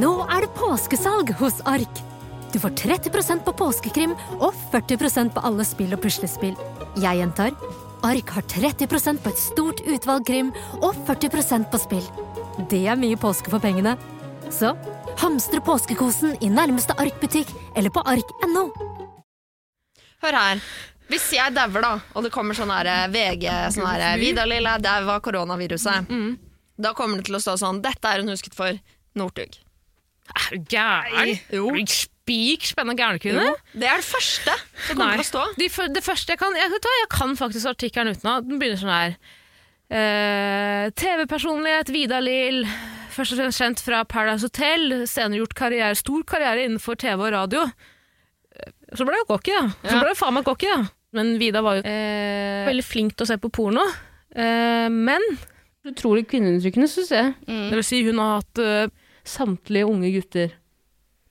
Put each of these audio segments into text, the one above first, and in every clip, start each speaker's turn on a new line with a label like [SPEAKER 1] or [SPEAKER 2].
[SPEAKER 1] Nå er det påskesalg hos Ark. Du får 30 på påskekrim og 40 på alle spill og puslespill. Jeg gjentar Ark har 30 på et stort utvalg krim og 40 på spill. Det er mye påske for pengene. Så hamstre påskekosen i nærmeste Ark-butikk eller på ark.no.
[SPEAKER 2] Hør her. Hvis jeg dauer, da, og det kommer sånn her VG sånn her Vidar-Lille dau av koronaviruset,
[SPEAKER 3] Mm.
[SPEAKER 2] da kommer det til å stå sånn Dette er hun husket for Northug.
[SPEAKER 4] Er du gæren?
[SPEAKER 2] Jo.
[SPEAKER 4] Er du Spik spennende gærnekvinne.
[SPEAKER 2] Det er det første det kommer til å stå.
[SPEAKER 4] De, fø- det første jeg kan jeg, vet du hva, jeg kan faktisk artikkelen utenat. Den begynner sånn her. Eh, TV-personlighet Vidar Lill, først og fremst kjent fra Paradise Hotel. Senere gjort karriere, stor karriere innenfor TV og radio. Eh, Så ble jeg cocky, da. Så
[SPEAKER 2] Ja.
[SPEAKER 4] ble jeg faen meg cocky, da. Men Vidar var jo eh, veldig flink til å se på porno. Eh, men utrolig kvinneundertrykkende, syns jeg.
[SPEAKER 2] Mm.
[SPEAKER 4] Det vil si, hun har hatt eh, samtlige unge gutter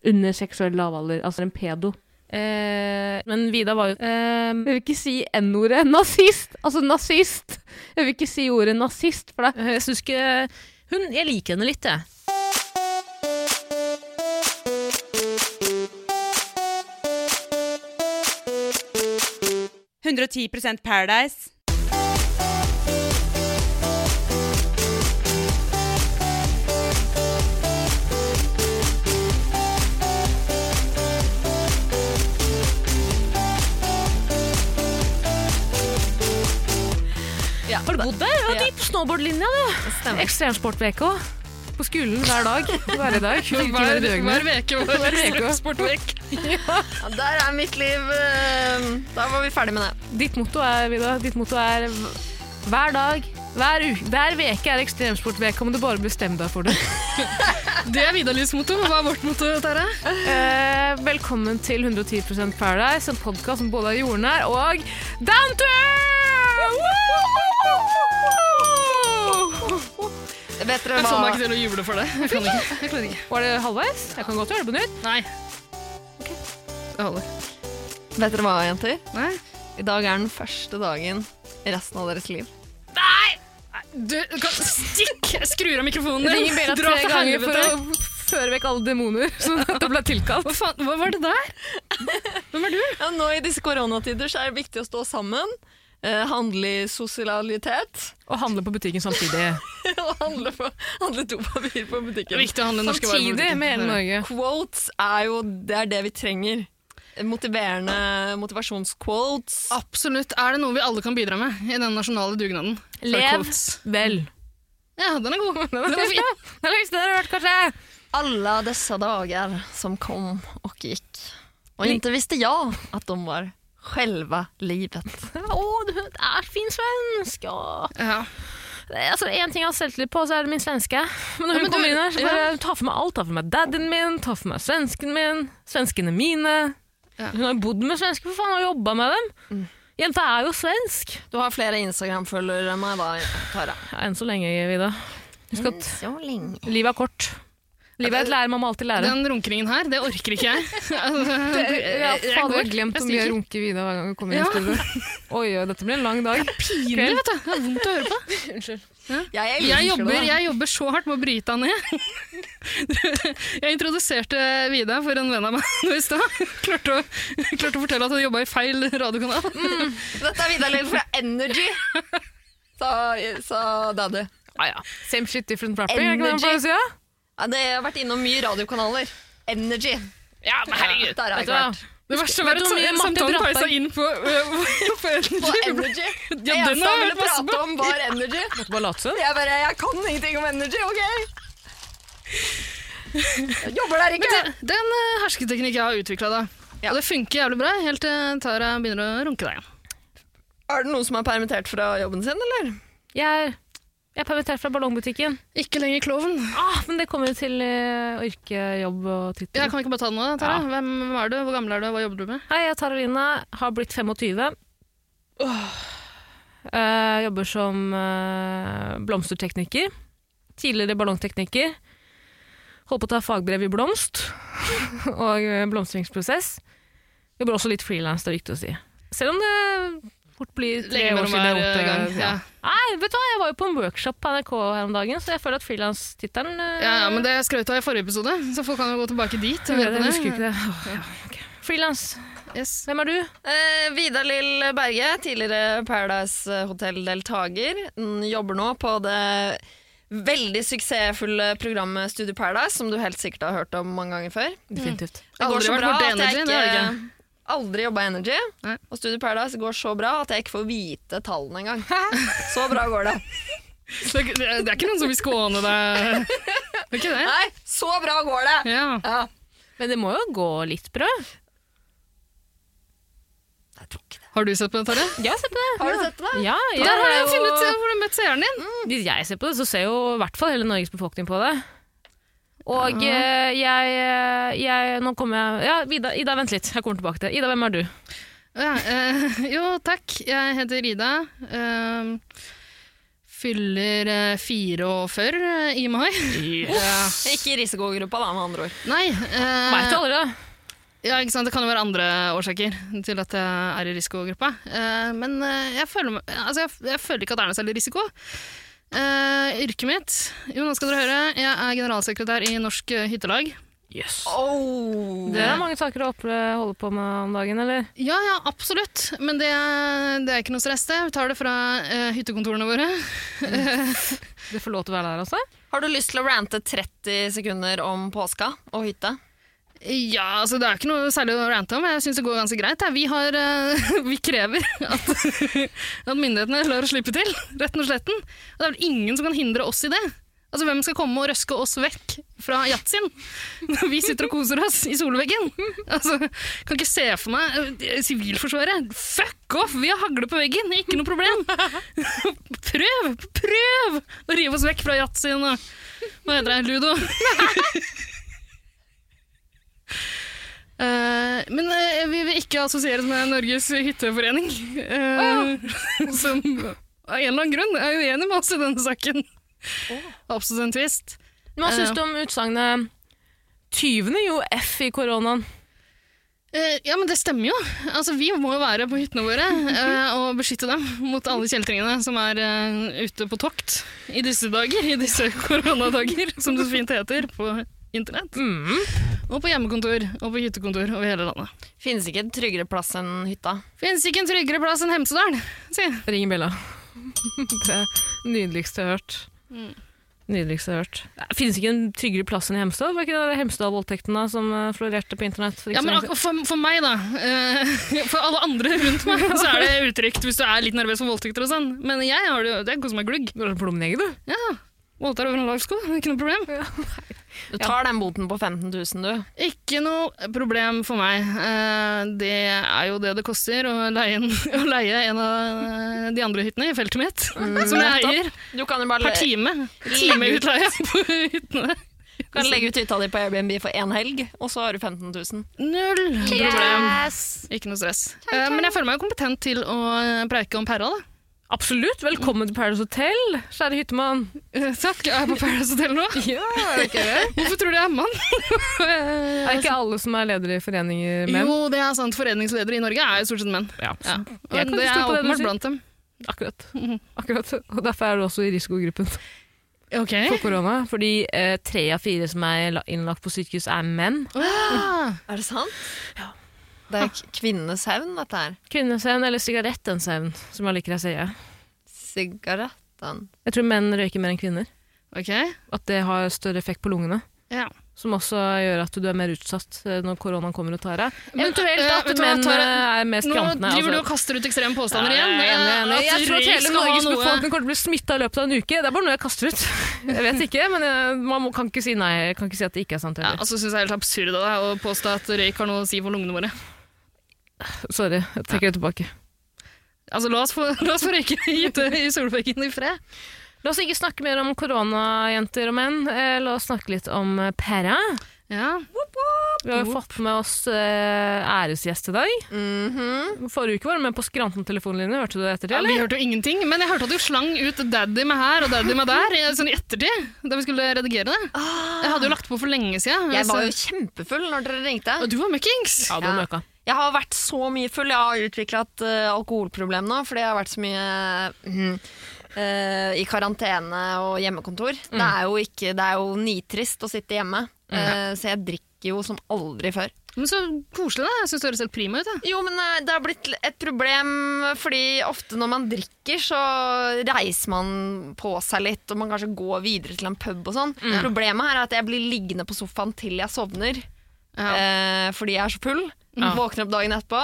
[SPEAKER 4] under seksuell lavalder, altså en pedo. Eh, men Vida var jo eh, Jeg vil ikke si N-ordet. Nazist! Altså nazist! Jeg vil ikke si ordet nazist, for det Eh, Jeg syns ikke hun, Jeg liker henne litt, jeg.
[SPEAKER 5] Paradise.
[SPEAKER 2] Ja.
[SPEAKER 4] Har du bodd der? Ja, de på snowboardlinja, du.
[SPEAKER 2] Stemmer.
[SPEAKER 4] Ekstremsport-VK. På skolen hver dag. Hver dag. Fire timer i døgnet.
[SPEAKER 3] uke
[SPEAKER 4] Hver veke.
[SPEAKER 3] ekstremsportvekk.
[SPEAKER 2] Ja, der er mitt liv eh, Da var vi ferdig med det.
[SPEAKER 4] Ditt motto er, Vida, ditt motto er v- hver dag, hver uke, hver veke er ekstremsport-VK, om du bare bestemmer deg for det.
[SPEAKER 3] Det er Vidar-Lys motto. Hva er vårt motto, Tare?
[SPEAKER 4] Eh, velkommen til 110 Paradise, en podkast som både er jordnær og downtour! Woo!
[SPEAKER 2] Vet dere
[SPEAKER 3] Jeg får meg
[SPEAKER 2] hva
[SPEAKER 3] ikke til å juble for det. Jeg kan ikke. Jeg klarer ikke.
[SPEAKER 4] Var det halvveis? Jeg kan godt gjøre det på nytt.
[SPEAKER 3] Nei. Det holder.
[SPEAKER 2] Vet dere hva, jenter?
[SPEAKER 3] Nei.
[SPEAKER 2] I dag er den første dagen i resten av deres liv.
[SPEAKER 3] Du, kan, stikk! Jeg skrur av mikrofonen
[SPEAKER 4] Jeg
[SPEAKER 3] din.
[SPEAKER 4] ringer Bella
[SPEAKER 3] Dra
[SPEAKER 4] tre
[SPEAKER 3] til
[SPEAKER 4] ganger for
[SPEAKER 3] helvete.
[SPEAKER 4] å føre vekk alle demoner, så det ble tilkalt.
[SPEAKER 3] Hva faen, hva var det der? Hvem er du?
[SPEAKER 2] Ja, nå I disse koronatider så er det viktig å stå sammen, eh, handle i sosialitet
[SPEAKER 4] Og handle på butikken samtidig.
[SPEAKER 2] og handle, på, handle to papir på
[SPEAKER 3] Det
[SPEAKER 2] butikken.
[SPEAKER 3] er viktig å handle norske varer. på
[SPEAKER 4] Samtidig
[SPEAKER 3] butikken.
[SPEAKER 4] med hele Norge.
[SPEAKER 2] Quotes er jo det, er det vi trenger. Motiverende motivasjonsquotes.
[SPEAKER 3] Absolutt. Er det noe vi alle kan bidra med i den nasjonale dugnaden? For
[SPEAKER 4] Lev.
[SPEAKER 3] quotes.
[SPEAKER 4] Vel.
[SPEAKER 3] Ja, den er god. Den
[SPEAKER 4] Det
[SPEAKER 3] er fin.
[SPEAKER 4] er lengst dere har hørt, kanskje.
[SPEAKER 2] Alle disse dager som kom og gikk. Og ikke visste jeg at de var selve livet.
[SPEAKER 4] Å, du er fin svensk. Åh.
[SPEAKER 3] Ja.
[SPEAKER 4] Altså, en ting jeg har selvtillit på, så er det min svenske. Men når hun
[SPEAKER 3] Ja, men du-
[SPEAKER 4] kommer inn her, så bare ta for meg alt. Ta for meg daddyen min, ta for meg svensken min, svenskene mine.
[SPEAKER 3] Ja.
[SPEAKER 4] Hun har jo bodd med svensker, for faen, og jobba med dem. Jenta er jo svensk.
[SPEAKER 2] Du har flere Instagram-følgere enn meg, da, Tara.
[SPEAKER 4] Ja, enn så lenge, Vida. Husk at
[SPEAKER 2] Så lenge.
[SPEAKER 4] livet er kort. Livet er et lære man må alltid lære.
[SPEAKER 3] Den runkeringen her, det orker ikke jeg. Altså,
[SPEAKER 4] Jeg hadde glemt
[SPEAKER 3] Jeg
[SPEAKER 4] hvor mye jeg
[SPEAKER 3] stikker.
[SPEAKER 4] runker Vida hver gang hun kommer inn
[SPEAKER 3] Ja.
[SPEAKER 4] i studio. Oi, oi, dette blir en lang dag.
[SPEAKER 3] Pinlig, vet du. Det er vondt å høre på.
[SPEAKER 4] Unnskyld.
[SPEAKER 2] Jeg, elsker
[SPEAKER 3] Jeg jobber,
[SPEAKER 2] det.
[SPEAKER 3] jeg jobber så hardt med å bryte han ned. Jeg introduserte Vida for en venn av meg nå i stad. Klarte, å- klarte å fortelle at hun jobba i feil radiokanal.
[SPEAKER 2] Dette er Vidar Lill fra Energy, sa, sa daddy.
[SPEAKER 4] Ah, ja. Same shit, different wrapper. er det ikke det man
[SPEAKER 2] Energy.
[SPEAKER 4] pleier å si, ja?
[SPEAKER 2] Ja, det har vært innom mye radiokanaler. Energy.
[SPEAKER 4] Ja,
[SPEAKER 2] Ja, der
[SPEAKER 4] men
[SPEAKER 2] har jeg
[SPEAKER 4] Vet du hva?
[SPEAKER 3] Det verste var
[SPEAKER 4] Vet du
[SPEAKER 3] at
[SPEAKER 4] hvor mye
[SPEAKER 3] sam-
[SPEAKER 4] Martin
[SPEAKER 3] samtalen
[SPEAKER 4] Brattberg-
[SPEAKER 3] peisa inn på, eh, på
[SPEAKER 2] På
[SPEAKER 3] energy.
[SPEAKER 2] Energy. Det
[SPEAKER 3] Ja,
[SPEAKER 2] eneste
[SPEAKER 3] den har
[SPEAKER 2] han
[SPEAKER 3] jeg
[SPEAKER 2] ville
[SPEAKER 3] hørt masse
[SPEAKER 2] prate
[SPEAKER 3] på.
[SPEAKER 2] om, var Energy.
[SPEAKER 4] Måtte bare late som.
[SPEAKER 2] Jeg bare Jeg kan ingenting om Energy, OK? Jeg jobber der
[SPEAKER 3] Men
[SPEAKER 2] ikke.
[SPEAKER 3] det, det er en eh, hersketeknikk jeg har utvikla, da.
[SPEAKER 2] Ja.
[SPEAKER 3] Og det funker jævlig bra, helt til Tara begynner å runke deg igjen.
[SPEAKER 2] Er det noen som er permittert fra jobben sin, eller?
[SPEAKER 4] Jeg er, jeg er permittert fra ballongbutikken.
[SPEAKER 3] Ikke lenger klovn.
[SPEAKER 4] Ah, men det kommer jo til eh, yrke, jobb og tittel.
[SPEAKER 3] Jeg kan vi ikke bare ta den nå, da, Tara. Hvem, hvem er du, hvor gammel er du, hva jobber du med?
[SPEAKER 4] Hei, jeg er Taralina, har blitt 25. Eh, jobber som eh, blomstertekniker. Tidligere ballongtekniker. Holder på å ta fagbrev i blomst og eh, blomstringsprosess. Jobber også litt frilans, det er viktig å si. Selv om det fort bli tre
[SPEAKER 3] Lenge
[SPEAKER 4] år
[SPEAKER 3] mellom
[SPEAKER 4] siden jeg har
[SPEAKER 3] hver eh,
[SPEAKER 4] gjort
[SPEAKER 3] gang.
[SPEAKER 4] det.
[SPEAKER 3] Ja.
[SPEAKER 4] Nei, vet du hva, jeg var jo på en workshop på NRK her om dagen, så jeg føler at frilanstittelen eh,
[SPEAKER 3] Ja, ja, men det skrøt av i forrige episode, så folk kan jo gå tilbake dit. og
[SPEAKER 4] jeg
[SPEAKER 3] høre på
[SPEAKER 4] husker ikke det. Åh, ja, ok. Frilans,
[SPEAKER 3] Yes.
[SPEAKER 4] hvem er du?
[SPEAKER 2] Eh, Vidar Lill Berge, tidligere Paradise Hotel-deltaker, mm, jobber nå på det veldig suksessfulle programmet Studio Paradise, som du helt sikkert har hørt om mange ganger før.
[SPEAKER 3] Mm.
[SPEAKER 4] Definitivt.
[SPEAKER 2] Det går
[SPEAKER 3] Aldri
[SPEAKER 2] så
[SPEAKER 3] vært
[SPEAKER 2] bra
[SPEAKER 3] borti
[SPEAKER 2] at jeg
[SPEAKER 3] Energy, det
[SPEAKER 2] ikke,
[SPEAKER 3] har du
[SPEAKER 2] Aldri jobba i Energy,
[SPEAKER 3] Nei.
[SPEAKER 2] og Studio Paradise går så bra at jeg ikke får vite tallene engang. Så bra går det.
[SPEAKER 3] Det, er- det er ikke noen som vil skåne deg. Det er ikke det.
[SPEAKER 2] Nei, så bra går det!
[SPEAKER 3] Ja.
[SPEAKER 2] Ja.
[SPEAKER 4] Men det må jo gå litt bra.
[SPEAKER 2] Jeg tror ikke det.
[SPEAKER 3] Har du sett på det, Tarjei?
[SPEAKER 4] Jeg har sett på det.
[SPEAKER 2] Har du sett det?
[SPEAKER 4] Ja, jeg,
[SPEAKER 3] Der har
[SPEAKER 4] er
[SPEAKER 3] jeg
[SPEAKER 4] jo-
[SPEAKER 3] funnet ut eh, hvor du har møtt seeren din.
[SPEAKER 4] Hvis jeg ser på det, så ser jo i hvert fall hele Norges befolkning på det. Og eh, jeg, jeg Nå kommer jeg Ja, Ida, Ida, vent litt. Jeg kommer tilbake til det. Ida, hvem er du?
[SPEAKER 3] Ja, eh, jo, takk. Jeg heter Ida. Eh, fyller eh, 44 eh, i mai.
[SPEAKER 4] Yes.
[SPEAKER 2] Ikke i risikogruppa, da, med andre ord.
[SPEAKER 3] Nei. eh,
[SPEAKER 4] Veit du aldri, da?
[SPEAKER 3] ja, ikke sant? Det kan jo være andre årsaker til at jeg er i risikogruppa. Eh, men eh, jeg, føler, meg- altså, jeg, jeg føler ikke at det er noe særlig risiko. Eh, yrket mitt Jo, nå skal dere høre. Jeg er generalsekretær i Norsk eh, Hyttelag.
[SPEAKER 2] Oh.
[SPEAKER 4] Det er mange saker å opple- holde på med om dagen, eller?
[SPEAKER 3] Ja, ja, absolutt. Men det, det er ikke noe stress, det. Vi tar det fra eh, hyttekontorene våre.
[SPEAKER 4] Du får lov til å være der, altså?
[SPEAKER 2] Har du lyst til å rante 30 sekunder om påska og hytte?
[SPEAKER 3] Ja, altså Det er ikke noe særlig å rante om. Jeg syns det går ganske greit. jeg. Vi, har, eh, vi krever at, at myndighetene lar oss slippe til, retten og sletten. Og det er vel ingen som kan hindre oss i det. Altså Hvem skal komme og røske oss vekk fra yatzyen når vi sitter og koser oss i solveggen? Altså, Kan ikke se for meg eh, Sivilforsvaret. Fuck off! Vi har hagle på veggen, ikke noe problem. Prøv! Prøv å rive oss vekk fra yatzyen og Hva heter det? Ludo? Eh, men eh, vi vil ikke assosieres med Norges hytteforening. eh, Som av en eller annen grunn er uenig med oss i denne saken. Absolutt en twist.
[SPEAKER 4] Men Hva syns du om utsagnet 20. jo F i koronaen?
[SPEAKER 3] Eh, ja, men det stemmer jo. Altså, vi må jo være på hyttene våre eh, og beskytte dem mot alle kjeltringene som er eh, ute på tokt i disse dager, i disse koronadager, som det så fint heter på internett.
[SPEAKER 4] Mm.
[SPEAKER 3] Og på hjemmekontor og på hyttekontor over hele landet.
[SPEAKER 2] Finnes ikke en tryggere plass enn hytta.
[SPEAKER 3] Fins ikke en tryggere plass enn Hemsedal, si.
[SPEAKER 4] Ring Bella. det nydeligste jeg har hørt.
[SPEAKER 3] Mm.
[SPEAKER 4] Nydeligste jeg har hørt. Det finnes ikke en tryggere plass enn i Hemsedal? Var ikke det Hemsedal-voldtektene som eh, florerte på internett? For ikke
[SPEAKER 3] Ja,
[SPEAKER 4] så
[SPEAKER 3] men
[SPEAKER 4] lenge siden?
[SPEAKER 3] ak- for, for meg, da. eh, For alle andre rundt meg så er det utrygt hvis du er litt nervøs for voldtekter og sånn. Men jeg har det jo Det koser meg glugg.
[SPEAKER 4] Du har plommeegg, du.
[SPEAKER 3] Ja, Voldtar over en lav sko, ikke noe problem.
[SPEAKER 2] Du tar den boten på 15 000, du.
[SPEAKER 3] Ikke noe problem for meg. Eh, Det er jo det det koster å leie en, å leie en av eh, de andre hyttene i feltet mitt, som jeg eier,
[SPEAKER 2] Du kan jo bare
[SPEAKER 3] per
[SPEAKER 2] le-
[SPEAKER 3] time. Timeutleie på hyttene.
[SPEAKER 2] kan legge ut hytta di på Airbnb for én helg, og så har du 15 000.
[SPEAKER 3] Null problem. Ikke noe stress. Eh, Men jeg føler meg jo kompetent til å eh, preike om pæra, da.
[SPEAKER 4] Absolutt. Velkommen til Paradise Hotel, kjære hyttemann.
[SPEAKER 3] Eh, Takk, jeg er på Paradise Hotel nå.
[SPEAKER 4] Ja, er det ikke det?
[SPEAKER 3] Hvorfor tror du jeg er mann?
[SPEAKER 4] Er ikke alle som er ledere i foreninger menn?
[SPEAKER 3] Eh, altså- Jo, det er sant. Foreningsledere i Norge er jo stort sett menn.
[SPEAKER 4] Ja.
[SPEAKER 3] Ja.
[SPEAKER 4] Jeg
[SPEAKER 3] Men
[SPEAKER 4] kan
[SPEAKER 3] det
[SPEAKER 4] forstå
[SPEAKER 3] er
[SPEAKER 4] på det du
[SPEAKER 3] åpenbart
[SPEAKER 4] sier.
[SPEAKER 3] blant dem.
[SPEAKER 4] Akkurat.
[SPEAKER 3] Mhm.
[SPEAKER 4] Akkurat. Og derfor er du også i risikogruppen
[SPEAKER 3] Ok.
[SPEAKER 4] for korona. Fordi eh, tre av fire som er la- innlagt på sykehus, er menn.
[SPEAKER 3] Ah.
[SPEAKER 2] Er det sant? Ja. Det er k- kvinnenes hevn, dette her.
[SPEAKER 4] Kvinnesevn eller sigarettensevn, som jeg liker å si.
[SPEAKER 2] Sigaretten.
[SPEAKER 4] Jeg tror menn røyker mer enn kvinner.
[SPEAKER 3] Ok.
[SPEAKER 4] At det har større effekt på lungene.
[SPEAKER 3] Ja.
[SPEAKER 4] Som også gjør at du er mer utsatt eh, når koronaen kommer og tar deg.
[SPEAKER 3] Men,
[SPEAKER 4] Eventuelt
[SPEAKER 3] eh,
[SPEAKER 4] at
[SPEAKER 3] vet du hva,
[SPEAKER 4] menn
[SPEAKER 3] Tara,
[SPEAKER 4] eh, er mer
[SPEAKER 3] Nå driver
[SPEAKER 4] skrantende.
[SPEAKER 3] du og kaster ut ekstreme påstander
[SPEAKER 4] Ja,
[SPEAKER 3] igjen.
[SPEAKER 4] jeg er enig, jeg er enig.
[SPEAKER 3] At
[SPEAKER 4] Jeg tror at
[SPEAKER 3] røyk
[SPEAKER 4] hele
[SPEAKER 3] skal ha
[SPEAKER 4] Norges
[SPEAKER 3] noe-
[SPEAKER 4] befolkning kommer til å bli smitta i løpet av en uke. Det er bare noe jeg kaster ut. Jeg vet ikke, men jeg, man må, kan ikke si nei. Jeg kan ikke si at det ikke er sant
[SPEAKER 3] Ja,
[SPEAKER 4] heller.
[SPEAKER 3] altså synes jeg er helt absurd av deg å påstå at røyk har noe å si for lungene våre.
[SPEAKER 4] Sorry, jeg trekker det tilbake.
[SPEAKER 3] Altså, la oss få, la oss få røyke i, i solveggen i fred.
[SPEAKER 4] La oss ikke snakke mer om koronajenter og menn. Eh, La oss snakke litt om eh, pæra.
[SPEAKER 3] Ja.
[SPEAKER 4] Vi har jo fått med oss eh, æresgjest i dag. Forrige uke var du med på Skranten-telefonlinje. Hørte du det etter det,
[SPEAKER 3] Ja, vi
[SPEAKER 4] eller?
[SPEAKER 3] hørte jo ingenting, men jeg hørte at du slang ut daddy med her og daddy med der i, sånn i ettertid, da vi skulle redigere det. Ah. Jeg hadde jo lagt på for lenge siden.
[SPEAKER 2] Jeg var jo
[SPEAKER 3] altså.
[SPEAKER 2] kjempefull når dere ringte.
[SPEAKER 3] Og du var møkkings.
[SPEAKER 4] Ja, du
[SPEAKER 2] Ja.
[SPEAKER 4] møka.
[SPEAKER 2] Jeg har vært så mye full. Jeg har utvikla et eh, alkoholproblem nå fordi jeg har vært så mye mhm, eh, i karantene og hjemmekontor. Det, er jo ikke, det er jo nitrist å sitte hjemme, eh, så jeg drikker jo som aldri før.
[SPEAKER 3] Men så koselig, da. Jeg syns det høres helt prima ut. Jeg.
[SPEAKER 2] Jo, men eh, det har blitt et problem fordi ofte når man drikker, så reiser man på seg litt, og man kanskje går videre til en pub og sånn. Problemet her er at jeg blir liggende på sofaen til jeg sovner,
[SPEAKER 3] Ja.
[SPEAKER 2] eh, fordi jeg er så full.
[SPEAKER 4] Ja.
[SPEAKER 2] Våkner opp dagen etterpå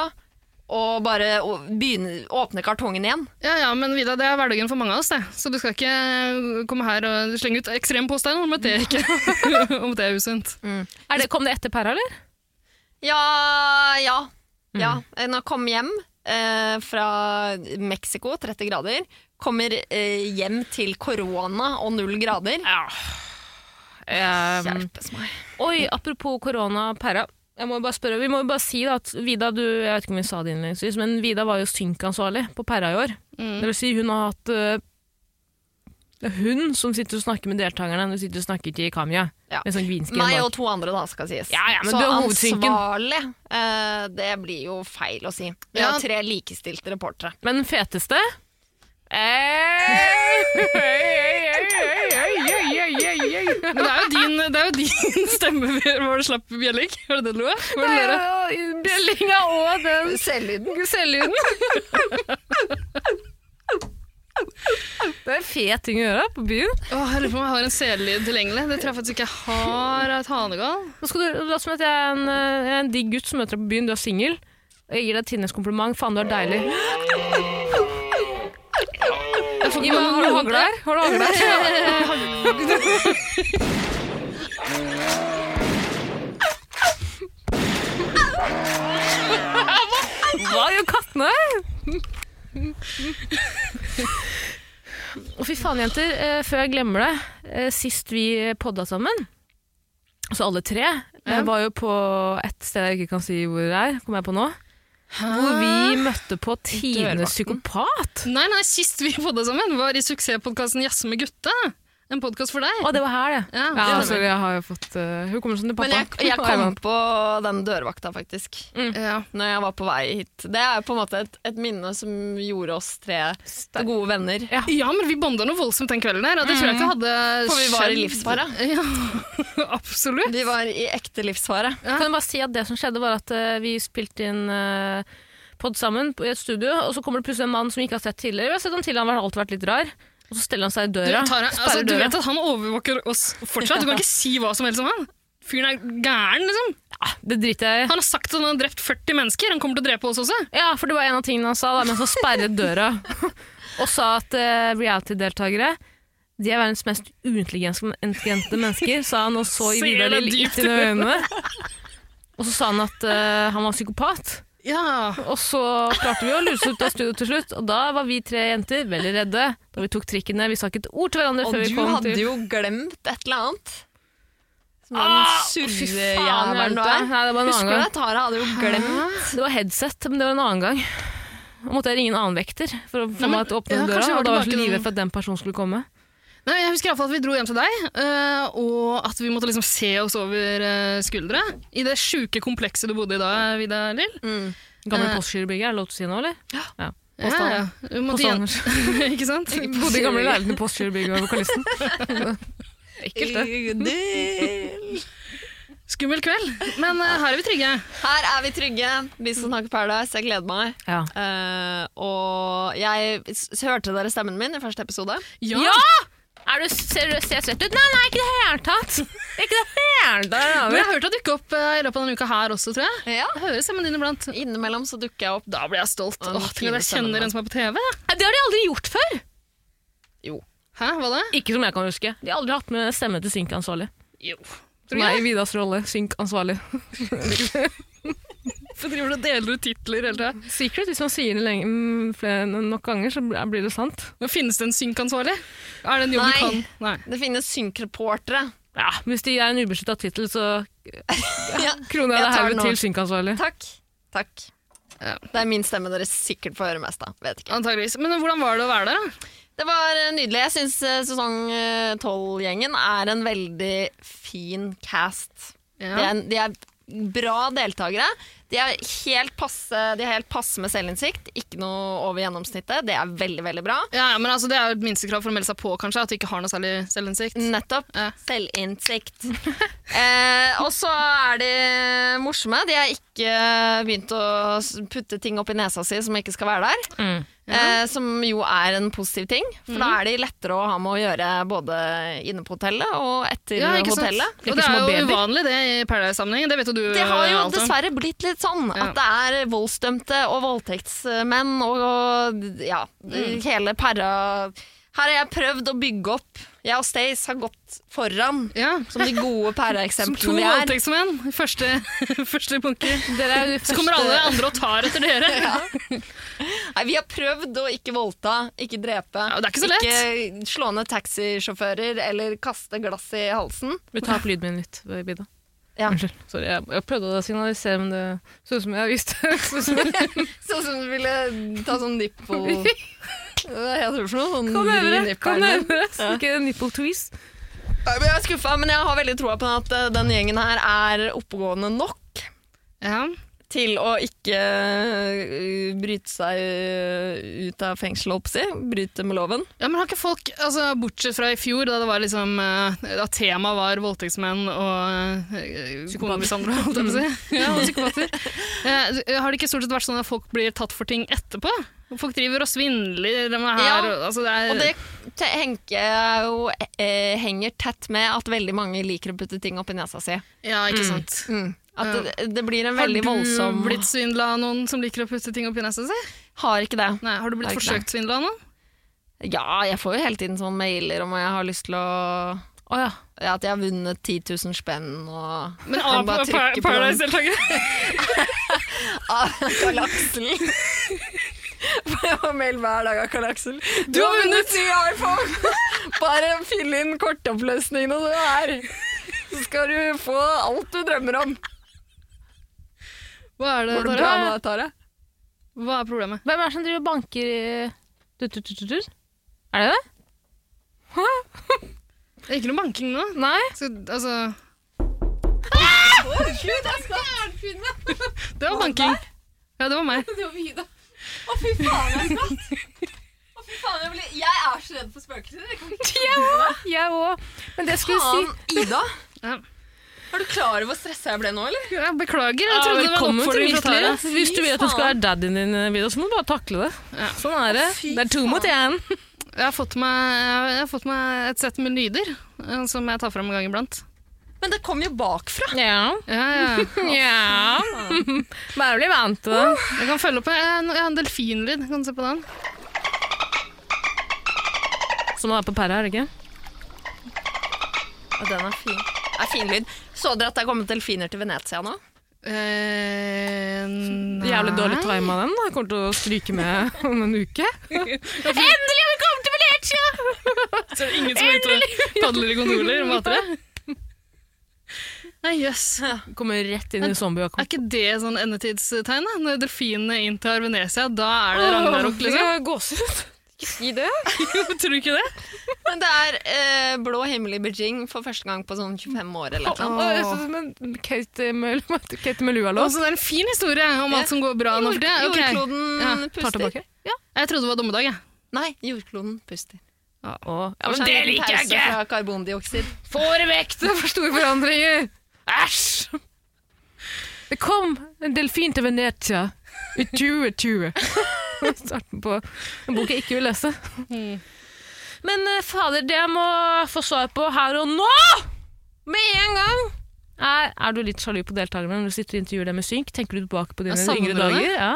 [SPEAKER 2] og bare å- begynner, åpner kartongen igjen.
[SPEAKER 3] Ja, ja, men Vida, det er hverdagen for mange av oss, det. Så du skal ikke eh, komme her og slenge ut ekstreme påstander om at det ikke om at det er usunt.
[SPEAKER 4] Er det, kom det etter pæra, eller?
[SPEAKER 2] Ja, ja. ja. Når jeg kom hjem eh, fra Mexico, 30 grader, kommer eh, hjem til korona og null grader.
[SPEAKER 4] Um,
[SPEAKER 2] Hjelpes meg.
[SPEAKER 4] Oi, apropos korona og pæra. Jeg må jo bare spørre, vi må jo bare si da at Vida, du, jeg vet ikke om vi sa det innledningsvis, men Vida var jo synkansvarlig på pæra i år.
[SPEAKER 2] Mm.
[SPEAKER 4] Det vil si hun har hatt øh, det er hun som sitter og snakker med deltakerne, hun sitter og snakker til Kamya.
[SPEAKER 2] Ja.
[SPEAKER 4] Med sånn gvinskrem
[SPEAKER 2] Meg
[SPEAKER 4] bak.
[SPEAKER 2] og to andre, da, skal sies.
[SPEAKER 4] Ja, ja, men
[SPEAKER 2] så
[SPEAKER 4] du er hovedsynken.
[SPEAKER 2] ansvarlig, eh, det blir jo feil å si. Vi
[SPEAKER 3] Ja.
[SPEAKER 2] har tre likestilte reportere.
[SPEAKER 4] Men den feteste Nei,
[SPEAKER 3] Men det er jo din, det er jo din stemme hvor det slapp bjelling. Var det det du lo av? Var det dere?
[SPEAKER 4] Bjellinga og den
[SPEAKER 2] Selvlyden.
[SPEAKER 4] selvlyden. Det er en fet ting å gjøre på byen.
[SPEAKER 3] Åh, jeg lurer på om jeg har en selelyd tilgjengelig. Det tror jeg faktisk ikke jeg har av et hanegal.
[SPEAKER 4] Nå skal du, La oss si at jeg er en, eh, jeg er en digg gutt som møter deg på byen, du er singel. Jeg gir deg Tinnes kompliment. Faen, du er deilig. Gi meg, har du hagle her? Har du hagle her? Hva gjør kattene? Å, Fy faen, jenter. eh, Før jeg glemmer det. eh, Sist vi podda sammen, så alle tre, eh, var jo på et sted jeg ikke kan si hvor det er, kommer jeg på nå. Hvor vi møtte på tidenes psykopat.
[SPEAKER 3] Nei, nei, sist vi podda sammen, var i suksesspodkasten Jazze med gutta. En podkast for deg.
[SPEAKER 4] Å, det var her, det.
[SPEAKER 3] Ja, det
[SPEAKER 4] Ja,
[SPEAKER 3] stemmer.
[SPEAKER 4] altså, jeg har jo fått eh, Hun kommer sånn til pappa.
[SPEAKER 2] Men jeg, jeg kom på den dørvakta, faktisk,
[SPEAKER 3] Ja.
[SPEAKER 2] når jeg var på vei hit. Det er jo på en måte et, et minne som gjorde oss tre til gode venner.
[SPEAKER 3] ja, men vi bonda noe voldsomt den kvelden der, og det tror jeg ikke hadde skjedd.
[SPEAKER 2] For vi var i livsfare.
[SPEAKER 3] Ja, absolutt.
[SPEAKER 2] Vi var i ekte livsfare.
[SPEAKER 4] Kan jeg bare si at det som skjedde var at eh, vi spilte inn uh, podd sammen på- i et studio, og så kommer det plutselig en mann som vi ikke har sett tidligere. Vi har sett ham tidligere, han har alltid vært litt rar. Og så steller han seg i
[SPEAKER 3] Du,
[SPEAKER 4] døra.
[SPEAKER 3] Tara, altså,
[SPEAKER 4] sperrer
[SPEAKER 3] du
[SPEAKER 4] døra.
[SPEAKER 3] vet at han overvåker oss fortsatt. Du kan ikke si hva som helst om han. Fyren er gæren, liksom.
[SPEAKER 4] Ah, Det driter jeg i.
[SPEAKER 3] Han har sagt at han har drept 40 mennesker. Han kommer til å drepe oss også.
[SPEAKER 4] Ja, for det var en av tingene han sa, da, mens han sperret døra. og sa at eh, reality-deltakere de er verdens mest uintelligente intelligente mennesker, sa han og så i
[SPEAKER 3] Se
[SPEAKER 4] Vidar
[SPEAKER 3] det
[SPEAKER 4] Lill
[SPEAKER 3] dypt
[SPEAKER 4] dypt inn i øynene. Og så sa han at eh, han var psykopat.
[SPEAKER 3] Ja.
[SPEAKER 4] Og så klarte vi å luse ut av studio til slutt, og da var vi tre jenter veldig redde. Da vi tok trikkene, vi sa ikke et ord til hverandre
[SPEAKER 2] Og
[SPEAKER 4] før vi
[SPEAKER 2] du
[SPEAKER 4] kom
[SPEAKER 2] hadde
[SPEAKER 4] til
[SPEAKER 2] jo glemt et eller annet. Som
[SPEAKER 4] Ah,
[SPEAKER 2] den
[SPEAKER 4] fy faen,
[SPEAKER 2] surrejævelen du
[SPEAKER 4] Jante.
[SPEAKER 2] er.
[SPEAKER 4] Nei, det var en
[SPEAKER 2] Husker du
[SPEAKER 4] annen
[SPEAKER 2] det? Tara hadde jo glemt.
[SPEAKER 4] Det var headset, men det var en annen gang. Da måtte jeg ringe en annen vekter for å få
[SPEAKER 3] Nei, men-
[SPEAKER 4] meg til å åpne
[SPEAKER 3] ja,
[SPEAKER 4] døra.
[SPEAKER 3] kanskje jeg var
[SPEAKER 4] Og da var jeg så
[SPEAKER 3] tilbake
[SPEAKER 4] livredd
[SPEAKER 3] den-
[SPEAKER 4] for at den personen skulle komme.
[SPEAKER 3] Nei, jeg husker i hvert fall at vi dro hjem til deg, eh, og at vi måtte liksom se oss over eh, skuldre. I det sjuke komplekset du bodde i da, Vida Lill.
[SPEAKER 2] Mm.
[SPEAKER 4] Gamle
[SPEAKER 3] Eh.
[SPEAKER 4] Postgirobygget, er det lov til å si nå, eller? Ja.
[SPEAKER 3] Ja,
[SPEAKER 4] Postdalen.
[SPEAKER 3] ja. Vi måtte igjen- Ikke sant?
[SPEAKER 4] Bodde i gamle leiligheten i Postgirobygget og vokalisten. Ekkelt, det.
[SPEAKER 2] Ugdel.
[SPEAKER 3] Skummel kveld. Men eh, her er vi trygge.
[SPEAKER 2] Her er vi trygge, vi som snakker Paradise. Jeg gleder meg.
[SPEAKER 4] Ja.
[SPEAKER 2] Eh, og jeg s hørte dere stemmen min i første episode.
[SPEAKER 3] Ja!
[SPEAKER 4] Er du, ser du ser svett ut? Nei, nei, ikke i det hele tatt! Ikke det hele tatt!
[SPEAKER 3] Men jeg har hørt deg dukke opp eh, i løpet av denne uka her også, tror jeg.
[SPEAKER 2] Ja.
[SPEAKER 3] Jeg hører stemmen din iblant.
[SPEAKER 2] Innimellom så dukker jeg opp.
[SPEAKER 3] Da blir jeg stolt.
[SPEAKER 2] Ja, den
[SPEAKER 3] Åh, tenk at jeg
[SPEAKER 2] fine stemmen, da.
[SPEAKER 3] kjenner en som er på TV.
[SPEAKER 4] Det har de aldri gjort før!
[SPEAKER 2] Jo.
[SPEAKER 3] Hæ, hva da?
[SPEAKER 4] Ikke som jeg kan huske. De har aldri hatt med stemme til synkansvarlig.
[SPEAKER 3] Jo. Tror du
[SPEAKER 4] Nei, Vidas rolle. Synkansvarlig.
[SPEAKER 3] Hvorfor driver du og deler ut titler hele tida?
[SPEAKER 4] Secret, hvis man sier det lenge, mm, flere, nok ganger, så bl- blir det sant.
[SPEAKER 3] Men Finnes det en synkansvarlig? Er det en jobb
[SPEAKER 2] Nei.
[SPEAKER 3] du kan? Nei.
[SPEAKER 2] Det finnes synkreportere.
[SPEAKER 4] Ja, Hvis det er en ubeskytta tittel, så
[SPEAKER 2] Ja.
[SPEAKER 4] kroner jeg
[SPEAKER 2] Jeg tar
[SPEAKER 4] det
[SPEAKER 2] den
[SPEAKER 4] herved
[SPEAKER 2] nå.
[SPEAKER 4] til synkansvarlig.
[SPEAKER 2] Takk. Takk.
[SPEAKER 3] Ja.
[SPEAKER 2] Det er min stemme dere sikkert får høre mest av. Vet ikke.
[SPEAKER 3] Antageligvis. Men hvordan var det å være der, da?
[SPEAKER 2] Det var eh, nydelig. Jeg syns sesong eh, 12-gjengen er en veldig fin cast.
[SPEAKER 3] Ja.
[SPEAKER 2] De, er, de er bra deltakere. De er helt passe, de har helt passe med selvinnsikt, ikke noe over gjennomsnittet. Det er veldig, veldig bra.
[SPEAKER 3] Ja, ja, men altså, Det er jo et minstekrav for å melde seg på, kanskje, at du ikke har noe særlig selvinnsikt.
[SPEAKER 2] Nettopp.
[SPEAKER 3] Ja.
[SPEAKER 2] Selvinnsikt. eh, og så er de morsomme. De har ikke begynt å s- putte ting opp i nesa si som ikke skal være der.
[SPEAKER 4] Mm.
[SPEAKER 2] Eh, som jo er en positiv ting, for
[SPEAKER 3] Mhm.
[SPEAKER 2] da er de lettere å ha med å gjøre både inne på hotellet og etter
[SPEAKER 3] Ja, ikke sant?
[SPEAKER 2] hotellet.
[SPEAKER 3] Og
[SPEAKER 4] Ikke
[SPEAKER 3] det
[SPEAKER 4] små
[SPEAKER 3] er jo
[SPEAKER 4] babyer.
[SPEAKER 3] uvanlig det i Paradise-sammenheng. Det vet jo du
[SPEAKER 2] Det har jo
[SPEAKER 3] alt om.
[SPEAKER 2] dessverre blitt litt sånn
[SPEAKER 3] Eh, altså. Ja.
[SPEAKER 2] at det er voldsdømte og voldtektsmenn og, og ja,
[SPEAKER 3] Mm.
[SPEAKER 2] hele para Her har jeg prøvd å bygge opp. Jeg og Stace har gått foran
[SPEAKER 3] Ja.
[SPEAKER 2] som de gode
[SPEAKER 3] Som to
[SPEAKER 2] para-eksemplene vi er.
[SPEAKER 3] voldtektsmenn. Første, første bunker.
[SPEAKER 4] Dere er jo de
[SPEAKER 3] Så kommer alle
[SPEAKER 4] første-
[SPEAKER 3] andre og tar etter dere.
[SPEAKER 2] Nei, vi har prøvd å ikke voldta, ikke drepe,
[SPEAKER 3] Ja, det er ikke så lett.
[SPEAKER 2] ikke slå ned taxisjåfører eller kaste glass i halsen.
[SPEAKER 4] Vi tar opp lyden min litt, Bida.
[SPEAKER 2] Ja.
[SPEAKER 4] Unnskyld. Sorry, jeg, jeg prøvde å signalisere, men det så ut som jeg visste. Så ut som jeg-
[SPEAKER 2] Sånn som du ville ta sånn nippo... Hva heter det for noe? Sånn
[SPEAKER 4] Kom
[SPEAKER 2] vri
[SPEAKER 4] øvre, kom
[SPEAKER 2] nippelen din.
[SPEAKER 4] øvre. Så Ikke nipple twist.
[SPEAKER 2] Nei, men Jeg er skuffa, men jeg har veldig troa på at eh, den gjengen her er oppegående nok
[SPEAKER 3] Ja.
[SPEAKER 2] til å ikke eh, bryte seg eh, ut av fengselet, holdt på å si. Bryte med loven.
[SPEAKER 3] ja, men har ikke folk, altså Bortsett fra i fjor, da det var liksom eh, Da temaet var voldtektsmenn og eh, konemishandlere, holdt jeg
[SPEAKER 2] Mm.
[SPEAKER 3] på å si. Ja, og psykopater. Eh, har det ikke stort sett vært sånn at folk blir tatt for ting etterpå? Folk driver og svindler. De er her,
[SPEAKER 2] Ja,
[SPEAKER 3] og, altså, det er,
[SPEAKER 2] Og det te- tenker jeg jo eh, henger tett med at veldig mange liker å putte ting opp i nesa si.
[SPEAKER 3] Ja, ikke sant.
[SPEAKER 2] Mm. At
[SPEAKER 3] Ja.
[SPEAKER 2] det, det blir en
[SPEAKER 3] Har
[SPEAKER 2] veldig
[SPEAKER 3] du
[SPEAKER 2] voldsom
[SPEAKER 3] blitt svindla av noen som liker å putte ting opp i nesa si?
[SPEAKER 2] Har ikke det.
[SPEAKER 3] Nei, Har du blitt
[SPEAKER 2] Har ikke
[SPEAKER 3] forsøkt svindla av noen?
[SPEAKER 2] Ja, jeg får jo hele tiden sånne mailer om jeg har lyst til å
[SPEAKER 4] Å ja.
[SPEAKER 2] ja, At jeg har vunnet 10 000 spenn og
[SPEAKER 3] Men
[SPEAKER 2] Kan
[SPEAKER 3] av
[SPEAKER 2] bare
[SPEAKER 3] Par-
[SPEAKER 2] trykke på den.
[SPEAKER 3] Paradise-deltakere?
[SPEAKER 2] av Karl Aksel. For jeg får mail hver dag av Karl Aksel. Du har vunnet ny iPhone! Bare fyll inn kortoppløsningene du er. Så skal du få alt du drømmer om.
[SPEAKER 3] Hva er det,
[SPEAKER 2] Går det bra med
[SPEAKER 3] Tara?
[SPEAKER 2] deg, Tare?
[SPEAKER 3] Hva er problemet?
[SPEAKER 4] Hvem er det som driver og banker i tut-tut-tut-tut? Er det det?
[SPEAKER 3] Det er ikke noe banking nå.
[SPEAKER 4] Nei?
[SPEAKER 3] Så, altså... Det var banking. Ja, det var meg.
[SPEAKER 2] Å, fy faen, jeg er Å, fy faen, jeg, er så redd for spøkelser.
[SPEAKER 4] Jeg òg. Men det skulle jeg si
[SPEAKER 2] Ida.
[SPEAKER 3] Ja.
[SPEAKER 2] Er du klar over hvor stressa jeg ble nå, eller?
[SPEAKER 3] Ja, beklager, jeg
[SPEAKER 4] Ja,
[SPEAKER 3] trodde det var en
[SPEAKER 4] velkommen til
[SPEAKER 3] oppfordring
[SPEAKER 4] mitt
[SPEAKER 3] fra Tara.
[SPEAKER 4] liv. Hvis du vil at du skal være daddyen din, eh, Vidar, så må du bare takle det.
[SPEAKER 3] Ja.
[SPEAKER 4] Sånn er det.
[SPEAKER 2] Fy
[SPEAKER 4] Det er to mot én.
[SPEAKER 3] Jeg har fått meg, jeg har fått meg et sett med lyder eh, som jeg tar fram en gang iblant.
[SPEAKER 2] Men det kom jo bakfra.
[SPEAKER 4] Ja.
[SPEAKER 3] Ja, ja.
[SPEAKER 4] ja. Bare bli vant til det.
[SPEAKER 3] Jeg kan følge opp en, jeg har en delfinlyd. Kan du se på den?
[SPEAKER 4] Som det er på pæra, er det ikke?
[SPEAKER 2] Og den er fin. Det er fin lyd. Så dere at det er kommet delfiner til Venezia nå?
[SPEAKER 3] Eh, nei.
[SPEAKER 4] Jævlig dårlig time av den. da. Jeg kommer til å stryke med om en uke. Endelig har vi kommet til Venezia!
[SPEAKER 3] Så er det ingen som er ute og padler i gondoler og mater det? Nei, jøss.
[SPEAKER 4] Kommer rett inn i
[SPEAKER 3] Er
[SPEAKER 4] zombiejakken.
[SPEAKER 3] ikke det sånn endetidstegn? da? Når delfinene inntar Venezia, da er det ragnarok, liksom?
[SPEAKER 4] Gåsehud. Ikke si det.
[SPEAKER 3] Tror du ikke det?
[SPEAKER 2] Men det er eh, blå himmel i Beijing for første gang på sånn 25 år eller noe.
[SPEAKER 3] Åh.
[SPEAKER 4] Å, jeg synes som en Kate med, Kate med
[SPEAKER 3] Og
[SPEAKER 4] lua-låt.
[SPEAKER 3] så det er en fin historie om alt som går bra nå for det. Ok.
[SPEAKER 2] Jordkloden
[SPEAKER 3] Ja,
[SPEAKER 4] Tar
[SPEAKER 2] puster.
[SPEAKER 4] tilbake.
[SPEAKER 3] Jeg trodde det var dommedag, jeg.
[SPEAKER 2] Nei, jordkloden puster.
[SPEAKER 4] Å, ja,
[SPEAKER 2] Kanskje en
[SPEAKER 4] men det
[SPEAKER 2] liten
[SPEAKER 4] liker jeg
[SPEAKER 2] pause
[SPEAKER 4] ikke!
[SPEAKER 2] Fra karbondioksid.
[SPEAKER 4] Får vekk det for store forandringer! Æsj! Det kom en delfin til Venezia i 2020. Starten på en bok jeg ikke vil lese. Men eh, fader, det jeg må få svar på her og nå, med en gang, er Er du litt sjalu på deltakerne når du sitter og intervjuer dem med synk? Tenker du tilbake på dine
[SPEAKER 3] Ja, savner
[SPEAKER 4] yngre
[SPEAKER 3] du det?
[SPEAKER 4] dager? Ja.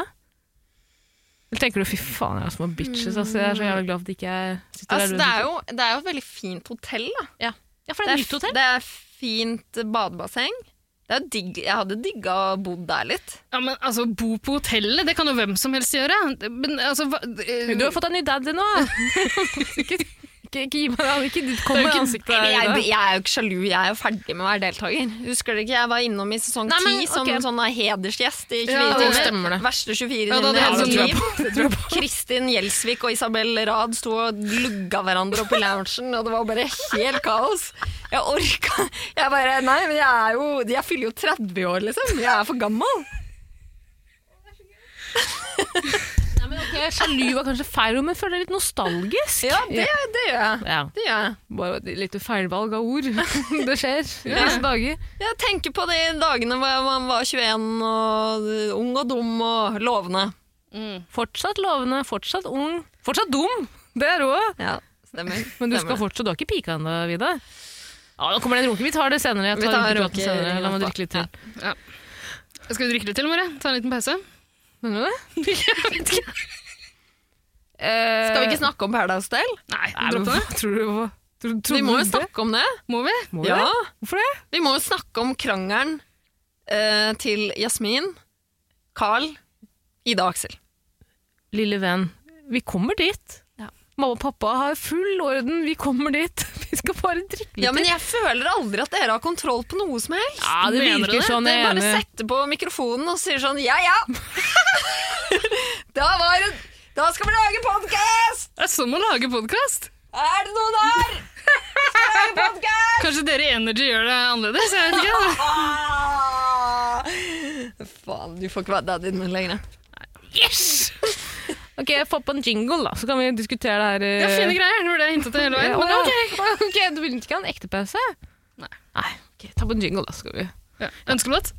[SPEAKER 4] Eller tenker du 'fy faen, jeg er små bitches', altså, jeg er så jævlig glad for at ikke jeg sitter
[SPEAKER 2] Altså,
[SPEAKER 4] der
[SPEAKER 2] det, er jo, det er jo et veldig fint hotell. Da.
[SPEAKER 4] Ja. ja, for det er et
[SPEAKER 2] Det
[SPEAKER 4] nytt hotell.
[SPEAKER 2] er- det er fint badebasseng. Det er jo digg. Jeg hadde digga å bo der litt.
[SPEAKER 3] Ja, men altså, bo på hotellet, det kan jo hvem som helst gjøre. Men altså, hva, eh,
[SPEAKER 4] Du har fått deg ny daddy nå. ikke, ikke, ikke gi meg det. Ikke kom
[SPEAKER 3] Det er jo
[SPEAKER 4] med
[SPEAKER 3] ikke-
[SPEAKER 4] ansiktet.
[SPEAKER 2] Jeg,
[SPEAKER 4] Ida.
[SPEAKER 2] jeg er jo ikke sjalu, jeg er jo ferdig med å være deltaker. Husker dere ikke jeg var innom i sesong
[SPEAKER 4] Nei,
[SPEAKER 2] 10
[SPEAKER 4] men,
[SPEAKER 2] som
[SPEAKER 4] ok.
[SPEAKER 2] sånn hedersgjest i 24
[SPEAKER 3] Ja,
[SPEAKER 4] det
[SPEAKER 2] timer?
[SPEAKER 4] stemmer det.
[SPEAKER 2] Verste 24
[SPEAKER 3] Ja, da
[SPEAKER 2] timer i
[SPEAKER 3] hadde
[SPEAKER 2] hele
[SPEAKER 3] jeg
[SPEAKER 2] mitt
[SPEAKER 3] sånn-
[SPEAKER 2] liv. Kristin Gjelsvik og Isabel Rad sto og lugga hverandre opp i loungen, og det var bare helt kaos. Jeg orka Jeg bare Nei, men jeg er jo Jeg fyller jo 30 år, liksom. Jeg er for gammel.
[SPEAKER 4] Okay, Sjalu var kanskje feil ord, men føler jeg er litt nostalgisk.
[SPEAKER 2] Ja, det, det gjør jeg.
[SPEAKER 4] Ja.
[SPEAKER 2] Det gjør jeg.
[SPEAKER 4] Bare et lite feilvalg av ord. Det skjer i disse dager.
[SPEAKER 2] Jeg tenker på de dagene hvor man var 21 og ung og dum og lovende.
[SPEAKER 3] Mm.
[SPEAKER 4] Fortsatt lovende, fortsatt ung, fortsatt dum. Det er òg.
[SPEAKER 2] Ja, stemmer.
[SPEAKER 4] Men du skal fortsatt, du har ikke pika ennå, Vida. Ja, nå kommer den runken. Vi tar det senere. Jeg
[SPEAKER 2] Vi
[SPEAKER 4] tar
[SPEAKER 2] tar
[SPEAKER 4] runkepraten
[SPEAKER 2] runke-
[SPEAKER 4] senere. La meg drikke litt til.
[SPEAKER 3] Skal vi drikke litt til, Mare? Ta en liten pause?
[SPEAKER 4] Mener du det? Eh,
[SPEAKER 2] Skal vi ikke snakke om Paradise Hotel?
[SPEAKER 3] Nei,
[SPEAKER 4] Nei, men
[SPEAKER 3] dropp det.
[SPEAKER 4] hva Tror du hva? Tror, tror
[SPEAKER 2] Vi
[SPEAKER 4] du
[SPEAKER 2] må jo
[SPEAKER 4] det?
[SPEAKER 2] snakke om det.
[SPEAKER 3] Må vi?
[SPEAKER 4] Må vi
[SPEAKER 2] Ja,
[SPEAKER 4] det? Hvorfor det?
[SPEAKER 2] Vi må jo snakke om krangelen eh, til Jasmin, Carl, Ida og Aksel.
[SPEAKER 4] Lille venn, vi kommer dit.
[SPEAKER 2] Ja.
[SPEAKER 4] Mamma og pappa har full orden, vi kommer dit. Vi skal bare drikke litt.
[SPEAKER 2] Ja, men jeg føler aldri at dere har kontroll på noe som helst.
[SPEAKER 4] Ja, det
[SPEAKER 3] Mener du
[SPEAKER 4] virker
[SPEAKER 3] det?
[SPEAKER 4] sånn. jeg
[SPEAKER 2] Dere
[SPEAKER 4] er
[SPEAKER 2] bare
[SPEAKER 4] enig.
[SPEAKER 2] setter på mikrofonen og sier sånn Ja, ja! da var det Da skal vi lage podkast!
[SPEAKER 3] Det er som å lage podkast.
[SPEAKER 2] Er det noen her? Skal vi lage podkast?
[SPEAKER 3] Kanskje dere i Energy gjør det annerledes? Jeg vet ikke.
[SPEAKER 2] Ah! Faen, du får ikke være daddyen min lenger.
[SPEAKER 4] Ok, jeg får på en jingle, da, så kan vi diskutere det her.
[SPEAKER 3] Det
[SPEAKER 4] eh,
[SPEAKER 3] er fine greier. Det var det jeg hintet til hele veien.
[SPEAKER 4] Ja,
[SPEAKER 3] Men
[SPEAKER 4] å,
[SPEAKER 3] ok.
[SPEAKER 4] ja. ok, Du vil ikke ha en ekte pause?
[SPEAKER 3] Nei.
[SPEAKER 4] Nei, ok, Ta på en jingle, da. skal vi.
[SPEAKER 3] Ja. Ønskelåt?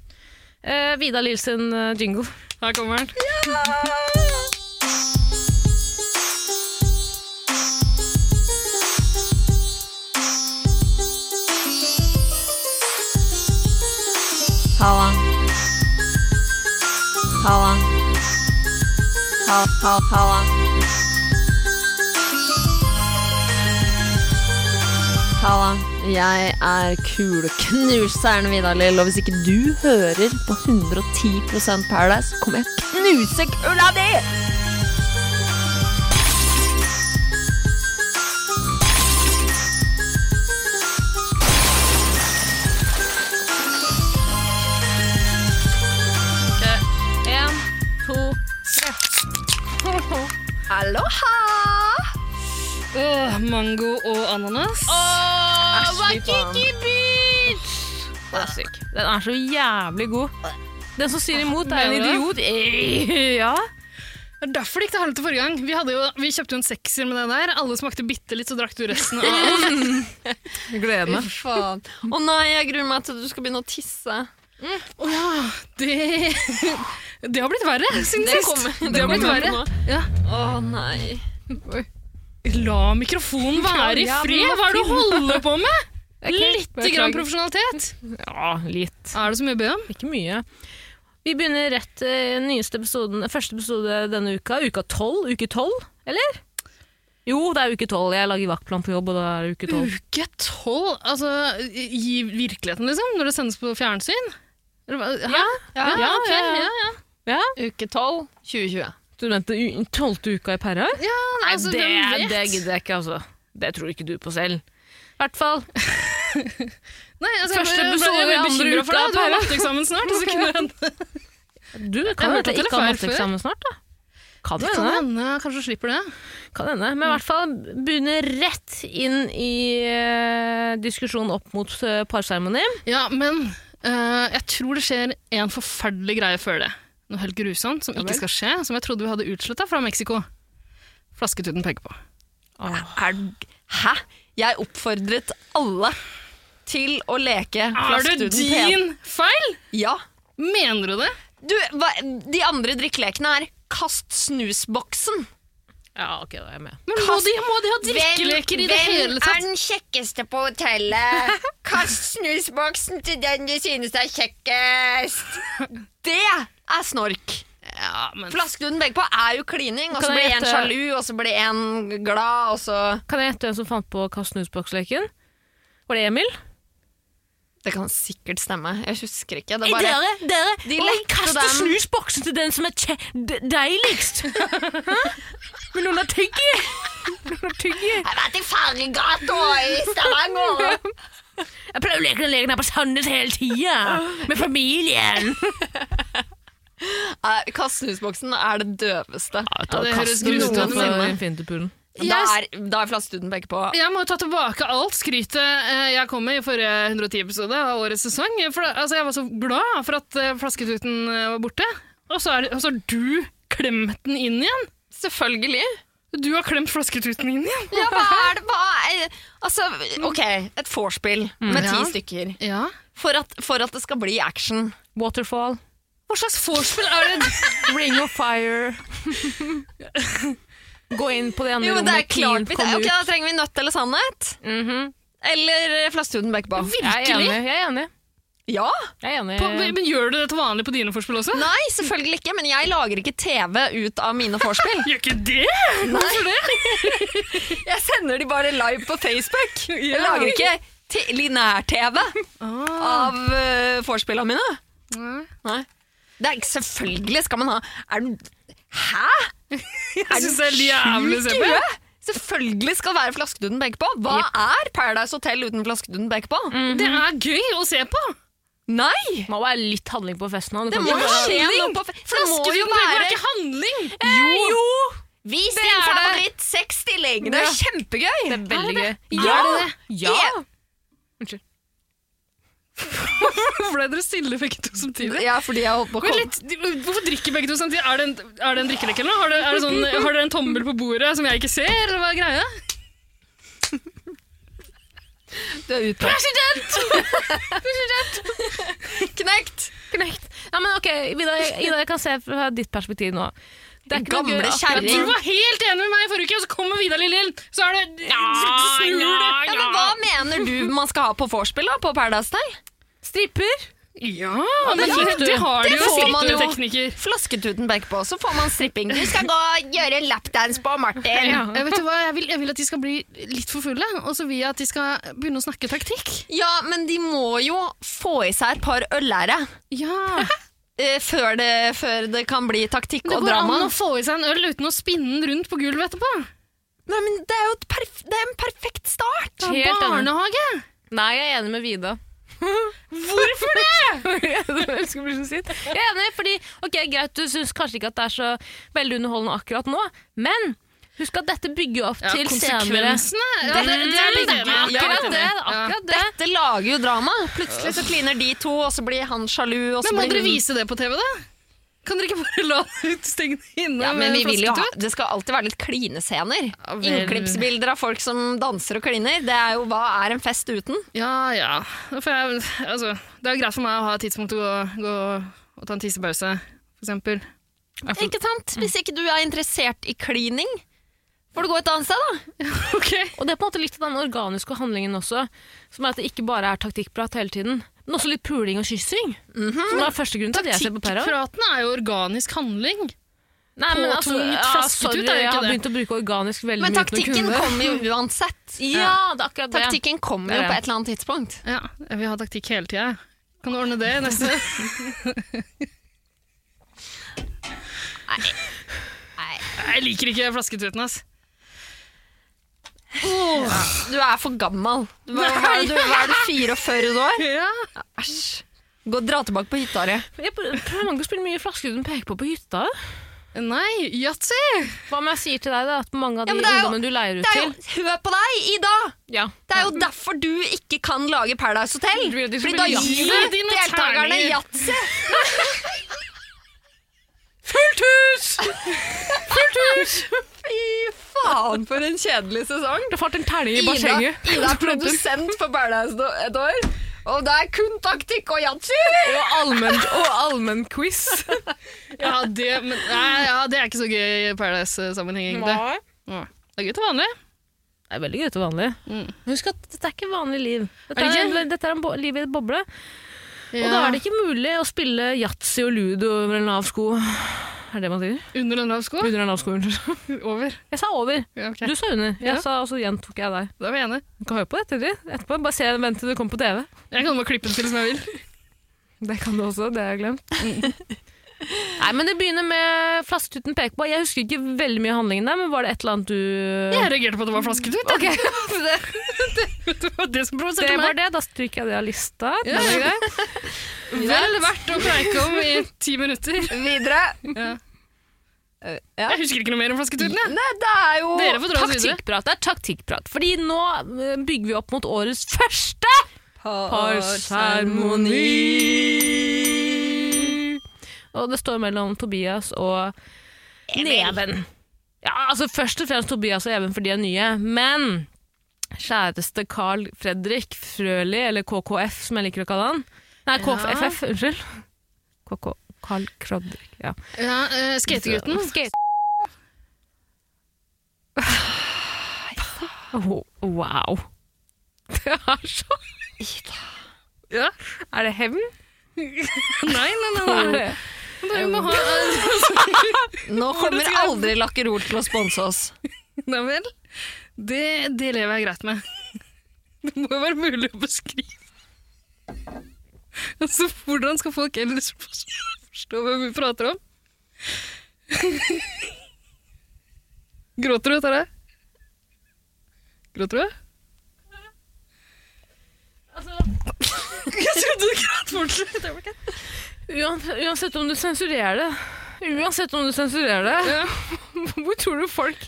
[SPEAKER 4] Eh, Vidar Lill sin eh, jingle.
[SPEAKER 3] Her kommer den.
[SPEAKER 2] Halla. Halla. Ha- ha- Halla. Halla. Jeg er kuleknuseren Vidar Lill, og hvis ikke du hører på 110 Paradise, kommer jeg til å knuse kula di!
[SPEAKER 4] Én, to, tre.
[SPEAKER 2] Aloha!
[SPEAKER 3] Åh, mango og ananas.
[SPEAKER 4] Åh,
[SPEAKER 2] fy faen.
[SPEAKER 4] Waikiki Beach! Den er syk. Den er så jævlig god. Den som sier imot, er en
[SPEAKER 3] Mener
[SPEAKER 4] idiot. Eh, Ja.
[SPEAKER 3] Det er derfor det gikk til helvete forrige gang. Vi, hadde jo, vi kjøpte jo en sekser med den der. Alle smakte bitte litt, så drakk du resten av.
[SPEAKER 4] Gleder meg.
[SPEAKER 2] Faen. Å nei, jeg gruer meg til at du skal begynne å tisse.
[SPEAKER 3] Å ja, det Det har blitt verre siden
[SPEAKER 2] Det
[SPEAKER 3] sist.
[SPEAKER 2] kommer- det
[SPEAKER 3] har blitt
[SPEAKER 2] kommer
[SPEAKER 3] verre.
[SPEAKER 2] nå.
[SPEAKER 3] Ja.
[SPEAKER 2] Å nei.
[SPEAKER 3] La mikrofonen være i
[SPEAKER 4] Ja, men
[SPEAKER 3] fred!
[SPEAKER 4] hva
[SPEAKER 3] Hva er det du holder på med?
[SPEAKER 4] Litt
[SPEAKER 3] Litt grann profesjonalitet.
[SPEAKER 4] Ja, litt.
[SPEAKER 3] Er det så mye å be om?
[SPEAKER 4] Ikke mye. Vi begynner rett eh, nyeste episoden, første episode denne uka. Uka tolv. Uke tolv, eller? Jo, det er uke tolv. Jeg lager vaktplan på jobb, og da er det uke tolv.
[SPEAKER 3] Uke tolv? Altså, i virkeligheten, liksom? Når det sendes på fjernsyn? Eller hva- Hæ?
[SPEAKER 4] Ja,
[SPEAKER 3] ja,
[SPEAKER 4] ja, ja.
[SPEAKER 3] ok, ja, ja.
[SPEAKER 4] Ja.
[SPEAKER 2] Uke 12, 2020.
[SPEAKER 4] Du mente u- tolvte uka i pæra?
[SPEAKER 3] Nei, altså,
[SPEAKER 4] det,
[SPEAKER 3] hvem vet?
[SPEAKER 4] det gidder jeg ikke, altså. Det tror ikke du på selv. I hvert fall.
[SPEAKER 3] Nei, altså,
[SPEAKER 4] Første
[SPEAKER 3] jeg ble-
[SPEAKER 4] episode
[SPEAKER 3] jeg ble
[SPEAKER 4] i andre
[SPEAKER 3] bekymret for
[SPEAKER 4] uka,
[SPEAKER 3] deg. Du har
[SPEAKER 4] Pære.
[SPEAKER 3] matteeksamen snart. Så kunne det
[SPEAKER 4] Du det kan
[SPEAKER 3] Jeg
[SPEAKER 4] hende
[SPEAKER 3] hørte
[SPEAKER 4] at jeg
[SPEAKER 3] at
[SPEAKER 4] ikke har
[SPEAKER 3] dere feil
[SPEAKER 4] matteeksamen snart, da. Kan
[SPEAKER 3] kan
[SPEAKER 4] hende.
[SPEAKER 3] hende kanskje du slipper det.
[SPEAKER 4] Kan hende. Men i hvert fall begynne rett inn i eh, diskusjonen opp mot uh, parseremonien.
[SPEAKER 3] Ja, men eh, jeg tror det skjer en forferdelig greie før det. Noe helt grusomt som ikke skal skje, som jeg trodde vi hadde utsletta fra Mexico. Flasketuten peker på.
[SPEAKER 2] Er, hæ? Jeg oppfordret alle til å leke
[SPEAKER 3] Er det
[SPEAKER 2] Flasketuten pen.
[SPEAKER 3] din feil?
[SPEAKER 2] Ja.
[SPEAKER 3] Mener du det?
[SPEAKER 2] Du, hva, de andre drikkelekene er kast snusboksen.
[SPEAKER 4] Ja, ok, da er jeg med.
[SPEAKER 3] Men må de, må de ha drikkeleker i det hele tatt?
[SPEAKER 2] den kjekkeste på hotellet? Kast snusboksen til den du synes er kjekkest. Det er snork.
[SPEAKER 3] Ja, men
[SPEAKER 2] Flasketuten begge på er jo klining, og
[SPEAKER 4] Kan
[SPEAKER 2] så
[SPEAKER 4] jeg
[SPEAKER 2] blir en
[SPEAKER 4] gjette-
[SPEAKER 2] sjalu, og så blir en glad, og så
[SPEAKER 4] Kan jeg gjette hvem som fant på kast snusboksleken? Var det Emil?
[SPEAKER 2] Det kan sikkert stemme. Jeg husker ikke. Det
[SPEAKER 4] Hey,
[SPEAKER 2] er bare
[SPEAKER 4] dere, dere!
[SPEAKER 2] De
[SPEAKER 4] og
[SPEAKER 2] lekte
[SPEAKER 4] kaste
[SPEAKER 2] dem.
[SPEAKER 4] snusboksen til den som er kje- de- deiligst! Men noen har tygge! Noen har tygge.
[SPEAKER 2] Jeg har vært i Fargegata i Stavanger.
[SPEAKER 4] Jeg pleier å leke den leken her på Sandnes hele tida! Med familien!
[SPEAKER 2] Eh, Kast snusboksen er det døveste.
[SPEAKER 3] Ja, det høres
[SPEAKER 2] grusomt ut,
[SPEAKER 4] for
[SPEAKER 2] men-
[SPEAKER 4] Infinity-poolen.
[SPEAKER 2] Da er, da er Flatsestuten peker på
[SPEAKER 3] Jeg må jo ta tilbake alt skrytet eh, jeg kom med i forrige 110-episode av årets sesong. For da- altså, jeg var så glad for at eh, flasketuten eh, var borte. Og så, er, det- og så har du klemt den inn igjen!
[SPEAKER 2] Selvfølgelig.
[SPEAKER 3] Du har klemt flasketuten inn igjen!
[SPEAKER 2] Ja, hva er det hva er, Altså, OK, et vorspiel med ti
[SPEAKER 3] Ja.
[SPEAKER 2] stykker.
[SPEAKER 3] Ja.
[SPEAKER 2] For at, for at det skal bli action.
[SPEAKER 4] Waterfall,
[SPEAKER 3] Hva slags vorspiel er det?
[SPEAKER 4] Ring of Fire Gå inn på det andre
[SPEAKER 2] Jo, men
[SPEAKER 4] rommet,
[SPEAKER 2] det er klart
[SPEAKER 4] clean,
[SPEAKER 2] vi,
[SPEAKER 4] kom
[SPEAKER 2] Ok,
[SPEAKER 4] ut.
[SPEAKER 2] Da trenger vi nødt eller sannhet.
[SPEAKER 4] Mhm.
[SPEAKER 2] Eller Flatsestuten peker på.
[SPEAKER 4] Jeg er enig. Jeg er enig.
[SPEAKER 2] Ja!
[SPEAKER 4] Jeg er enig.
[SPEAKER 3] På, men gjør du det til vanlig på dine vorspiel også?
[SPEAKER 2] Eh. Nei, selvfølgelig ikke, men jeg lager ikke TV ut av mine vorspiel.
[SPEAKER 3] Gjør ikke det?
[SPEAKER 2] Jeg sender de bare live på Facebook. Jeg
[SPEAKER 3] Ja.
[SPEAKER 2] lager ikke t- lineær-TV av uh, vorspiela mine.
[SPEAKER 3] Nei.
[SPEAKER 2] Nei. Det er ikke selvfølgelig skal man ha Er du Hæ?!
[SPEAKER 3] Jeg syns det er jævlig å se på.
[SPEAKER 2] Ikke? Selvfølgelig skal være flaskeduden peker på. Hva er Paradise Hotel uten flaskeduden peker på?
[SPEAKER 3] Det er gøy å se på!
[SPEAKER 2] Nei!
[SPEAKER 4] Det må være litt handling på festen. nå. Du
[SPEAKER 2] Det
[SPEAKER 4] kan
[SPEAKER 2] må
[SPEAKER 4] ikke
[SPEAKER 2] jo
[SPEAKER 4] bare-
[SPEAKER 2] skje noe på fe- Det må jo Eh.
[SPEAKER 3] Flasketuten er
[SPEAKER 2] være
[SPEAKER 3] ikke handling!
[SPEAKER 2] Jo! Vi sin
[SPEAKER 3] er det.
[SPEAKER 2] favoritt seks stilling. Det er
[SPEAKER 4] Ja.
[SPEAKER 2] kjempegøy!
[SPEAKER 4] Det er veldig gøy.
[SPEAKER 2] Ja!
[SPEAKER 3] Er det det?
[SPEAKER 4] Ja!
[SPEAKER 2] Ja.
[SPEAKER 4] Unnskyld.
[SPEAKER 3] Hvorfor ble dere stille begge to samtidig?
[SPEAKER 2] Ja, fordi jeg holdt på å
[SPEAKER 3] Men
[SPEAKER 2] komme
[SPEAKER 3] litt, de- hvorfor drikker begge to samtidig? Er det en, er det en drikkelek eller noe? Har dere, er det sånn, har dere en tommel på bordet som jeg ikke ser, eller hva er greia?
[SPEAKER 2] Du er ute. Knekt!
[SPEAKER 4] Knekt. Ja, men ok, Ida, Ida, jeg kan se fra ditt perspektiv nå. Det er ikke noe
[SPEAKER 2] Gamle
[SPEAKER 4] gøy akkurat
[SPEAKER 3] Du
[SPEAKER 2] kjerring.
[SPEAKER 4] nå.
[SPEAKER 3] var helt enig med meg i forrige uke, og så kommer Vidar Lillehjell, så er det ja, snur det.
[SPEAKER 2] Ja, men Hva mener du man skal ha på vorspiel da, på Paradise Hotel?
[SPEAKER 4] Stripper.
[SPEAKER 3] Ja, men
[SPEAKER 4] det
[SPEAKER 3] det,
[SPEAKER 4] fikk du.
[SPEAKER 3] det har de
[SPEAKER 2] Det
[SPEAKER 3] jo
[SPEAKER 2] får man jo.
[SPEAKER 3] strippeteknikker.
[SPEAKER 2] Flasketuten peker på, så får man stripping. Du skal gå og gjøre en lapdance på Martin.
[SPEAKER 4] Ja.
[SPEAKER 3] Jeg, vet du hva? Jeg, vil, jeg vil at de skal bli litt for fulle, og så vil jeg at de skal begynne å snakke taktikk.
[SPEAKER 2] Ja, men de må jo få i seg et par øllære
[SPEAKER 3] Ja,
[SPEAKER 2] eh, før, det, før det kan bli taktikk
[SPEAKER 3] Det
[SPEAKER 2] og
[SPEAKER 3] går an
[SPEAKER 2] drama.
[SPEAKER 3] å få i seg en øl uten å spinne den rundt på gulvet etterpå.
[SPEAKER 2] Nei, men det er jo et perf det er en perfekt start.
[SPEAKER 3] Det er
[SPEAKER 4] Helt enig.
[SPEAKER 3] barnehage.
[SPEAKER 4] Nei, jeg er enig med Vida.
[SPEAKER 3] Hvorfor det?
[SPEAKER 4] jeg elsker å bli så sint. Jeg er enig, fordi ok, greit, du syns kanskje ikke at det er så veldig underholdende akkurat nå, men husk at dette bygger jo opp til senere.
[SPEAKER 3] konsekvensene. Ja, det, Mm, det,
[SPEAKER 4] Det
[SPEAKER 3] er begge
[SPEAKER 4] bygger-
[SPEAKER 3] deler.
[SPEAKER 4] Akkurat det.
[SPEAKER 3] Ja.
[SPEAKER 4] akkurat det.
[SPEAKER 2] Dette lager jo drama. Plutselig så kliner de to, og så blir han sjalu. Og så
[SPEAKER 3] Men må
[SPEAKER 2] blir
[SPEAKER 3] dere
[SPEAKER 2] hun-
[SPEAKER 3] vise det på TV, da? Kan dere ikke bare la det utstenge inne?
[SPEAKER 2] Ja, men
[SPEAKER 3] med
[SPEAKER 2] vi vil jo ha,
[SPEAKER 3] flasketut?
[SPEAKER 2] Det skal alltid være litt klinescener.
[SPEAKER 3] Ja, vel.
[SPEAKER 2] Innklippsbilder av folk som danser og kliner. Det er jo Hva er en fest uten?
[SPEAKER 3] Ja, ja. For jeg, altså, det er greit for meg å ha et tidspunkt til å gå, gå og ta en tissepause, for eksempel.
[SPEAKER 2] Ikke sant? Hvis ikke du er interessert i klining, får du gå et annet sted, da.
[SPEAKER 3] Ok.
[SPEAKER 4] Og det er på en måte litt av den organiske handlingen også, som er at det ikke bare er taktikkprat hele tiden, men også litt puling og kyssing.
[SPEAKER 2] Mhm.
[SPEAKER 4] Som er første grunn til at jeg ser på Perra.
[SPEAKER 3] Tikkpraten er jo organisk handling.
[SPEAKER 4] Nei, men altså,
[SPEAKER 3] påtvunget
[SPEAKER 4] ja,
[SPEAKER 3] flasket
[SPEAKER 4] sorry,
[SPEAKER 3] ut er jo
[SPEAKER 4] jeg
[SPEAKER 3] ikke
[SPEAKER 4] har
[SPEAKER 3] det.
[SPEAKER 4] begynt å bruke organisk veldig
[SPEAKER 2] Men
[SPEAKER 4] mye uten å
[SPEAKER 2] taktikken
[SPEAKER 4] kunne.
[SPEAKER 2] kommer jo uansett.
[SPEAKER 4] Ja, det er akkurat det.
[SPEAKER 2] Taktikken kommer jo
[SPEAKER 4] Det er
[SPEAKER 2] på
[SPEAKER 4] det.
[SPEAKER 2] et eller annet tidspunkt.
[SPEAKER 3] Ja, jeg vil ha taktikk hele tida. Kan du ordne det i neste?
[SPEAKER 2] Nei,
[SPEAKER 3] Jeg liker ikke flasketuten, ass.
[SPEAKER 2] Du er for gammel. Du var, hva er du, hva er du 44 år?
[SPEAKER 3] Ja.
[SPEAKER 2] Æsj. Gå og Dra tilbake på hytta di.
[SPEAKER 4] Jeg prøver mange å spille mye flasker uten peke på på hytta.
[SPEAKER 3] Nei, yatzy!
[SPEAKER 4] Hva om jeg sier til deg da, at mange av de
[SPEAKER 2] Ja, men det er jo-
[SPEAKER 4] ungdommene du leier ut
[SPEAKER 2] Det er jo,
[SPEAKER 4] til
[SPEAKER 2] hør på deg, Ida!
[SPEAKER 4] ja.
[SPEAKER 2] Det er jo derfor du ikke kan lage Paradise Hotel.
[SPEAKER 4] Du vil at de skal
[SPEAKER 2] Fordi da
[SPEAKER 4] bli
[SPEAKER 2] gir
[SPEAKER 3] jazzy.
[SPEAKER 2] du
[SPEAKER 3] Gi de noen
[SPEAKER 2] deltakerne
[SPEAKER 3] terninger.
[SPEAKER 2] yatzy.
[SPEAKER 4] Fullt hus!
[SPEAKER 2] Fy faen, for en kjedelig sesong.
[SPEAKER 4] Det falt en terning i
[SPEAKER 2] Ida,
[SPEAKER 4] bassenget.
[SPEAKER 2] Ida er produsent for Paradise Do- et år, og det er kun taktikk og yatzy!
[SPEAKER 4] Og allmenn allmen quiz.
[SPEAKER 3] Ja, det, men, nei, ja, det er ikke så gøy i Paradise-sammenheng, egentlig. Ja. Det er gøy til vanlig.
[SPEAKER 4] Det er veldig gøy til vanlig.
[SPEAKER 3] Mm.
[SPEAKER 4] Husk at dette er ikke vanlig liv. Dette
[SPEAKER 3] Er det
[SPEAKER 4] er,
[SPEAKER 3] ikke?
[SPEAKER 4] dette er en bo liv i et boble. Og da er det ikke mulig å spille yatzy og ludo over en lav sko. Er det det man sier?
[SPEAKER 3] Under en lav sko?
[SPEAKER 4] Under en lav sko, unnskyld.
[SPEAKER 3] Over.
[SPEAKER 4] Jeg sa over.
[SPEAKER 3] Ja, ok.
[SPEAKER 4] Du sa under. Jeg
[SPEAKER 3] Ja.
[SPEAKER 4] sa, og så gjentok jeg deg.
[SPEAKER 3] Da er vi enige.
[SPEAKER 4] Du kan høre på dette du. etterpå. Bare se, vent til du kommer på TV.
[SPEAKER 3] Jeg kan bare klippe den til som jeg vil.
[SPEAKER 4] Det kan du også, det har jeg glemt.
[SPEAKER 3] Mm.
[SPEAKER 4] Nei, men Det begynner med flasketuten peker på. Jeg husker ikke veldig mye av handlingen der, men var det et eller annet du
[SPEAKER 3] Jeg reagerte på at det var flasketut. jeg.
[SPEAKER 4] Ok,
[SPEAKER 3] Det var det som
[SPEAKER 4] Det
[SPEAKER 3] provoserte
[SPEAKER 4] var
[SPEAKER 3] meg.
[SPEAKER 4] det. Da stryker jeg det av lista. Det er greit.
[SPEAKER 3] Ja. Vel verdt å preike om i ti minutter.
[SPEAKER 2] Videre.
[SPEAKER 3] Ja.
[SPEAKER 2] Eh, ja.
[SPEAKER 3] Jeg husker ikke noe mer om flasketuten. jeg.
[SPEAKER 2] Nei, det er jo
[SPEAKER 3] Dere får dra oss videre.
[SPEAKER 4] Taktikkprat. Det er taktikkprat. Fordi nå eh, bygger vi opp mot årets første parseremoni. Og det står mellom Tobias og Neven. Ja, altså Først og fremst Tobias og Even fordi de er nye, men kjæreste Carl Fredrik Frøli, eller KKF som jeg liker å kalle han. Nei, KFF, unnskyld. KK, Carl Fredrik, ja.
[SPEAKER 3] Ja, eh, Skategutten.
[SPEAKER 4] Skate. Oh, wow. Det er så
[SPEAKER 3] Ja.
[SPEAKER 4] Er det hevn?
[SPEAKER 3] Nei, nei, nei. nei.
[SPEAKER 4] Nei.
[SPEAKER 3] Bare, vi må ha,
[SPEAKER 2] Nå kommer aldri Lakkerol til å sponse oss.
[SPEAKER 3] Nei vel. Det, det lever jeg greit med. Det må jo være mulig å beskrive. Altså, hvordan skal folk ellers forstå hvem vi prater om? Gråter du etter det? Gråter du? Jeg trodde du gråt fortsatt. Det var ikke-
[SPEAKER 4] Uan- Uansett om du sensurerer det. Uansett om du sensurerer det.
[SPEAKER 3] Ja.
[SPEAKER 4] Hvor tror du folk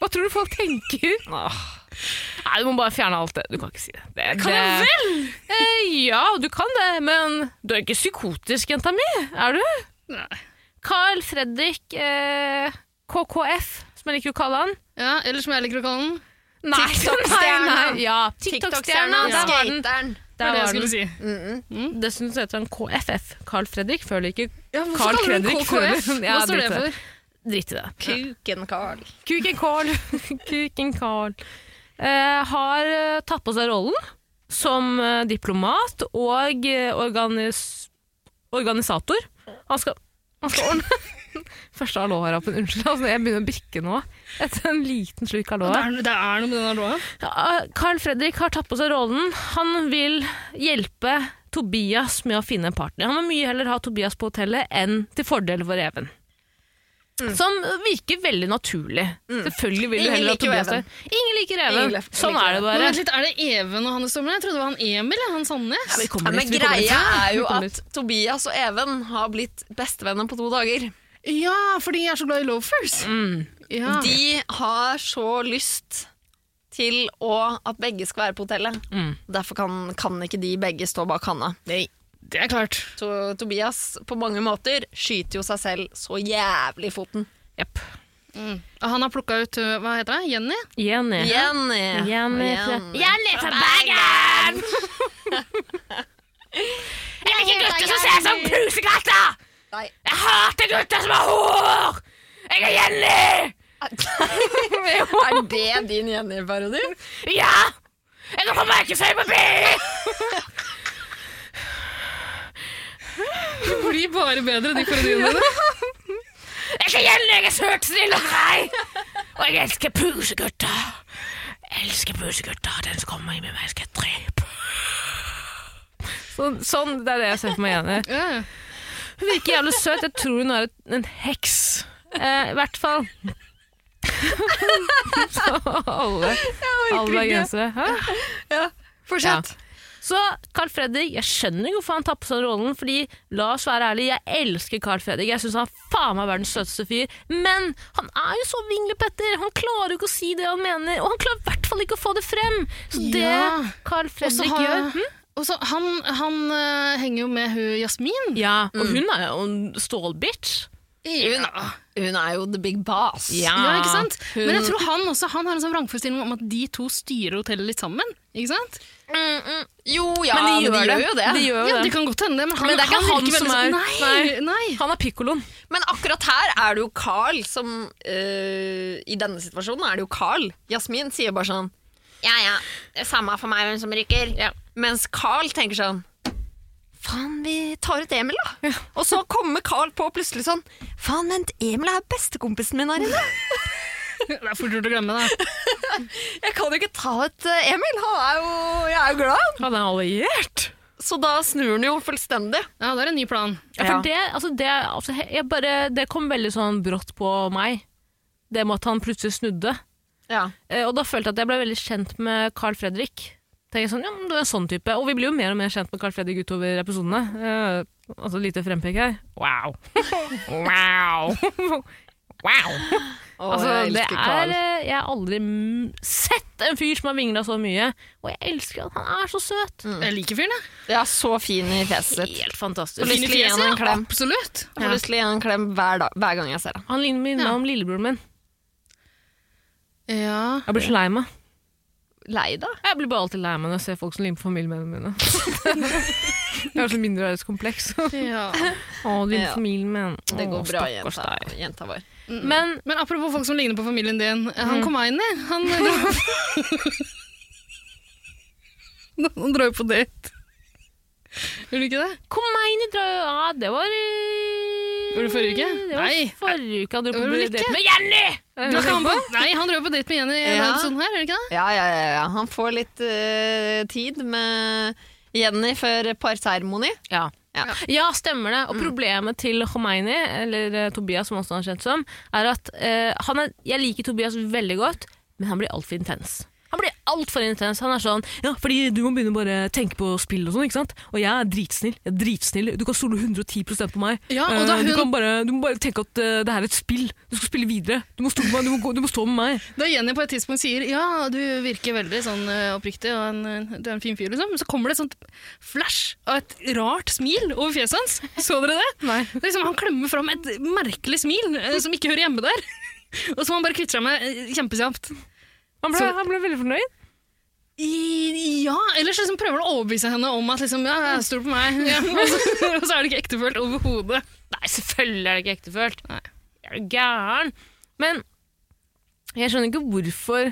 [SPEAKER 4] Hva tror du folk tenker? Nei, du må bare fjerne alt det. Du kan ikke si det. det
[SPEAKER 3] Kan jeg
[SPEAKER 4] vel? Eh, ja, du kan det, men du er ikke psykotisk, jenta mi. Er du?
[SPEAKER 3] Nei.
[SPEAKER 4] Carl Fredrik eh, KKF, som jeg liker å kalle han.
[SPEAKER 3] Ja, eller som jeg liker å kalle den.
[SPEAKER 4] Nei,
[SPEAKER 2] TikTok-stjerna.
[SPEAKER 4] nei, nei. Ja,
[SPEAKER 2] Ja.
[SPEAKER 4] TikTok-stjerna. Der var den.
[SPEAKER 2] Skateren.
[SPEAKER 3] Det
[SPEAKER 4] Der
[SPEAKER 3] var det jeg
[SPEAKER 4] var
[SPEAKER 3] skulle
[SPEAKER 4] den.
[SPEAKER 3] si.
[SPEAKER 4] Dessuten så heter han KFF. Carl Fredrik føler ikke
[SPEAKER 3] Ja, hvorfor
[SPEAKER 4] Carl
[SPEAKER 3] kaller du den
[SPEAKER 4] Fredrik
[SPEAKER 3] KKF?
[SPEAKER 4] Frøland. Ja,
[SPEAKER 3] Hva står det
[SPEAKER 4] dritt i
[SPEAKER 3] for?
[SPEAKER 4] det. Drit i det.
[SPEAKER 2] Kuken Carl.
[SPEAKER 4] Kuken Carl, Kuken Carl eh, har eh, tatt på seg rollen som eh, diplomat og eh, organis organisator. Han skal, han skal ordne Første halloarapen, unnskyld. Altså, jeg begynner å bikke nå etter en liten slurk
[SPEAKER 3] Det
[SPEAKER 4] halloar.
[SPEAKER 3] er, det er noe med den låa.
[SPEAKER 4] Ja, Carl Fredrik har tatt på seg rollen. Han vil hjelpe Tobias med å finne en partner. Han vil mye heller ha Tobias på hotellet enn til fordel for Even. Som virker veldig naturlig. Selvfølgelig vil du
[SPEAKER 2] Ingen
[SPEAKER 4] heller ha
[SPEAKER 2] liker jo
[SPEAKER 4] Tobias
[SPEAKER 2] Even.
[SPEAKER 4] der. Ingen liker
[SPEAKER 2] Ingen
[SPEAKER 4] Even.
[SPEAKER 2] liker-
[SPEAKER 4] Sånn
[SPEAKER 2] liker
[SPEAKER 4] er det
[SPEAKER 3] Men
[SPEAKER 4] bare.
[SPEAKER 3] vent litt, Er det Even og Hanne Stormen? Jeg trodde det var han Emil, ja, han Sandnes.
[SPEAKER 4] Vi
[SPEAKER 2] Ja,
[SPEAKER 4] kommer
[SPEAKER 2] men
[SPEAKER 4] dit, vi kommer dit.
[SPEAKER 2] greia er jo
[SPEAKER 4] Vi kommer dit.
[SPEAKER 2] at Tobias og Even har blitt bestevenner på to dager.
[SPEAKER 3] Ja, fordi jeg er så glad i loafers. Ja.
[SPEAKER 2] De har så lyst til å, at begge skal være på hotellet.
[SPEAKER 4] Mm.
[SPEAKER 2] Derfor kan, kan ikke de begge stå bak Hanne.
[SPEAKER 3] Det er klart.
[SPEAKER 2] To, Tobias på mange måter skyter jo seg selv så jævlig i foten.
[SPEAKER 4] Jepp.
[SPEAKER 3] Og Han har plukka ut øh, hva heter det? Jenny?
[SPEAKER 4] Jenny.
[SPEAKER 2] Jenny!
[SPEAKER 4] Jenny fra,
[SPEAKER 2] Jenny.
[SPEAKER 4] Jenny fra Bergen! Jeg liker gutter som ser ut som pusekatter!
[SPEAKER 2] Nei.
[SPEAKER 4] Jeg hater gutter som har hår! Jeg er Jenny!
[SPEAKER 2] Er det din Jenny-parodi?
[SPEAKER 4] Ja! Jeg går på markedsøy på byen!
[SPEAKER 3] Det blir bare bedre, de parodiene dine.
[SPEAKER 4] Jeg er Jenny, jeg er søt, snill og grei! Og jeg elsker pusegutter. Jeg elsker pusegutter. Den som kommer inn med meg, skal jeg drepe. Sånn, sånn, det er det jeg ser for meg Jenny.
[SPEAKER 3] Ja. ja.
[SPEAKER 4] Hun virker jævlig søt. Jeg tror hun er et, en heks. Eh, I hvert fall. Så alle, alle
[SPEAKER 2] ikke.
[SPEAKER 4] bergensere. Hæ?
[SPEAKER 2] Ja, fortsett.
[SPEAKER 4] Så Carl Fredrik, jeg skjønner ikke hvorfor han tapper seg rollen, fordi la oss være ærlig, jeg elsker Carl Fredrik. Jeg syns han faen meg er verdens søteste fyr. Men han er jo så vinglepetter! Han klarer jo ikke å si det han mener, og han klarer i hvert fall ikke å få det frem! Så
[SPEAKER 3] Ja.
[SPEAKER 4] det Carl
[SPEAKER 3] Og så
[SPEAKER 4] Fredrik
[SPEAKER 3] har-
[SPEAKER 4] gjør Hm?
[SPEAKER 3] Og så han, han øh, henger jo med hun Jasmin.
[SPEAKER 4] Ja, og hun er jo en stålbitch.
[SPEAKER 2] Hun, hun er jo the big boss.
[SPEAKER 3] Ja, ikke sant? Men jeg tror han også han har en sånn vrangforestilling om at de to styrer hotellet litt sammen. Ikke sant?
[SPEAKER 2] Jo, ja,
[SPEAKER 4] Men de gjør, det.
[SPEAKER 2] jo det.
[SPEAKER 4] De gjør jo
[SPEAKER 3] Ja,
[SPEAKER 4] det.
[SPEAKER 3] Det kan godt hende, men han,
[SPEAKER 4] Men det er ikke han
[SPEAKER 3] virker
[SPEAKER 4] som er-
[SPEAKER 3] veldig sånn- Nei, nei.
[SPEAKER 4] Han er pikkoloen.
[SPEAKER 2] Men akkurat her er det jo Carl som øh, I denne situasjonen er det jo Carl. Jasmin sier bare sånn Ja, ja, det er samme for meg hvem som rykker. Mens Carl tenker sånn Faen, vi tar ut Emil, da. Og så kommer Carl på plutselig sånn Faen, vent, Emil er bestekompisen min her inne.
[SPEAKER 3] Det er fort gjort å glemme, da.
[SPEAKER 2] Jeg kan jo ikke ta ut eh, Emil. Han er jo Jeg er jo glad. i han.
[SPEAKER 4] Han er alliert.
[SPEAKER 2] Så da snur han jo fullstendig.
[SPEAKER 3] Ja, det er en ny plan.
[SPEAKER 4] Ja, for det, altså det, altså he- jeg bare, det kom veldig sånn brått på meg, det med at han plutselig snudde.
[SPEAKER 2] Ja.
[SPEAKER 4] Eh, og da følte jeg at jeg ble veldig kjent med Carl Fredrik. Tenker jeg sånn, ja, men du er en sånn type. Og vi blir jo mer og mer kjent med Carl Fredrik utover episodene. Eh, altså lite frempek her. Wow. wow.
[SPEAKER 2] Å,
[SPEAKER 4] Altså,
[SPEAKER 2] jeg
[SPEAKER 4] det
[SPEAKER 2] elsker
[SPEAKER 4] er,
[SPEAKER 2] Carl.
[SPEAKER 4] eh, jeg har aldri mm, sett en fyr som har vingla så mye, og jeg elsker at han er så søt.
[SPEAKER 3] Jeg liker fyren, jeg.
[SPEAKER 2] Ja, så fin i fjeset sitt.
[SPEAKER 4] Helt
[SPEAKER 2] Har
[SPEAKER 4] fantastisk.
[SPEAKER 2] lyst
[SPEAKER 3] Fin i
[SPEAKER 2] til å gi
[SPEAKER 3] fjeset,
[SPEAKER 2] henne en
[SPEAKER 3] ja,
[SPEAKER 2] klem.
[SPEAKER 3] Absolutt.
[SPEAKER 2] Jeg får lyst til å gi henne en klem hver, dag, hver gang jeg ser henne.
[SPEAKER 4] Han ligner meg
[SPEAKER 3] Ja.
[SPEAKER 4] om lillebroren min.
[SPEAKER 3] Ja.
[SPEAKER 4] Jeg blir så lei meg.
[SPEAKER 2] Lei deg?
[SPEAKER 4] Jeg blir bare alltid lei meg når jeg ser folk som ligner på familiemedlemmene mine. jeg har så mindreverdighetskompleks.
[SPEAKER 3] ja.
[SPEAKER 4] Å, din
[SPEAKER 2] Ja.
[SPEAKER 4] familie, men
[SPEAKER 2] Det går
[SPEAKER 4] Å,
[SPEAKER 2] bra,
[SPEAKER 4] stakkars
[SPEAKER 2] jenta,
[SPEAKER 4] deg.
[SPEAKER 2] jenta vår.
[SPEAKER 4] Men
[SPEAKER 3] Men apropos folk som ligner på familien din. Han kom meg inn i. Han dro Han drar jo på date. Gjør du ikke det?
[SPEAKER 4] Komeini drar jo Ja, det var eh,
[SPEAKER 3] Var det forrige uke?
[SPEAKER 4] Det var
[SPEAKER 3] Nei.
[SPEAKER 4] forrige uke han dro
[SPEAKER 3] Det var
[SPEAKER 4] på
[SPEAKER 3] vel
[SPEAKER 4] date
[SPEAKER 3] ikke?
[SPEAKER 4] med Jenny!
[SPEAKER 3] Du har ikke han på? Nei, han drar jo på date med Jenny.
[SPEAKER 2] Ja.
[SPEAKER 3] Ja. Sånn her, gjør du ikke det?
[SPEAKER 2] Ja, ja, ja, ja. Han får litt eh, tid med Jenny før parseremoni.
[SPEAKER 4] Ja.
[SPEAKER 2] Ja.
[SPEAKER 4] ja, stemmer det.
[SPEAKER 3] Mm.
[SPEAKER 4] Og problemet til Khomeini, eller eh, Tobias som også han er kjent som, er at eh, han er, jeg liker Tobias veldig godt, men han blir altfor intens. Han blir altfor intens. Han er sånn Ja, fordi du må begynne å bare tenke på spill og sånn, ikke sant? Og jeg er dritsnill. Jeg er dritsnill. Du kan stole 110 på meg.
[SPEAKER 3] Ja, og
[SPEAKER 4] Eh,
[SPEAKER 3] da
[SPEAKER 4] du,
[SPEAKER 3] hun-
[SPEAKER 4] kan bare, du må bare tenke at eh, det her er et spill. Du skal spille videre. Du må stå med meg. Du må, gå, du må stå med meg.
[SPEAKER 3] Da Jenny på et tidspunkt sier ja, du virker veldig sånn eh, oppriktig og en, eh, du er en fin fyr, liksom, så kommer det et sånt flash av et rart smil over fjeset hans. Så dere det?
[SPEAKER 4] Nei.
[SPEAKER 3] Det er Liksom, han klemmer fram et merkelig smil eh, som ikke hører hjemme der. Og som han bare kvitter seg med eh, kjempekjapt.
[SPEAKER 4] Han
[SPEAKER 3] ble-
[SPEAKER 4] veldig fornøyd.
[SPEAKER 3] I- Ja, ellers liksom prøver han å overbevise henne om at liksom, ja, jeg stoler på meg. Ja, og, så, og så er det ikke ektefølt overhodet.
[SPEAKER 4] Nei, selvfølgelig er det ikke ektefølt.
[SPEAKER 3] Nei.
[SPEAKER 4] Er du gæren? Men jeg skjønner ikke hvorfor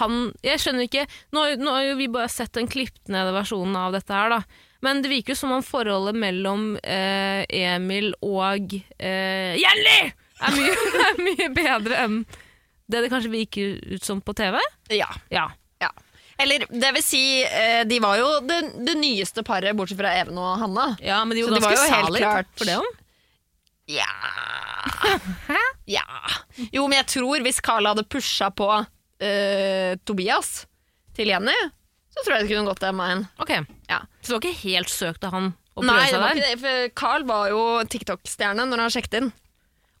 [SPEAKER 4] han Jeg skjønner ikke Nå, har jo- nå har jo vi bare sett den klippet nede versjonen av dette her, da. Men det virker jo som om forholdet mellom eh, Emil og eh, Jenny er mye, er mye bedre enn det det kanskje virker ut som på TV.
[SPEAKER 2] Ja.
[SPEAKER 4] Ja.
[SPEAKER 2] ja. Eller, det vil si, eh, de var jo det, det nyeste paret, bortsett fra Even og Hanna.
[SPEAKER 4] ja, men de
[SPEAKER 2] Så det var jo helt klart-
[SPEAKER 4] for det òg.
[SPEAKER 2] Ja. ja. Jo, men jeg tror hvis Carl hadde pusha på eh, Tobias til Jenny, så tror jeg det kunne gått den veien.
[SPEAKER 4] Ok,
[SPEAKER 2] Ja.
[SPEAKER 4] Så det var ikke helt søkt av han å prøve
[SPEAKER 2] Nei,
[SPEAKER 4] seg
[SPEAKER 2] det var
[SPEAKER 4] der?
[SPEAKER 2] ikke det, for Carl var jo TikTok-stjerne når han sjekket inn.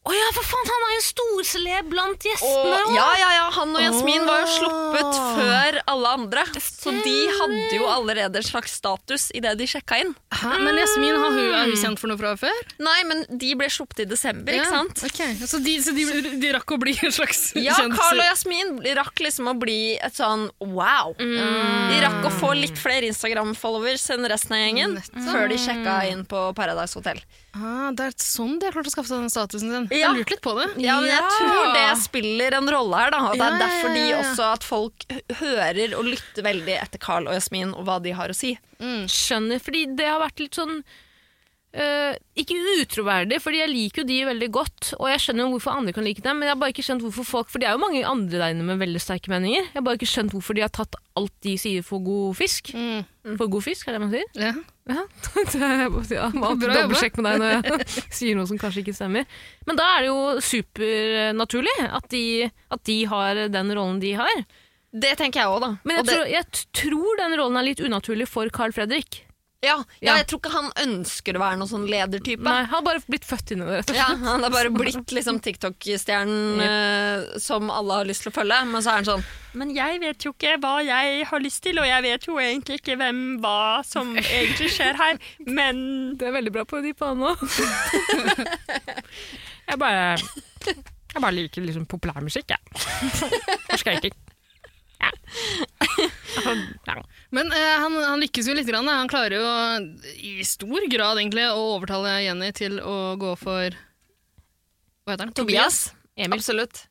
[SPEAKER 4] Å ja, for faen, han er jo storceleb blant
[SPEAKER 2] Og,
[SPEAKER 4] gjestene!
[SPEAKER 2] ja, ja, ja, han og Jasmin var jo sluppet
[SPEAKER 4] Åh.
[SPEAKER 2] før alle andre. Så de hadde jo allerede en slags status idet de sjekka inn.
[SPEAKER 3] Hæ? Men Jasmin, har hun, er hun kjent for noe fra før?
[SPEAKER 2] Nei, men de ble sluppet i desember, ikke sant?
[SPEAKER 3] Ja, ok. Så, de, så de, de rakk å bli en slags
[SPEAKER 2] Ja, Carl og
[SPEAKER 3] kjendiser?
[SPEAKER 2] Jasmin rakk liksom å bli et sånn wow. De rakk å få litt flere Instagram-followers enn resten av gjengen før de sjekka inn på Paradise Hotel.
[SPEAKER 3] Ah, det er sånn de har klart å skaffe seg den statusen sin.
[SPEAKER 2] Ja.
[SPEAKER 3] Jeg lurte litt på det.
[SPEAKER 2] Ja, men jeg
[SPEAKER 4] Ja.
[SPEAKER 2] tror det spiller en rolle her, da. Og det
[SPEAKER 3] Ja,
[SPEAKER 2] er
[SPEAKER 3] ja,
[SPEAKER 2] derfor de
[SPEAKER 3] ja, ja.
[SPEAKER 2] også at folk hø- hører og lytter veldig etter Carl og Jasmin og hva de har å si.
[SPEAKER 4] Skjønner, fordi det har vært litt sånn øh, Ikke utroverdig, fordi jeg liker jo de veldig godt, og jeg skjønner jo hvorfor andre kan like dem, men jeg har bare ikke skjønt hvorfor folk For det er jo mange andre der inne med veldig sterke meninger. Jeg har bare ikke skjønt hvorfor de har tatt alt de sier for god fisk.
[SPEAKER 3] Mm.
[SPEAKER 4] For god fisk, er det man sier?
[SPEAKER 3] Ja.
[SPEAKER 4] Ja, jeg må si, ja, må alltid
[SPEAKER 3] Bra jobba.
[SPEAKER 4] dobbeltsjekke med deg når jeg sier noe som kanskje ikke stemmer. Men da er det jo supernaturlig at de, at de har den rollen de har.
[SPEAKER 2] Det tenker jeg òg, da.
[SPEAKER 4] Men jeg,
[SPEAKER 2] Og det,
[SPEAKER 4] tror, jeg t- tror den rollen er litt unaturlig for Carl Fredrik.
[SPEAKER 2] ja,
[SPEAKER 4] Ja.
[SPEAKER 2] ja, jeg tror ikke han ønsker å være noen sånn ledertype.
[SPEAKER 4] Nei, han har bare blitt født inn i det. rett og slett.
[SPEAKER 2] Ja, han har bare blitt liksom TikTok-stjernen eh, som alle har lyst til å følge. Men så er han sånn Men jeg vet jo ikke hva jeg har lyst til, og jeg vet jo egentlig ikke hvem hva som egentlig skjer her, men
[SPEAKER 4] Det er veldig bra på de panene òg. jeg bare Jeg bare liker liksom populærmusikk, jeg. Forskreiking. Ja. Altså, Ja.
[SPEAKER 3] Men eh, han, han lykkes jo litt. Grann, da. han klarer jo i stor grad egentlig å overtale Jenny til å gå for Hva heter han?
[SPEAKER 2] Tobias.
[SPEAKER 4] Emil.
[SPEAKER 2] Absolutt.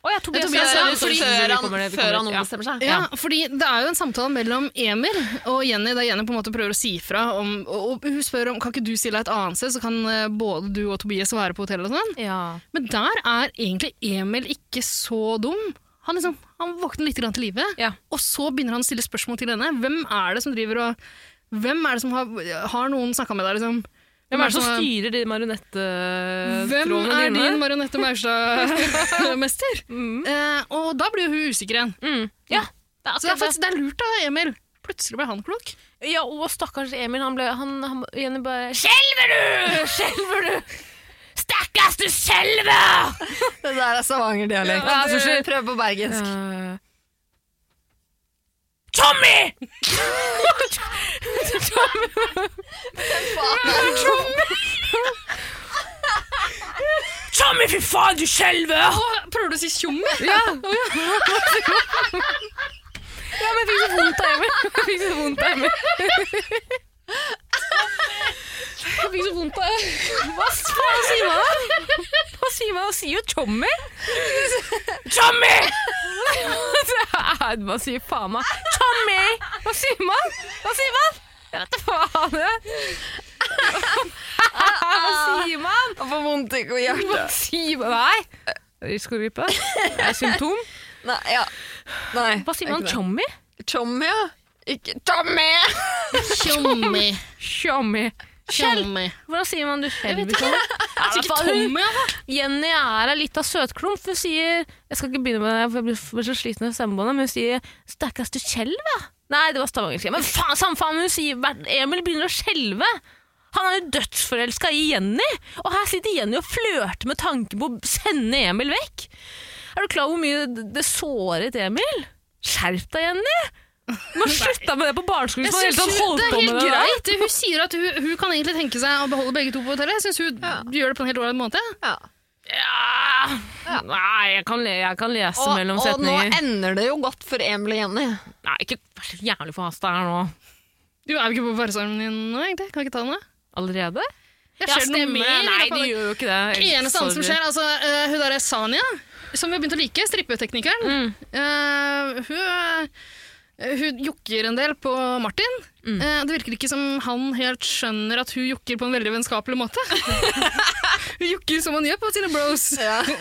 [SPEAKER 4] Å ja, Tobias.
[SPEAKER 3] Tobias,
[SPEAKER 4] ja,
[SPEAKER 3] ja,
[SPEAKER 4] det er
[SPEAKER 3] fordi-
[SPEAKER 4] sånn-
[SPEAKER 2] før
[SPEAKER 4] kommer
[SPEAKER 2] han,
[SPEAKER 4] det- det
[SPEAKER 2] før han
[SPEAKER 4] kommer det- ja.
[SPEAKER 2] ombestemmer seg.
[SPEAKER 3] Ja, fordi det er jo en samtale mellom Emil og Jenny, der Jenny på en måte prøver å si fra om og, og Hun spør om kan ikke du stille deg et annet sted, så kan eh, både du og Tobias være på hotellet og sånn.
[SPEAKER 4] Ja.
[SPEAKER 3] Men der er egentlig Emil ikke så dum. Han, liksom, han våkner litt grann til live,
[SPEAKER 4] Ja.
[SPEAKER 3] og så begynner han å stille spørsmål til henne. Hvem er det som driver og Hvem er det som har, har noen snakka med deg, liksom?
[SPEAKER 4] Hvem er det som
[SPEAKER 3] har-
[SPEAKER 4] styrer de
[SPEAKER 3] Hvem
[SPEAKER 4] marionettetrådene
[SPEAKER 3] er
[SPEAKER 4] dine?
[SPEAKER 3] din marionette Maurstad-mester? Eh, og da blir jo hun usikker igjen.
[SPEAKER 4] Mm. Ja, det er
[SPEAKER 3] Så det er,
[SPEAKER 4] akkurat det.
[SPEAKER 3] faktisk, det er lurt av Emil. Plutselig ble han klok.
[SPEAKER 4] Ja, og stakkars Emil, han ble han, han, Jenny bare Skjelver du! Skjelver du! Stakk
[SPEAKER 3] Stakkars du selve!
[SPEAKER 2] Det der er Stavanger-dialekt.
[SPEAKER 4] Ja,
[SPEAKER 2] du
[SPEAKER 4] forstår.
[SPEAKER 2] prøver på bergensk.
[SPEAKER 4] Eh,
[SPEAKER 3] Tommy! Tommy, fy faen, du skjelver!
[SPEAKER 2] prøver du å si tjomme?
[SPEAKER 4] ja. ja, men jeg fikk så vondt av Emil. Jeg fikk så vondt av Emil. Jeg fikk så vondt av Hva faen sier man da? Hva sier man? Man sier jo Tommy.
[SPEAKER 3] Tommy!
[SPEAKER 4] Det er- Hva sier faen meg? Tommy! Hva sier man? Hva sier man? Jeg vet da faen. jeg. Hva sier man?
[SPEAKER 2] Jeg får vondt i
[SPEAKER 4] Hva
[SPEAKER 2] hjertet.
[SPEAKER 4] sier man? Nei. Risikogruppe? Er det symptom?
[SPEAKER 2] Nei, ja. Nei.
[SPEAKER 4] Hva sier man?
[SPEAKER 2] Ikke det.
[SPEAKER 4] Tommy?
[SPEAKER 2] Tjomme, ja. Ikke Tjomme!
[SPEAKER 3] Tjommi.
[SPEAKER 4] Tommy.
[SPEAKER 3] Tjommi.
[SPEAKER 4] Hvordan sier man du selv?
[SPEAKER 3] Er det ikke
[SPEAKER 4] faen, hun-
[SPEAKER 3] Tommy, da?
[SPEAKER 4] Jenny er ei lita søtklump. Hun sier Jeg skal ikke begynne med det, for jeg blir- blir så sliten av stemmebåndet, men hun sier 'stakkars du skjelver'. Nei, det var stavangersk. Men faen, samme faen, hun sier hver- Emil begynner å skjelve. Han er jo dødsforelska i Jenny, og her sitter Jenny og flørter med tanken på å sende Emil vekk. Er du klar over hvor mye det- det såret Emil? Skjerp deg, Jenny! Du må slutte med det på barneskolen. hvis man i det hele tatt
[SPEAKER 3] det
[SPEAKER 4] holdt
[SPEAKER 3] er
[SPEAKER 4] på med
[SPEAKER 3] helt
[SPEAKER 4] det der.
[SPEAKER 3] greit. Hun sier at hun, hun kan egentlig tenke seg å beholde begge to på hotellet. Jeg syns hun gjør det på en helt ålreit måte.
[SPEAKER 2] Ja.
[SPEAKER 4] Ja. Nei, jeg kan, le, jeg kan lese
[SPEAKER 2] Og,
[SPEAKER 4] mellom
[SPEAKER 2] og nå
[SPEAKER 4] setninger.
[SPEAKER 2] ender det jo godt for Emil og Jenny.
[SPEAKER 4] Nei, ikke vær så jævlig forhasta her nå.
[SPEAKER 3] Du er jo ikke på verdensarven din nå, egentlig. Kan ikke ta den nå.
[SPEAKER 4] Allerede?
[SPEAKER 3] Det skjer noe mer
[SPEAKER 4] Nei,
[SPEAKER 3] i løpet av
[SPEAKER 4] de
[SPEAKER 3] det.
[SPEAKER 4] gjør jo ikke det.
[SPEAKER 3] Det eneste annet som skjer, altså eh, hun derre Sania, som vi har begynt å like, strippeteknikeren,
[SPEAKER 4] Mm.
[SPEAKER 3] eh, hun, eh, hun jokker en del på Martin. Eh, det virker ikke som han helt skjønner at hun jokker på en veldig vennskapelig måte. hun jokker som han gjør på sine bros.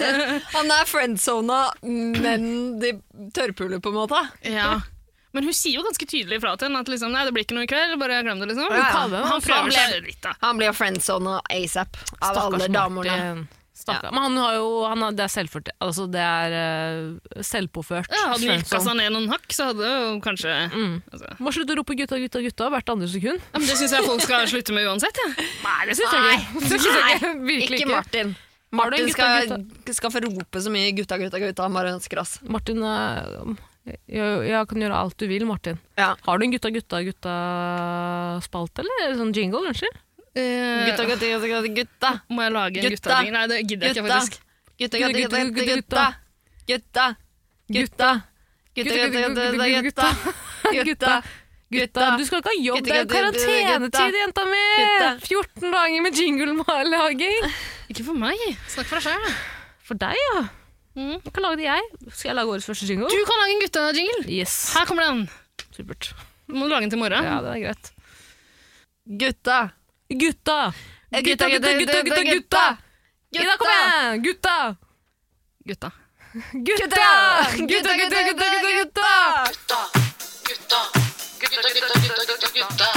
[SPEAKER 2] Han er friendzona, men de tørrpuler på en måte.
[SPEAKER 3] Ja. Men hun sier jo ganske tydelig fra til henne at liksom, nei, det blir ikke noe i kveld, bare glem det, liksom.
[SPEAKER 2] Ja, ja.
[SPEAKER 4] Kalle,
[SPEAKER 3] Han prøver seg litt, da.
[SPEAKER 2] Han blir jo friendzona asap av
[SPEAKER 4] Stakkars
[SPEAKER 2] alle damene.
[SPEAKER 4] Martin. Stakkars. Men han har jo han har, Det er selvført. Altså, det er eh, selvpåført.
[SPEAKER 3] Ja, sånn. hadde hun jukka
[SPEAKER 4] Svensson.
[SPEAKER 3] seg ned noen hakk, så hadde hun kanskje
[SPEAKER 4] Mm.
[SPEAKER 3] altså.
[SPEAKER 4] Må slutte å rope 'gutta, gutta, gutta' hvert andre sekund.
[SPEAKER 3] ja, men Det syns jeg folk skal slutte med uansett. Ja.
[SPEAKER 4] Nei, det syns jeg ikke. Det synes jeg ikke. Virkelig
[SPEAKER 2] Ikke
[SPEAKER 4] ikke.
[SPEAKER 2] Martin.
[SPEAKER 4] Har du en
[SPEAKER 2] Martin
[SPEAKER 4] gutta,
[SPEAKER 2] skal, skal få rope så mye 'gutta, gutta, gutta' han bare ønsker oss.
[SPEAKER 4] Martin, eh, jeg, jeg kan gjøre alt du vil, Martin.
[SPEAKER 2] Ja.
[SPEAKER 4] Har du en gutta, gutta, gutta-spalt, eller? Sånn jingle, unnskyld?
[SPEAKER 3] Eh,
[SPEAKER 2] Gutta, gutta, gutta, gutta, gutta.
[SPEAKER 3] Må jeg lage en
[SPEAKER 2] Gutta.
[SPEAKER 3] gutteavdeling? Nei, det gidder jeg ikke,
[SPEAKER 2] Gutta,
[SPEAKER 3] faktisk.
[SPEAKER 2] gutta, gutta, gutta, gutta,
[SPEAKER 4] Gutta, gutta,
[SPEAKER 2] gutta. Gutta, gutta, gutta, gutta, gutta, gutta. Gutta,
[SPEAKER 4] Gutta, du skal ikke ha jobb, det er jo
[SPEAKER 2] Gutta, gutta,
[SPEAKER 4] karantenetid, jenta mi!
[SPEAKER 2] Gutta.
[SPEAKER 4] 14 dager med jingle-laging.
[SPEAKER 3] Ikke for meg. Snakk for deg sjøl.
[SPEAKER 4] For deg, ja.
[SPEAKER 3] Mm.
[SPEAKER 4] Jeg kan lage det, jeg. Skal jeg lage årets første jingle?
[SPEAKER 3] Du kan lage en guttejingle.
[SPEAKER 4] Yes.
[SPEAKER 3] Her kommer den.
[SPEAKER 4] Supert.
[SPEAKER 3] Du Må du lage den til i morgen?
[SPEAKER 4] Ja, det er greit.
[SPEAKER 2] gutta.
[SPEAKER 4] Gutta!
[SPEAKER 2] Eh,
[SPEAKER 4] Gutta, gutta, gutta, gutta! gutta. Ida, kom igjen! Gutta!
[SPEAKER 3] Gutta.
[SPEAKER 4] Gutta! Gutta, gutta, gutta, gutta! gutta.
[SPEAKER 5] Gutta, gutta, gutta, gutta, gutta, gutta.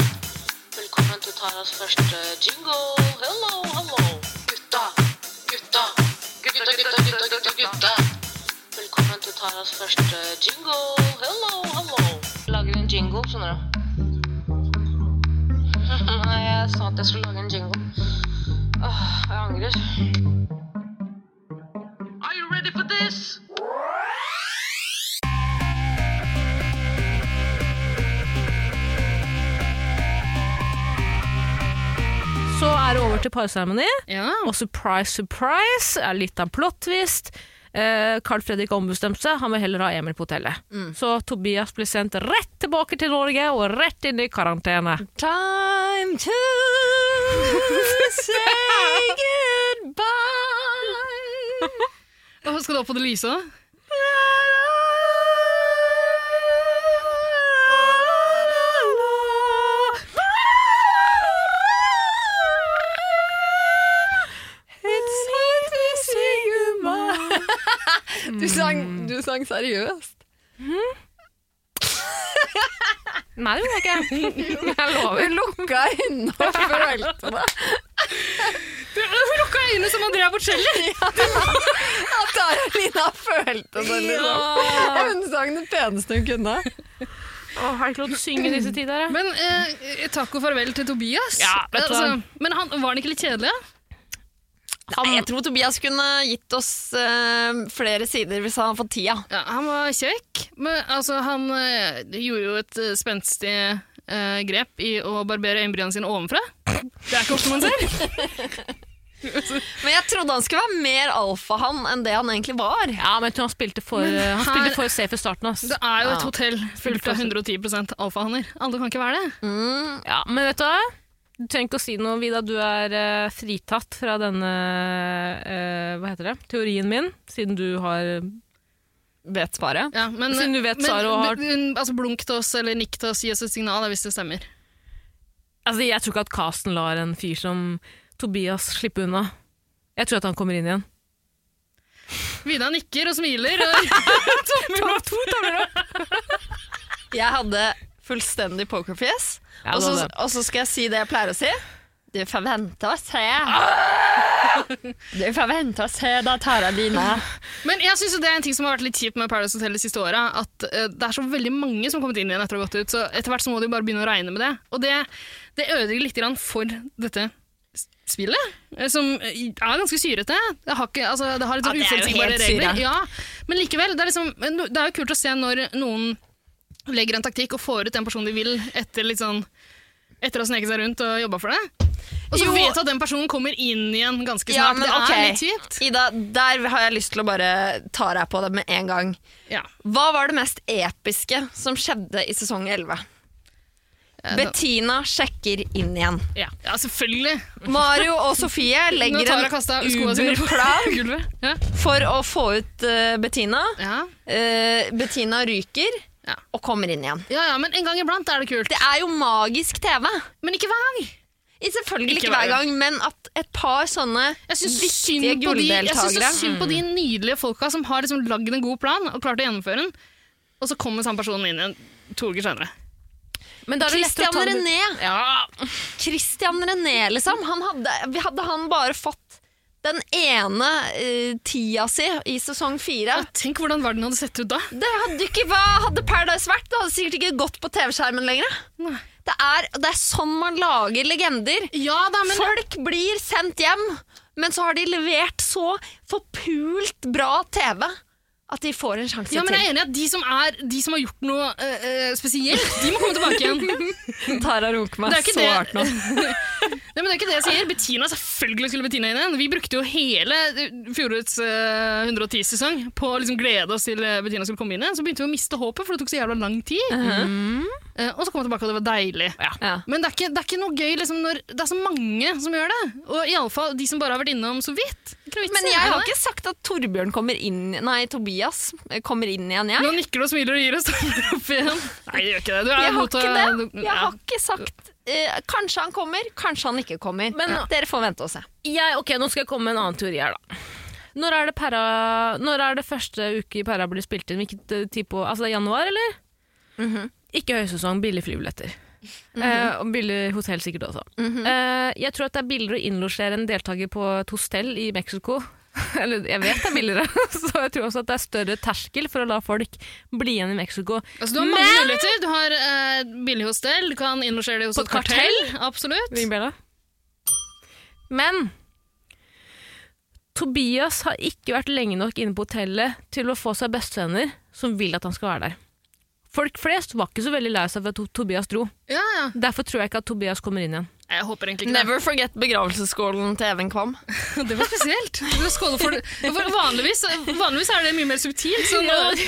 [SPEAKER 5] Velkommen til Taras første jingle. Hello, hello. Gutta, gutta, gutta, gutta, gutta, gutta, gutta. Velkommen til Taras første jingle. Hello, hello. Lager du en jingle, skjønner du? Nei, jeg sa at jeg skulle lage en jingle. Åh, jeg angrer. Are you ready for this?
[SPEAKER 4] Så er det over til parseremoni.
[SPEAKER 3] Ja.
[SPEAKER 4] Og surprise, surprise, er litt av en plot-twist. Eh, Carl Fredrik ombestemte seg, han vil heller ha Emil på hotellet. Så Tobias blir sendt rett tilbake til Norge og rett inn i karantene.
[SPEAKER 2] Time to say goodbye.
[SPEAKER 3] Og skal du opp på det lyse òg?
[SPEAKER 2] Du sang, du sang seriøst.
[SPEAKER 4] Nei, det gjorde jeg ikke. Jeg
[SPEAKER 2] Du
[SPEAKER 4] lover.
[SPEAKER 2] lukka øynene og følte det.
[SPEAKER 3] Hun lukka øynene som Andrea Bocelli!
[SPEAKER 2] At Aralina følte det, liksom.
[SPEAKER 4] Åh,
[SPEAKER 2] Hun sang det peneste hun kunne.
[SPEAKER 4] har jeg ikke lov til å synge i disse tider? da?
[SPEAKER 3] Men eh, takk og farvel til Tobias.
[SPEAKER 4] Ja, vet du hva?
[SPEAKER 3] men han, var han ikke litt kjedelig? Ja?
[SPEAKER 2] Nei, jeg tror Tobias kunne gitt oss eh, flere sider hvis han hadde fått tida.
[SPEAKER 3] Ja, han var kjekk, men altså, han eh, gjorde jo et eh, spenstig eh, grep i å barbere øyenbrynene sine ovenfra. Det er ikke ofte man ser.
[SPEAKER 2] Men jeg trodde han skulle være mer alfahann enn det han egentlig var.
[SPEAKER 4] Ja, men jeg tror han spilte for, eh, han
[SPEAKER 3] her-
[SPEAKER 4] spilte for safe i starten. ass.
[SPEAKER 3] Det er jo
[SPEAKER 2] Ja.
[SPEAKER 3] et hotell fullt av 110 alfahanner. Alle kan ikke være det.
[SPEAKER 4] Ja, men vet du hva? Du trenger ikke å si noe, Vida. Du er eh, fritatt fra denne eh, hva heter det? teorien min, siden du har
[SPEAKER 2] Vet bare.
[SPEAKER 3] Ja, men,
[SPEAKER 4] Siden du vet
[SPEAKER 3] men-
[SPEAKER 4] Sara har-
[SPEAKER 3] men- Altså, blunk til oss eller nikk til oss, gi oss et signal da, hvis det stemmer.
[SPEAKER 4] Altså, Jeg tror ikke at Casten lar en fyr som Tobias slippe unna. Jeg tror at han kommer inn igjen.
[SPEAKER 3] Vida nikker og smiler. Og
[SPEAKER 4] Tommel opp, to tomler opp!
[SPEAKER 2] Jeg hadde fullstendig pokerfjes,
[SPEAKER 4] Ja,
[SPEAKER 2] og
[SPEAKER 4] det
[SPEAKER 2] så
[SPEAKER 4] var det.
[SPEAKER 2] og så skal jeg si det jeg pleier å si. Du får vente og se.
[SPEAKER 3] Ah!
[SPEAKER 2] Du får vente og se, da tar jeg dine.
[SPEAKER 3] Men jeg synes jo det er en ting som har vært litt kjipt med Paradise Hotel de siste åra. At eh, det er så veldig mange som har kommet inn igjen etter å ha gått ut. Så etter hvert så må de bare begynne å regne med det. Og det, det ødelegger litt grann for dette s- spillet, eh, som eh, er ganske syrete. Det har, ikke, altså, det har litt
[SPEAKER 2] Ja,
[SPEAKER 3] sånn
[SPEAKER 2] det er jo
[SPEAKER 3] uforutsigbare
[SPEAKER 2] helt syre.
[SPEAKER 3] regler. Ja, men likevel, det er, liksom, men det er jo kult å se når noen legger en taktikk og får ut den personen de vil, etter, litt sånn, etter å ha sneket seg rundt og jobba for det. Og så
[SPEAKER 2] Jo.
[SPEAKER 3] vet du at den personen kommer inn igjen ganske snart.
[SPEAKER 2] Ja, men
[SPEAKER 3] det er
[SPEAKER 2] ok.
[SPEAKER 3] litt kjipt.
[SPEAKER 2] Ida, der har jeg lyst til å bare ta deg på det med en gang.
[SPEAKER 3] Ja.
[SPEAKER 2] Hva var det mest episke som skjedde i sesong 11?
[SPEAKER 3] Eh, nå-
[SPEAKER 2] Bettina sjekker inn igjen.
[SPEAKER 3] Ja, ja selvfølgelig.
[SPEAKER 2] Mario og Sofie
[SPEAKER 3] Nå
[SPEAKER 2] legger
[SPEAKER 3] tar jeg kasta
[SPEAKER 2] en
[SPEAKER 3] skoene sine på
[SPEAKER 2] uberplan
[SPEAKER 3] gulvet. Ja.
[SPEAKER 2] for å få ut eh, Bettina.
[SPEAKER 3] Ja.
[SPEAKER 2] Eh, Bettina ryker
[SPEAKER 3] Ja.
[SPEAKER 2] og kommer inn igjen.
[SPEAKER 3] ja, ja, men en gang iblant er det kult.
[SPEAKER 2] Det er jo magisk TV.
[SPEAKER 3] Men ikke hver gang.
[SPEAKER 2] I- Selvfølgelig
[SPEAKER 3] Ikke
[SPEAKER 2] ikke hver
[SPEAKER 3] hver
[SPEAKER 2] gang, men at et par sånne
[SPEAKER 3] Jeg syns så synd
[SPEAKER 2] viktige
[SPEAKER 3] på de- jeg syns så
[SPEAKER 2] gulldeltakere Mm.
[SPEAKER 3] synd på de nydelige folka som har liksom lagd en god plan og klart å gjennomføre den, og så kommer samme personen inn igjen to uker senere.
[SPEAKER 4] Men da er det lettere å
[SPEAKER 2] Christian
[SPEAKER 4] ta det-
[SPEAKER 2] René. Christian René, liksom. Han hadde, vi hadde han bare fått den ene eh, tida si i sesong fire
[SPEAKER 3] Ja, tenk hvordan verden hadde sett ut da.
[SPEAKER 2] det hadde ikke, Hva hadde Paradise vært? Det hadde sikkert ikke gått på TV-skjermen lenger.
[SPEAKER 3] Nei.
[SPEAKER 2] Det er, det er sånn man lager legender.
[SPEAKER 3] Ja da, men
[SPEAKER 2] Folk blir sendt hjem, men så har de levert så forpult bra TV at de får en sjanse
[SPEAKER 3] ja, men
[SPEAKER 2] til.
[SPEAKER 3] jeg er enig i at de som, er, de som har gjort noe eh, eh, spesielt, de må komme tilbake igjen.
[SPEAKER 2] Tara runker
[SPEAKER 3] Det er ikke det- Nei, men det er ikke det jeg sier. Bettina, selvfølgelig skulle Bettina inn igjen. Vi brukte jo hele fjorårets eh, 110-sesong på å liksom glede oss til eh, Bettina skulle komme inn igjen. Så begynte vi å miste håpet, for det tok så jævla lang tid. Eh, og så kom hun tilbake, og det var deilig.
[SPEAKER 2] Ja.
[SPEAKER 3] Men det er ikke, det er ikke noe gøy liksom, når det er så mange som gjør det. Og iallfall de som bare har vært innom så vidt. Det er ikke noe vits
[SPEAKER 2] Men
[SPEAKER 3] i
[SPEAKER 2] jeg har
[SPEAKER 3] det.
[SPEAKER 2] ikke sagt at Torbjørn kommer inn Nei, Tobias eh, kommer inn igjen,
[SPEAKER 3] Nå
[SPEAKER 2] jeg.
[SPEAKER 3] nikker du og smiler og gir oss tomler opp igjen. Nei, det gjør ikke det. Du er
[SPEAKER 2] Jeg har
[SPEAKER 3] mot
[SPEAKER 2] ikke
[SPEAKER 3] å-
[SPEAKER 2] det. Jeg
[SPEAKER 3] ja.
[SPEAKER 2] har ikke sagt eh, Kanskje han kommer, kanskje han ikke kommer.
[SPEAKER 4] Men-
[SPEAKER 2] Dere får vente og se.
[SPEAKER 4] Jeg, ok, Nå skal jeg komme med en annen teori her, da. Når er det, para, når er det første uke i Para blir spilt inn? Hvilket eh, tid på, altså det er januar, eller? Ikke høysesong, billige flybilletter. Eh, og billig hotell sikkert også. eh, jeg tror at det er billigere å innlosjere en deltaker på et hostell i Mexico. Eller jeg vet det er billigere, så jeg tror også at det er større terskel for å la folk bli igjen i Mexico.
[SPEAKER 3] Altså, du har mange muligheter. Du har eh, billig hostell, du kan innlosjere deg hos
[SPEAKER 4] På
[SPEAKER 3] et
[SPEAKER 4] et kartell?
[SPEAKER 3] kartell. Absolutt.
[SPEAKER 4] Ringbjella. Men Tobias har ikke vært lenge nok inne på hotellet til å få seg bestevenner som vil at han skal være der. Folk flest var ikke så veldig lei seg for at To- Tobias dro.
[SPEAKER 3] Ja, ja.
[SPEAKER 4] Derfor tror jeg ikke at Tobias kommer inn igjen.
[SPEAKER 3] Jeg håper egentlig ikke
[SPEAKER 2] Never forget begravelsesskålen til Even Kvam.
[SPEAKER 3] det. Det var spesielt. Det var skåle for, for vanligvis, vanligvis er det mye mer subtilt. Sånn, og,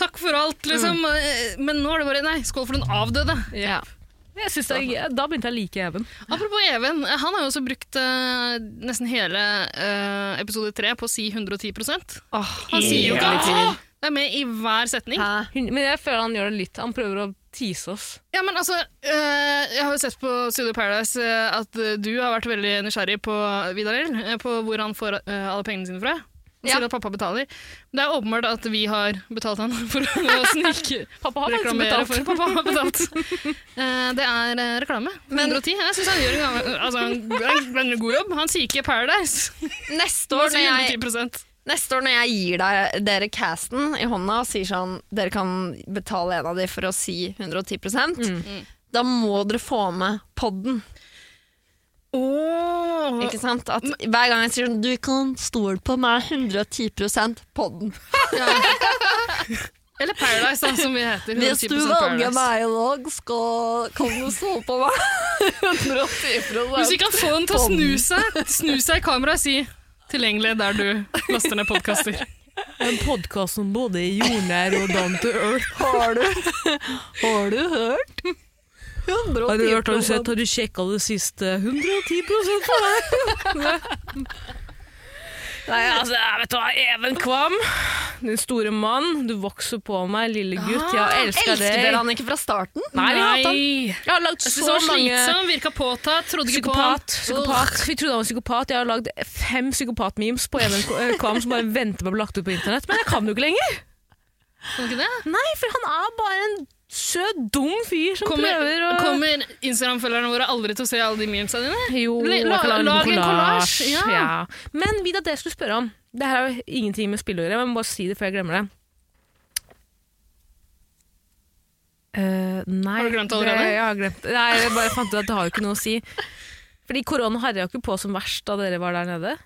[SPEAKER 3] takk for alt, liksom. eh, Men nå er det bare nei, skål for den avdøde.
[SPEAKER 4] Jeg synes det er, da begynte jeg å like Even.
[SPEAKER 3] Apropos Even. eh, Han har jo også brukt eh, nesten hele eh, episode tre på å si 110 Han sier jo ikke «Åh!» Det er med i hver setning.
[SPEAKER 2] Hæ?
[SPEAKER 4] Hun- Men jeg føler han gjør det litt. Han prøver å tease oss.
[SPEAKER 3] Ja, men altså, eh, Jeg har jo sett på Studio Paradise eh, at eh, du har vært veldig nysgjerrig på Vidar Lill, eh, på hvor han får eh, alle pengene sine fra. Han
[SPEAKER 2] Ja.
[SPEAKER 3] sier at pappa betaler. Men Det er åpenbart at vi har betalt han for å snike
[SPEAKER 4] Pappa har faktisk
[SPEAKER 3] reklamere for
[SPEAKER 4] betalt.
[SPEAKER 3] Pappa har betalt. Eh, det er eh, reklame.
[SPEAKER 2] Men-
[SPEAKER 3] 110. Jeg syns han gjør en, gang- altså, han gjør en god jobb. Han sier ikke Paradise.
[SPEAKER 2] Neste
[SPEAKER 3] Han
[SPEAKER 2] år, når
[SPEAKER 3] sier
[SPEAKER 2] jeg,
[SPEAKER 3] 110
[SPEAKER 2] neste år når jeg gir deg, dere casten i hånda og sier sånn Dere kan betale en av de for å si 110
[SPEAKER 3] Mm.
[SPEAKER 2] Da må dere få med podden.
[SPEAKER 3] Åh,
[SPEAKER 2] Ikke sant? At hver gang jeg sier sånn 'du kan stole på meg 110 på den',
[SPEAKER 3] Eller Paradise, da, som vi heter.
[SPEAKER 2] hvis du
[SPEAKER 3] 110%
[SPEAKER 2] velger
[SPEAKER 3] Paradise.
[SPEAKER 2] meg i dag, skal, kan du stole på meg 110
[SPEAKER 3] Hvis vi kan få den til å snu seg, snu seg i kameraet og si 'tilgjengelig der du laster ned podkaster'.
[SPEAKER 4] En podkast som både er jordnær og down to earth.
[SPEAKER 2] Har du, har du hørt? 110
[SPEAKER 4] Har du hørt, har du sett, har du sjekka det siste? 110 for deg! Nei, altså, jeg vet du hva, Even Kvam, din store mann, du vokser på meg, lille gutt. Jeg har elska
[SPEAKER 2] Elsker dere
[SPEAKER 4] deg.
[SPEAKER 2] han ikke fra starten?
[SPEAKER 4] Ah, Nei, vi hater han.
[SPEAKER 3] Nei.
[SPEAKER 4] Jeg har lagd
[SPEAKER 3] Jeg synes
[SPEAKER 4] så
[SPEAKER 3] han var
[SPEAKER 4] mange
[SPEAKER 3] slitsom, virka påtatt, trodde ikke på ham.
[SPEAKER 4] Psykopat. psykopat. Vi trodde han var psykopat. Jeg har lagd fem psykopat-memes på Even K- eh, Kvam som bare venter på å bli lagt ut på internett. Men jeg kan det jo ikke lenger.
[SPEAKER 3] Kan ikke det?
[SPEAKER 4] Nei, for han er bare en søt, dum fyr som
[SPEAKER 3] Kommer,
[SPEAKER 4] prøver å
[SPEAKER 3] kommer Instagram-følgerne våre aldri til å se alle de memesa dine?
[SPEAKER 4] Jo,
[SPEAKER 3] La-
[SPEAKER 4] jeg kan lage
[SPEAKER 3] lag en
[SPEAKER 4] en
[SPEAKER 3] collage,
[SPEAKER 4] collage.
[SPEAKER 3] ja.
[SPEAKER 4] Men Vida, det jeg skulle spørre om Det her er jo ingenting med spill å gjøre, men jeg må bare si det før jeg glemmer det. Eh, nei,
[SPEAKER 3] Har du glemt det allerede?
[SPEAKER 4] Det, jeg har glemt det. Nei, jeg bare fant ut at det har jo ikke noe å si. Fordi korona herja jo ikke på som verst da dere var der nede.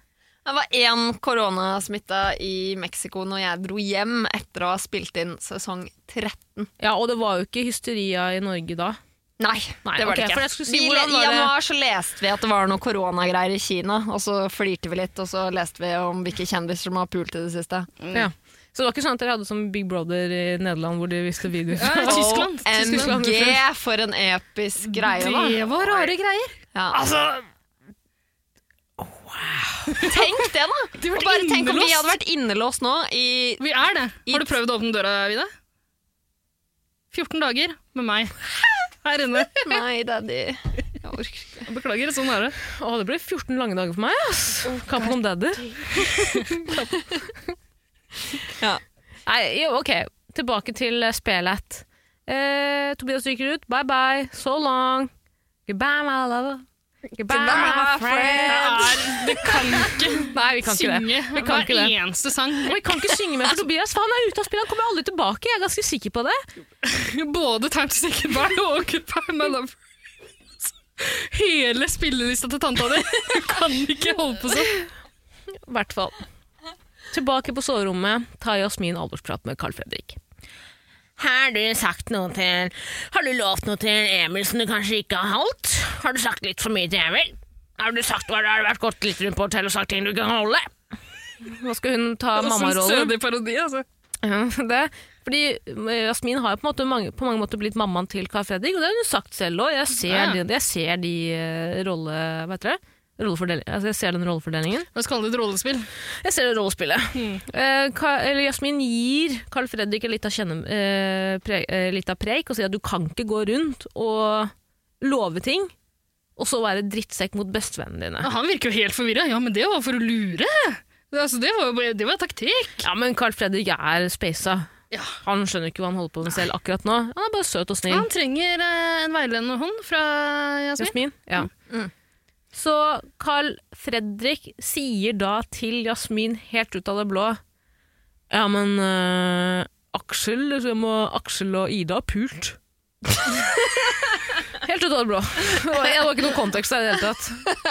[SPEAKER 2] Jeg var én koronasmitta i Mexico når jeg dro hjem etter å ha spilt inn sesong 13.
[SPEAKER 4] Ja, Og det var jo ikke hysteria i Norge da.
[SPEAKER 2] Nei,
[SPEAKER 4] Nei,
[SPEAKER 2] det var
[SPEAKER 4] ok, for
[SPEAKER 2] det
[SPEAKER 4] jeg
[SPEAKER 2] ikke.
[SPEAKER 4] skulle si,
[SPEAKER 2] vi,
[SPEAKER 4] hvordan
[SPEAKER 2] I
[SPEAKER 4] var det-
[SPEAKER 2] januar så leste vi at det var noe koronagreier i Kina, og så flirte vi litt, og så leste vi om hvilke kjendiser som har pult i det siste.
[SPEAKER 3] Mm.
[SPEAKER 4] Ja. Så det var ikke sånn at dere hadde som Big Brother i Nederland hvor de viste videoer.
[SPEAKER 3] Ja, i Tyskland. Tyskland.
[SPEAKER 2] OMG, for en episk greie, da.
[SPEAKER 3] Det var rare greier.
[SPEAKER 2] Ja. Altså Wow. Tenk det, da!
[SPEAKER 3] De ble
[SPEAKER 2] Og bare tenk om vi
[SPEAKER 3] innelåst.
[SPEAKER 2] hadde vært innelåst nå i
[SPEAKER 3] Vi er det. Har du prøvd å åpne døra, Vida? 14 dager med meg her inne.
[SPEAKER 2] Nei, daddy. Jeg orker ikke.
[SPEAKER 3] Beklager, sånn er det.
[SPEAKER 4] Å, det ble 14 lange dager for meg, ass. Kampen om daddy.
[SPEAKER 2] Ja.
[SPEAKER 4] Nei, jo, ok. Tilbake til eh, spelet. Eh, Tobias ryker ut. Bye bye. So long. Goodbye, my lover. Goodbye, my friend.
[SPEAKER 3] Det kan ikke
[SPEAKER 4] Nei, vi kan ikke det.
[SPEAKER 3] synge
[SPEAKER 4] Vi kan
[SPEAKER 3] hver
[SPEAKER 4] ikke det.
[SPEAKER 3] eneste sang.
[SPEAKER 4] Og vi kan ikke synge mer for Tobias, for han er ute av spillet. Han kommer aldri tilbake. Jeg er ganske sikker på det.
[SPEAKER 3] Både Time to Say Goodbye og Goodbye My Love. Hele spillelista til tanta di. Du kan ikke holde på sånn.
[SPEAKER 4] I hvert fall. Tilbake på soverommet tar Jasmin alvorsprat med Carl Fredrik. Har du sagt noe til Har du lovt noe til Emil som du kanskje ikke har holdt? Har du sagt litt for mye til Emil? Har du sagt hva det har vært gått litt rundt på hotellet og sagt ting du ikke kan holde? Nå skal hun ta mammarollen.
[SPEAKER 3] Sødig Altså, parodi, altså.
[SPEAKER 4] Ja, det. Fordi eh, Jasmin har jo på, en måte mange, på mange måter blitt mammaen til Carl Fredrik, og det har hun sagt selv òg. Jeg, ser
[SPEAKER 3] Ja.
[SPEAKER 4] de- jeg ser de eh, rolle... Hva heter det? Rollefordel- Altså, jeg ser den rollefordelingen.
[SPEAKER 3] La oss kalle det et rollespill.
[SPEAKER 4] Jeg ser det rollespillet. Eh, Ka- eller Jasmin gir Carl Fredrik litt av, kjenne, eh, pre, eh, litt av preik og sier at du kan ikke gå rundt og love ting, og så være drittsekk mot bestevennene
[SPEAKER 3] Ja,
[SPEAKER 4] dine.
[SPEAKER 3] han virker jo helt forvirra. Ja, men det var for å lure. Det, altså, det var jo bare- det var taktikk.
[SPEAKER 4] Ja, men Carl Fredrik er spasa.
[SPEAKER 3] Ja.
[SPEAKER 4] Han skjønner ikke hva han holder på med selv akkurat nå. Han er bare søt og snill.
[SPEAKER 3] Han trenger eh, en veiledende hånd fra Jasmin.
[SPEAKER 4] Jasmin? Mm. Ja.
[SPEAKER 3] Mm.
[SPEAKER 4] Så Carl Fredrik sier da til Jasmin helt ut av det blå Ja, men eh, Aksel, så jeg må, Aksel og Ida har pult. helt ut av det blå. Det var, det var ikke noen kontekst der i det hele tatt.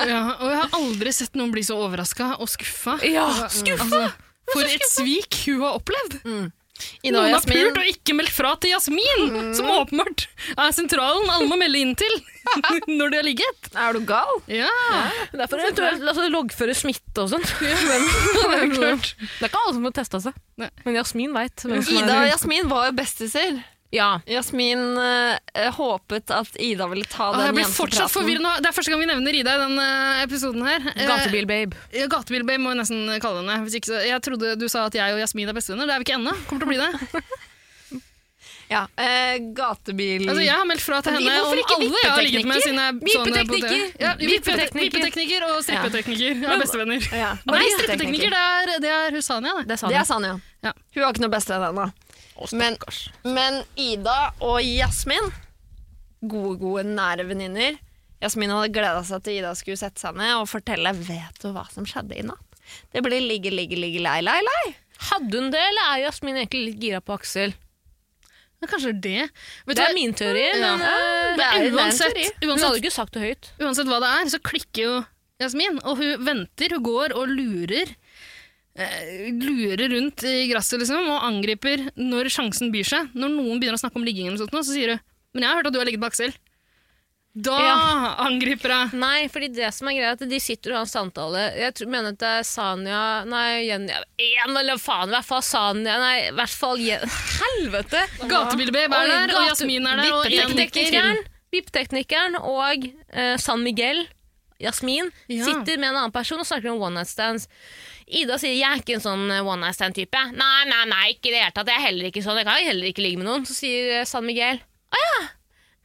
[SPEAKER 3] Ja, og jeg har aldri sett noen bli så overraska og skuffa.
[SPEAKER 4] Ja, skuffa!
[SPEAKER 3] Altså, for et svik hun har opplevd!
[SPEAKER 2] Ida og
[SPEAKER 3] Noen har
[SPEAKER 2] Jasmin.
[SPEAKER 3] pult og ikke meldt fra til Jasmin, som åpenbart er sentralen alle må melde inn til når de har ligget.
[SPEAKER 2] Er du gal?
[SPEAKER 3] Ja,
[SPEAKER 4] Derfor eventuelt la oss loggføre smitte og sånn. sånt.
[SPEAKER 3] det er klart.
[SPEAKER 4] Det er ikke alle som får testa seg.
[SPEAKER 3] Nei.
[SPEAKER 4] Men Jasmin veit hvem som
[SPEAKER 2] Ida og
[SPEAKER 4] er
[SPEAKER 2] Jasmin var jo bestiser.
[SPEAKER 4] Ja.
[SPEAKER 2] Jasmin eh, håpet at Ida ville ta
[SPEAKER 3] Ah,
[SPEAKER 2] den
[SPEAKER 3] jeg blir fortsatt forvirret nå. Det er første gang vi nevner Ida i denne episoden her. Eh,
[SPEAKER 4] Gatebil-babe.
[SPEAKER 3] ja, Gatebilbabe må vi nesten kalle henne. Hvis ikke, så, jeg trodde du sa at jeg og Jasmin er bestevenner. Det er vi ikke ennå. Kommer til å bli det.
[SPEAKER 2] Ja, eh, gatebil...
[SPEAKER 3] Altså, jeg har meldt fra til
[SPEAKER 4] Men vi-
[SPEAKER 3] henne om
[SPEAKER 4] hvorfor ikke
[SPEAKER 3] alle jeg har ligget med
[SPEAKER 4] vippeteknikker?
[SPEAKER 3] sine
[SPEAKER 4] Vippeteknikker!
[SPEAKER 3] Ja,
[SPEAKER 4] Vippeteknikker.
[SPEAKER 3] vippeteknikker. vippeteknikker og strippeteknikker er bestevenner.
[SPEAKER 2] ja.
[SPEAKER 3] Nei, strippeteknikker, det er, det er Husania, det.
[SPEAKER 4] Det sa
[SPEAKER 2] Det er
[SPEAKER 4] han.
[SPEAKER 2] Sanja.
[SPEAKER 3] Ja.
[SPEAKER 2] Hun har ikke noe bestevenn ennå. Men, men Ida og Jasmin, gode, gode, nære venninner Jasmin hadde gleda seg til Ida skulle sette seg ned og fortelle Vet du hva som skjedde i natt. Det blir ligge, ligge, ligge, lei, lei, lei.
[SPEAKER 4] Hadde hun det, eller er Jasmin egentlig litt gira på Aksel?
[SPEAKER 3] Men kanskje det er det. Vet du
[SPEAKER 4] Det er
[SPEAKER 3] hva?
[SPEAKER 4] min teori,
[SPEAKER 3] Ja.
[SPEAKER 4] men eh,
[SPEAKER 3] Men
[SPEAKER 2] Det er en
[SPEAKER 3] uansett,
[SPEAKER 2] teori.
[SPEAKER 4] hun hadde
[SPEAKER 3] uansett,
[SPEAKER 4] ikke sagt det høyt.
[SPEAKER 3] uansett hva det er, så klikker jo Jasmin, og hun venter, hun går og lurer. eh, Lurer rundt i gresset liksom, og angriper når sjansen byr seg. Når noen begynner å snakke om ligging, eller noe sånt, nå, så sier hun 'Men jeg har hørt at du har ligget med Aksel'. Da
[SPEAKER 4] Ja.
[SPEAKER 3] angriper hun.
[SPEAKER 4] Nei, fordi det som er greia er at de sitter og har en samtale. Jeg tror, mener at det er Sanja Nei, Jenny En eller faen, i hvert fall Sanja Nei, i hvert fall Jen... Helvete!
[SPEAKER 3] Gatebildet
[SPEAKER 4] Oi,
[SPEAKER 3] er der, og
[SPEAKER 4] gate-
[SPEAKER 3] Jasmin er der. Og
[SPEAKER 4] Vipp-
[SPEAKER 3] en
[SPEAKER 4] Vippteknikeren vippteknikeren og eh, San Miguel, Jasmin,
[SPEAKER 3] Ja.
[SPEAKER 4] sitter med en annen person og snakker om one night stands. Ida sier 'jeg er ikke en sånn eh, one night stand-type'. Nei, nei, nei, ikke i det hele tatt. Jeg er heller ikke sånn. Jeg kan heller ikke ligge med noen. Så sier eh, San Miguel 'Å ja,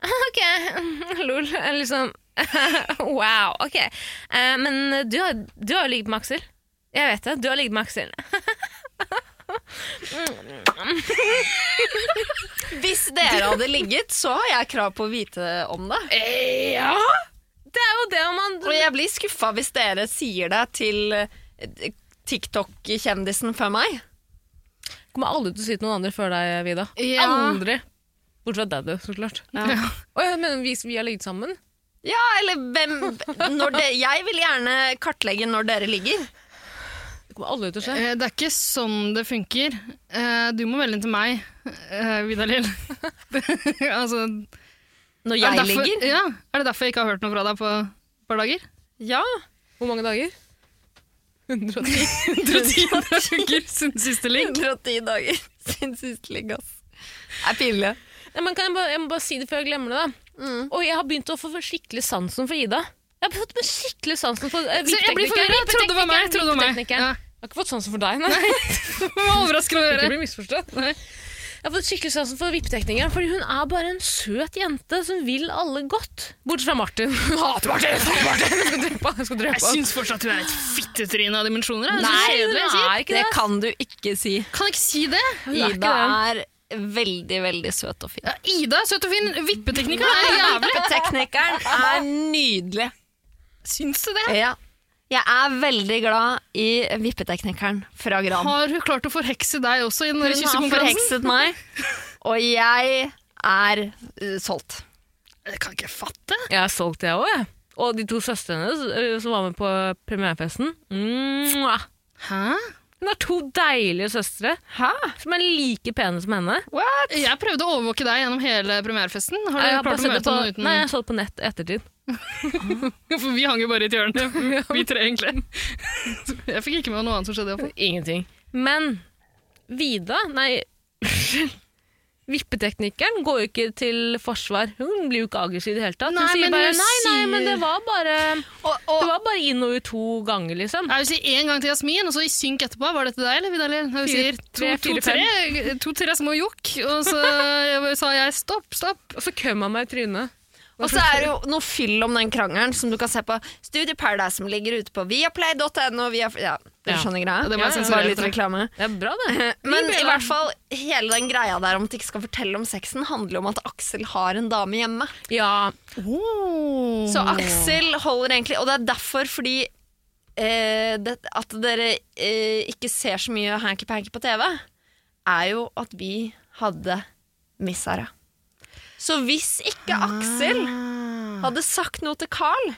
[SPEAKER 4] ok, lol'. Liksom Wow, ok. Eh, men du har du har jo ligget med Aksel. Jeg vet det. Du har ligget med Aksel.
[SPEAKER 2] Hvis dere hadde ligget, så har jeg krav på å vite om det.
[SPEAKER 3] Eh,
[SPEAKER 4] Ja! Det er jo det man
[SPEAKER 2] Og jeg blir skuffa hvis dere sier det til eh, TikTok-kjendisen før meg.
[SPEAKER 4] Kommer aldri til å si til noen andre før deg, Vida.
[SPEAKER 3] Ja.
[SPEAKER 4] Aldri. Bortsett fra deg, du, så klart.
[SPEAKER 3] Ja.
[SPEAKER 4] Å, jeg mener, hvis vi har ligget sammen?
[SPEAKER 2] Ja, eller hvem når de, Jeg vil gjerne kartlegge når dere ligger.
[SPEAKER 4] Det kommer aldri til å skje.
[SPEAKER 3] Eh, Det er ikke sånn det funker. Eh, Du må melde inn til meg, eh, Vidar-Lill. altså,
[SPEAKER 2] Når
[SPEAKER 3] er
[SPEAKER 2] jeg
[SPEAKER 3] det derfor-
[SPEAKER 2] ligger.
[SPEAKER 3] Ja, er det derfor jeg ikke har hørt noe fra deg på et par dager?
[SPEAKER 2] Ja.
[SPEAKER 4] Hvor mange dager? 110.
[SPEAKER 3] 110 dager siden siste link.
[SPEAKER 2] 110 dager siden sist ligg, ass. Det er pinlig.
[SPEAKER 4] Nei, men kan jeg, bare, jeg må bare si det før jeg glemmer det. da. Og jeg har begynt å få skikkelig sansen for Ida. Jeg har fått skikkelig sansen for eh,
[SPEAKER 3] Så jeg blir
[SPEAKER 4] vippteknikeren,
[SPEAKER 3] forvirra. Jeg trodde det var meg. Jeg trodde det var meg.
[SPEAKER 4] vippteknikeren.
[SPEAKER 3] Ja.
[SPEAKER 4] Jeg har ikke fått sansen for deg, nei.
[SPEAKER 3] Det var overraskende å høre.
[SPEAKER 4] bli misforstått.
[SPEAKER 3] Nei.
[SPEAKER 4] Jeg har fått skikkelig sansen for vippteknikeren, fordi hun er bare en søt jente som vil alle godt. Bortsett fra Martin. Hun hater Martin! Jeg hater Martin! Jeg skal drepe han. Jeg skal
[SPEAKER 3] Jeg
[SPEAKER 4] drepe han.
[SPEAKER 3] syns fortsatt du er et fittetryne av dimensjoner. jeg. Det er så
[SPEAKER 2] Nei,
[SPEAKER 3] kjedelig, jeg
[SPEAKER 4] hun
[SPEAKER 3] sier.
[SPEAKER 4] er ikke
[SPEAKER 2] det
[SPEAKER 4] det.
[SPEAKER 2] kan du ikke si.
[SPEAKER 3] Kan jeg ikke si det?
[SPEAKER 4] er ikke
[SPEAKER 2] Ida er veldig, veldig søt og fin.
[SPEAKER 3] Ja, Ida er søt og fin. Vippetekniker er jævlig.
[SPEAKER 2] Teknikeren er nydelig.
[SPEAKER 3] Syns du det?
[SPEAKER 2] Ja. Jeg er veldig glad i vippeteknikeren fra Gran.
[SPEAKER 3] Har hun klart å forhekse deg også i den der
[SPEAKER 2] Hun har
[SPEAKER 3] kyssekonferansen?
[SPEAKER 2] forhekset meg, og jeg er uh, solgt.
[SPEAKER 3] Jeg kan ikke fatte.
[SPEAKER 4] Jeg er solgt, jeg òg. Og de to søstrene hennes, ø, som var med på premierefesten. Mwah.
[SPEAKER 3] Hæ?
[SPEAKER 4] Hun har to deilige søstre
[SPEAKER 2] Hæ?
[SPEAKER 4] som er like pene som henne.
[SPEAKER 2] What?
[SPEAKER 3] Jeg prøvde å overvåke deg gjennom hele premierefesten. Har
[SPEAKER 4] Jeg
[SPEAKER 3] du
[SPEAKER 4] har bare
[SPEAKER 3] klart å
[SPEAKER 4] sett det
[SPEAKER 3] møte noen
[SPEAKER 4] på,
[SPEAKER 3] uten
[SPEAKER 4] nei, jeg så det på nett i ettertid.
[SPEAKER 3] For vi hang jo bare i et hjørne, vi tre egentlig. Så Jeg fikk ikke med meg noe annet som skjedde. i hvert fall.
[SPEAKER 4] Ingenting. Men Vida, nei Vippeteknikeren går jo ikke til forsvar. Hun blir jo ikke aggressiv i det hele tatt.
[SPEAKER 3] Nei,
[SPEAKER 4] hun sier
[SPEAKER 3] men
[SPEAKER 4] bare
[SPEAKER 3] hun
[SPEAKER 4] nei, nei,
[SPEAKER 3] sier-
[SPEAKER 4] men det var bare
[SPEAKER 2] Og,
[SPEAKER 4] Det
[SPEAKER 2] og,
[SPEAKER 4] var bare inn og ut to ganger, liksom.
[SPEAKER 3] Nei, Hun sier én gang til Jasmin, og så i synk etterpå. Var det til deg, eller, Vidar-Lill? Hun
[SPEAKER 4] Fire,
[SPEAKER 3] sier
[SPEAKER 4] tre, fire,
[SPEAKER 3] to-tre to, tre små jokk, og så sa jeg stopp, stopp.
[SPEAKER 4] Og så køm han meg i trynet.
[SPEAKER 2] og så er det jo noe fyll om den krangelen som du kan se på Studio Paradise, som ligger ute på viaplay.no. Via, ja,
[SPEAKER 4] Ja.
[SPEAKER 2] dere skjønner
[SPEAKER 3] Ja,
[SPEAKER 2] greia?
[SPEAKER 3] det må jeg
[SPEAKER 2] Ja, ja.
[SPEAKER 3] sensurere
[SPEAKER 2] Bare litt
[SPEAKER 3] for.
[SPEAKER 2] reklame.
[SPEAKER 4] Det er bra, det.
[SPEAKER 2] Men i hvert fall, hele den greia der om at de ikke skal fortelle om sexen, handler om at Aksel har en dame hjemme.
[SPEAKER 4] Ja,
[SPEAKER 2] Så Aksel holder egentlig Og det er derfor fordi eh, det, At dere eh, ikke ser så mye hanky-panky på TV, er jo at vi hadde missa det. Så hvis ikke Aksel
[SPEAKER 3] Ah.
[SPEAKER 2] hadde sagt noe til Carl,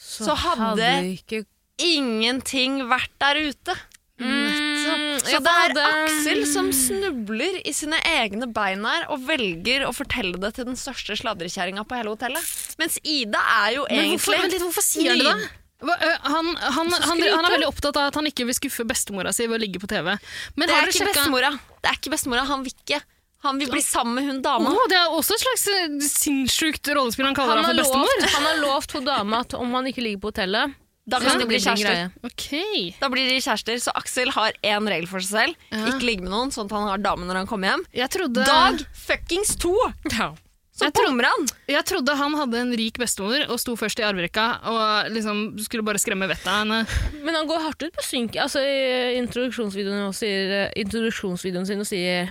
[SPEAKER 4] så,
[SPEAKER 2] hadde
[SPEAKER 4] ikke
[SPEAKER 2] ingenting vært der ute. Mm. Så det er Aksel som snubler i sine egne bein her og velger å fortelle det til den største sladrekjerringa på hele hotellet. Mens Ida er jo
[SPEAKER 3] Men
[SPEAKER 2] egentlig
[SPEAKER 3] hvorfor, vent litt, hvorfor sier han det, da? Hva, ø, Han, han, han, han er veldig opptatt av at han ikke vil skuffe bestemora si ved å ligge på TV. Men
[SPEAKER 2] Det
[SPEAKER 3] har
[SPEAKER 2] er
[SPEAKER 3] dere
[SPEAKER 2] ikke
[SPEAKER 3] sjekka
[SPEAKER 2] bestemora. Det er ikke bestemora. Han vil ikke. Han vil bli sammen med hun dama.
[SPEAKER 3] Å, Det er også et slags ø, sinnssykt rollespill han kaller
[SPEAKER 4] han
[SPEAKER 3] han
[SPEAKER 4] har,
[SPEAKER 3] for bestemor.
[SPEAKER 4] lovt, han har lovt hun dama at om han ikke ligger på hotellet
[SPEAKER 2] Da
[SPEAKER 4] så
[SPEAKER 2] kan de bli
[SPEAKER 4] blir det en
[SPEAKER 2] kjærester.
[SPEAKER 4] greie.
[SPEAKER 3] Ok.
[SPEAKER 2] Da blir de kjærester, Så Aksel har én regel for seg selv.
[SPEAKER 3] Ja.
[SPEAKER 2] Ikke ligge med noen, sånn at han har dame når han kommer hjem.
[SPEAKER 3] Jeg trodde,
[SPEAKER 2] Dag fuckings to! Så
[SPEAKER 3] Jeg tror-
[SPEAKER 2] bommer han!
[SPEAKER 3] jeg trodde han hadde en rik bestemor og sto først i arverekka og liksom skulle bare skremme vettet av henne.
[SPEAKER 4] Men han går hardt ut på synk. Altså, I introduksjonsvideoen, og sier, eh, introduksjonsvideoen sin og sier jeg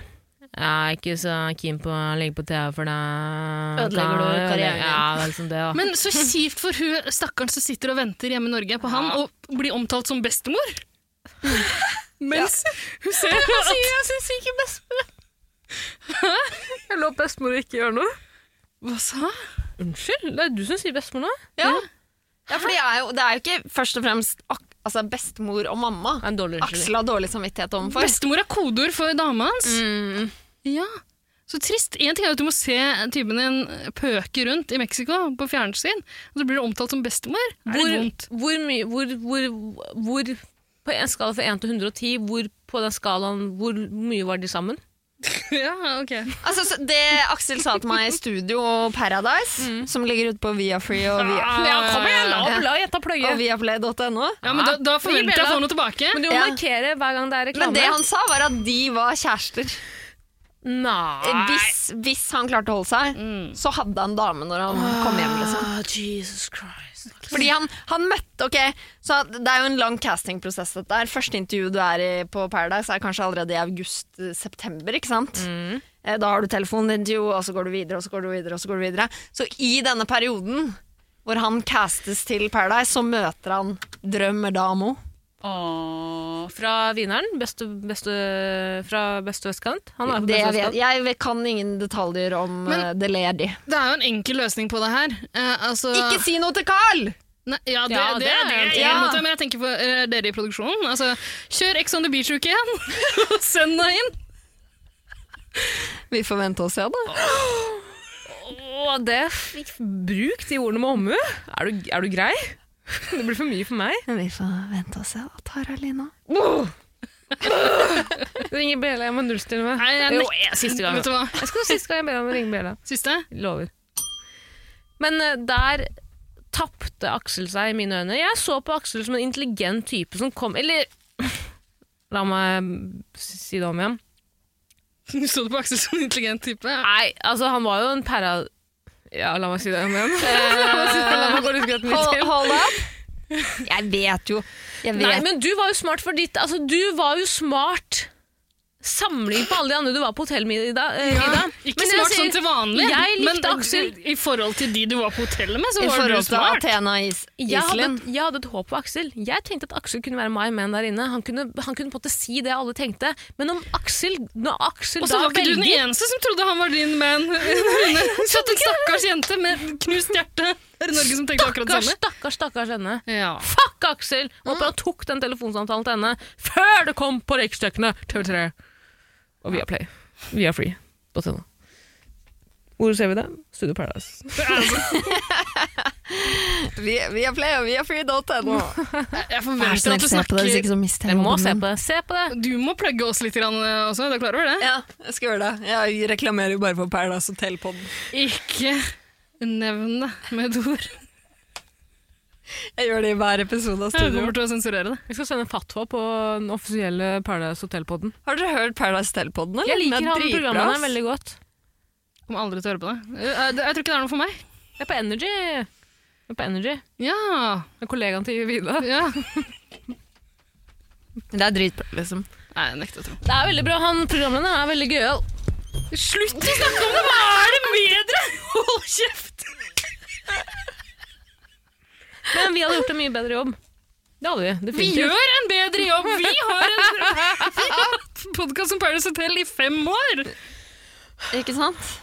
[SPEAKER 4] er ikke så keen på å ligge på TV, for da
[SPEAKER 2] Ødelegger du
[SPEAKER 4] da-
[SPEAKER 2] karrieren din.
[SPEAKER 4] Ja, det er liksom det, da.
[SPEAKER 3] Men så kjipt for hun stakkaren som sitter og venter hjemme i Norge på han, og blir omtalt som bestemor. Mens hun ser at
[SPEAKER 4] jeg syns ikke bestemor Jeg lov bestemor å ikke gjøre noe.
[SPEAKER 3] Hva sa
[SPEAKER 4] Unnskyld? Det er du som sier bestemor nå?
[SPEAKER 2] Ja. Ja, for det er, jo, det er jo ikke først og fremst ak altså bestemor og mamma
[SPEAKER 4] Det er en dårlig unnskyldning.
[SPEAKER 2] Aksel har dårlig samvittighet overfor.
[SPEAKER 3] Bestemor er kodeord for dama hans.
[SPEAKER 4] Mm.
[SPEAKER 3] Ja. Så trist. En ting er jo at du må se typen din pøke rundt i Mexico på fjernsyn, og så blir du omtalt som bestemor. Er det
[SPEAKER 4] Hvor,
[SPEAKER 3] vondt?
[SPEAKER 4] hvor mye hvor, hvor, hvor På en skala fra 1 til 110, hvor på den skalaen Hvor mye var de sammen?
[SPEAKER 3] ja, ok.
[SPEAKER 2] Altså, så det Aksel sa til meg i Studio Paradise, som ligger ute på Viafree og, via, Mm. Ja.
[SPEAKER 4] gjette
[SPEAKER 2] og viaplay.no
[SPEAKER 3] Ja, men da, da forventer jeg å
[SPEAKER 4] Bella.
[SPEAKER 3] få noe tilbake.
[SPEAKER 4] Men du må
[SPEAKER 2] Ja.
[SPEAKER 4] markere hver gang det er reklame.
[SPEAKER 2] Men det han sa, var at de var kjærester.
[SPEAKER 4] Nei. Mm.
[SPEAKER 2] Hvis, hvis han klarte å holde seg, så hadde han dame når han kom hjem. liksom.
[SPEAKER 4] Ah, Jesus Christ.
[SPEAKER 2] Fordi han, han møtte ok, så Det er jo en lang castingprosess. dette her. Første intervju du er i på Paradise, er kanskje allerede i august-september. ikke sant?
[SPEAKER 4] Mm.
[SPEAKER 2] Eh, Da har du telefonintervju, og så går du videre, og så går du videre. og Så går du videre. Så i denne perioden hvor han castes til Paradise, så møter han drømmedamo.
[SPEAKER 4] Åh, fra Wieneren, beste, beste, fra beste vestkant. Han er på
[SPEAKER 2] Det
[SPEAKER 4] beste
[SPEAKER 2] jeg, vet,
[SPEAKER 4] vestkant.
[SPEAKER 2] jeg vet- kan ingen detaljer om
[SPEAKER 3] Men-
[SPEAKER 2] eh, The Lady.
[SPEAKER 3] Det er jo en enkel løsning på det her. Eh, altså,
[SPEAKER 2] Ikke si noe til Carl!
[SPEAKER 3] Nei, ja, det,
[SPEAKER 4] Ja,
[SPEAKER 3] det,
[SPEAKER 4] det
[SPEAKER 3] det,
[SPEAKER 4] er en
[SPEAKER 3] er
[SPEAKER 4] ting.
[SPEAKER 3] en
[SPEAKER 2] Ja.
[SPEAKER 3] måte, men jeg tenker på eh, dere i produksjonen. Altså, kjør Ex on the Beach-uke igjen, og send deg inn.
[SPEAKER 2] Vi får vente og se, da.
[SPEAKER 4] Åh, det fikk bruk de ordene med omhu. Er, du- er du grei? Det blir for mye for meg.
[SPEAKER 2] Vi får vente og se, da, Tara Lina.
[SPEAKER 4] Ringer Bela, jeg må nullstille meg.
[SPEAKER 3] Nei, jeg
[SPEAKER 4] Jo,
[SPEAKER 3] nekter.
[SPEAKER 4] jeg- siste gang.
[SPEAKER 3] Vet du hva?
[SPEAKER 4] Jeg skal siste gang jeg ber ham å ringe Bela.
[SPEAKER 3] Siste?
[SPEAKER 4] Lover. Men eh, der tapte Aksel seg i mine øyne. Jeg så på Aksel som en intelligent type som kom Eller la meg si det om igjen.
[SPEAKER 3] Du så det på Aksel som en intelligent type.
[SPEAKER 4] Nei, altså, han var jo en para... Ja, la meg si det om igjen. la meg gå litt godt med
[SPEAKER 2] Hold,
[SPEAKER 4] til.
[SPEAKER 2] hold up! Jeg vet jo jeg vet.
[SPEAKER 4] Nei, men du var jo smart for ditt Altså, du var jo smart sammenlignet med alle de andre du var på hotellmiddag. eh, middag. Men
[SPEAKER 3] Ikke
[SPEAKER 4] jeg
[SPEAKER 3] smart
[SPEAKER 4] sier-
[SPEAKER 3] sånn til vanlig,
[SPEAKER 4] Jeg likte
[SPEAKER 3] men
[SPEAKER 4] Aksel.
[SPEAKER 3] i forhold til de du var på hotellet med,
[SPEAKER 2] I
[SPEAKER 3] så var du
[SPEAKER 2] forhold til
[SPEAKER 3] smart.
[SPEAKER 2] Athena Is
[SPEAKER 4] Jeg hadde,
[SPEAKER 2] Iselin.
[SPEAKER 4] jeg hadde et håp på Aksel. Jeg tenkte at Aksel kunne være my man der inne. Han kunne, han kunne på en måte si det alle tenkte. Men om Aksel, når Aksel
[SPEAKER 3] Og så
[SPEAKER 4] da
[SPEAKER 3] var ikke du den
[SPEAKER 4] velger
[SPEAKER 3] eneste som trodde han var din man. Rune. Satt en stakkars jente med knust hjerte her i Norge som tenkte akkurat det
[SPEAKER 4] Stakkars,
[SPEAKER 3] samme.
[SPEAKER 4] stakkars, stakkars henne.
[SPEAKER 3] Ja.
[SPEAKER 4] Fuck Aksel! Håper han tok den telefonsamtalen til henne før det kom på Riksdekkende TV3. Og via Play. Via free.no. Hvor ser vi det? Studio Paradise.
[SPEAKER 2] Vi, vi er play og vi er free.no.
[SPEAKER 3] Jeg forventer at du
[SPEAKER 2] så
[SPEAKER 3] snakker
[SPEAKER 4] Dere
[SPEAKER 2] mister
[SPEAKER 4] må se på det. Se på det!
[SPEAKER 3] Du må plugge oss litt grann, eh, også, du er klar over det?
[SPEAKER 2] Ja, jeg skal gjøre det. Jeg reklamerer jo bare for Paradise Hotel-podden.
[SPEAKER 3] Ikke nevn det med et ord.
[SPEAKER 2] Jeg gjør det i hver episode av
[SPEAKER 3] Jeg
[SPEAKER 2] Studio.
[SPEAKER 3] kommer til å sensurere det.
[SPEAKER 4] Vi skal sende fatwa på den offisielle Paradise Hotel-poden.
[SPEAKER 2] Har dere hørt Paradise Hotel-podden? eller?
[SPEAKER 4] Jeg
[SPEAKER 2] Den
[SPEAKER 4] liker
[SPEAKER 2] er
[SPEAKER 4] han
[SPEAKER 2] dritbra,
[SPEAKER 4] programmet
[SPEAKER 2] ass.
[SPEAKER 4] veldig godt.
[SPEAKER 3] Jeg Kommer aldri til å høre på det. Eh, eh, det- Jeg tror ikke det er noe for meg.
[SPEAKER 4] Det er på Energy. Det er på Energy.
[SPEAKER 3] Ja.
[SPEAKER 4] Det er kollegaen til Vida.
[SPEAKER 3] ja.
[SPEAKER 2] Det er dritbra, liksom.
[SPEAKER 3] Nei, jeg nekter å tro.
[SPEAKER 4] Det er veldig bra. Han programlederen er veldig gøyal.
[SPEAKER 3] Slutt å snakke om det! Hva er det med dere?! Hold kjeft!
[SPEAKER 4] Men vi hadde gjort en mye bedre jobb. Det hadde vi.
[SPEAKER 3] Vi
[SPEAKER 4] definitivt.
[SPEAKER 3] gjør en bedre jobb! Vi har en podkast om Paradise Hotel i fem år!
[SPEAKER 2] Ikke sant?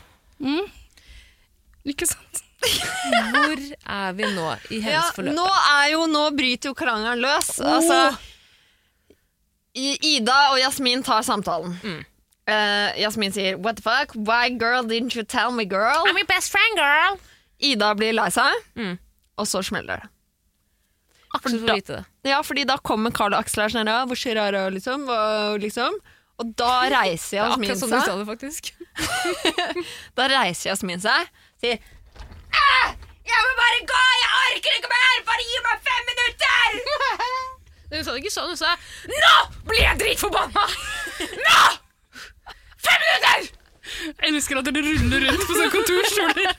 [SPEAKER 3] Ikke sant?
[SPEAKER 4] Hvor er vi nå i
[SPEAKER 2] Ja,
[SPEAKER 4] hennes forløp? Oh.
[SPEAKER 2] nå er jo Nå bryter jo krangelen løs. Altså I- Ida og Jasmin tar samtalen.
[SPEAKER 4] Mm.
[SPEAKER 2] Eh, Jasmin sier 'what the fuck', 'why girl didn't you tell me girl'?
[SPEAKER 4] your best friend, girl!
[SPEAKER 2] Ida blir lei seg,
[SPEAKER 4] Mm.
[SPEAKER 2] og så smeller det.
[SPEAKER 4] Aksel
[SPEAKER 2] da-
[SPEAKER 4] får vite det.
[SPEAKER 2] Ja, fordi da kommer Carl og Aksel her sånn «Ja, 'hvor skjer det her', liksom, hva- liksom. Og da reiser Jasmin seg.
[SPEAKER 4] det, faktisk.
[SPEAKER 2] Da reiser Jasmin seg, sier «Ah, 'jeg må bare gå, jeg orker ikke mer, bare gi meg fem minutter'!
[SPEAKER 4] Hun sa det ikke sånn. Hun sa Nå blir jeg dritforbanna! Nå! Fem minutter!
[SPEAKER 3] Jeg elsker at dere ruller rundt på sånne kontorstoler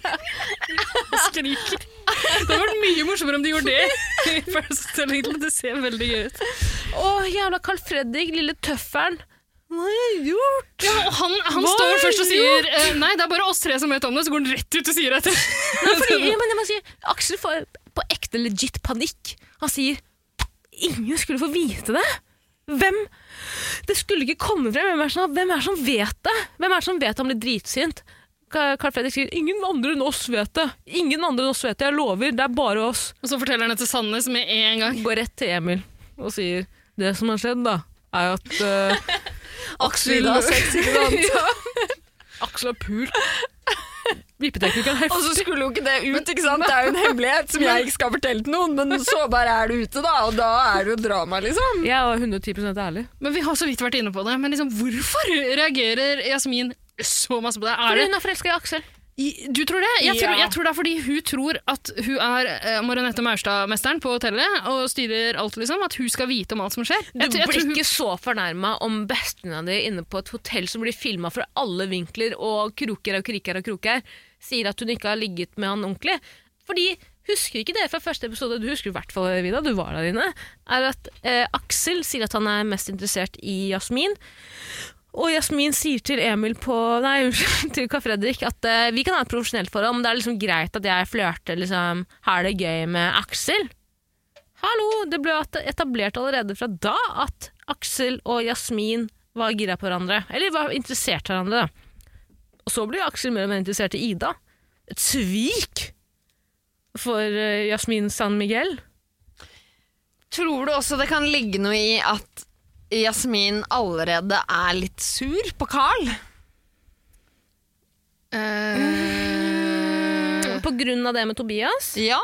[SPEAKER 3] og skriker. Det hadde vært mye morsommere om de gjorde det. i Paradise Hotel, egentlig. Det ser veldig gøy ut.
[SPEAKER 4] Å, jævla Carl Fredrik, lille tøffelen. Hva har jeg gjort?
[SPEAKER 3] Ja, og han han
[SPEAKER 4] Hva
[SPEAKER 3] står
[SPEAKER 4] har
[SPEAKER 3] først og
[SPEAKER 4] du
[SPEAKER 3] sier eh, Nei, det er bare oss tre som vet om det, så går han rett ut og sier det.
[SPEAKER 4] Nei, fordi, ja, men jeg må si, Aksel får på ekte legit panikk. Han sier ingen skulle få vite det. Hvem? Det skulle ikke komme frem. Hvem er det som, hvem er det som vet det? Hvem er det som vet han blir dritsint? Ka- Carl Fredrik sier 'ingen andre enn oss vet det'. Ingen andre enn oss vet det, jeg lover. Det er bare oss.
[SPEAKER 3] Og så forteller han det til Sandnes med en gang.
[SPEAKER 4] Går rett til Emil og sier 'det som har skjedd, da, er at eh, Aksel har sex, ikke sant? Aksel har pult. Vippeteknikeren hefter
[SPEAKER 2] Og så skulle jo ikke det ut, ikke sant? Det er jo en hemmelighet som jeg ikke skal fortelle til noen, men så bare er det ute, da, og da er det jo drama, liksom.
[SPEAKER 4] Jeg er 110 ærlig.
[SPEAKER 3] Men vi har så vidt vært inne på det. Men liksom, hvorfor reagerer Jasmin så masse på det? Er det
[SPEAKER 4] hun er forelska i Aksel.
[SPEAKER 3] I- Du tror det? Jeg tror,
[SPEAKER 4] Ja.
[SPEAKER 3] jeg tror det er fordi hun tror at hun er eh, Marionette Maurstad-mesteren på hotellet og styrer alt, liksom. At hun skal vite om alt som skjer.
[SPEAKER 4] Du
[SPEAKER 3] Jeg, tror- jeg
[SPEAKER 4] blir
[SPEAKER 3] tror hun,
[SPEAKER 4] ikke så fornærma om bestevenninna di inne på et hotell som blir filma fra alle vinkler og kroker og kriker og kroker, sier at hun ikke har ligget med han ordentlig. Fordi Husker ikke det fra første episode, du husker i hvert fall, Vida, du var der inne, er at eh, Aksel sier at han er mest interessert i Jasmin. Og Jasmin sier til Emil på Nei, unnskyld, til Karl Fredrik at eh, vi kan ha et profesjonelt forhold, men det er liksom greit at jeg flørter, liksom, har det gøy med Aksel. Hallo! Det ble at- etablert allerede fra da at Aksel og Jasmin var gira på hverandre. Eller var interessert i hverandre. da. Og så ble jo Aksel mer og mer interessert i Ida. Et svik for eh, Jasmin San Miguel.
[SPEAKER 2] Tror du også det kan ligge noe i at Jasmin allerede er litt sur på Carl?
[SPEAKER 4] På grunn av det med Tobias.
[SPEAKER 2] Ja.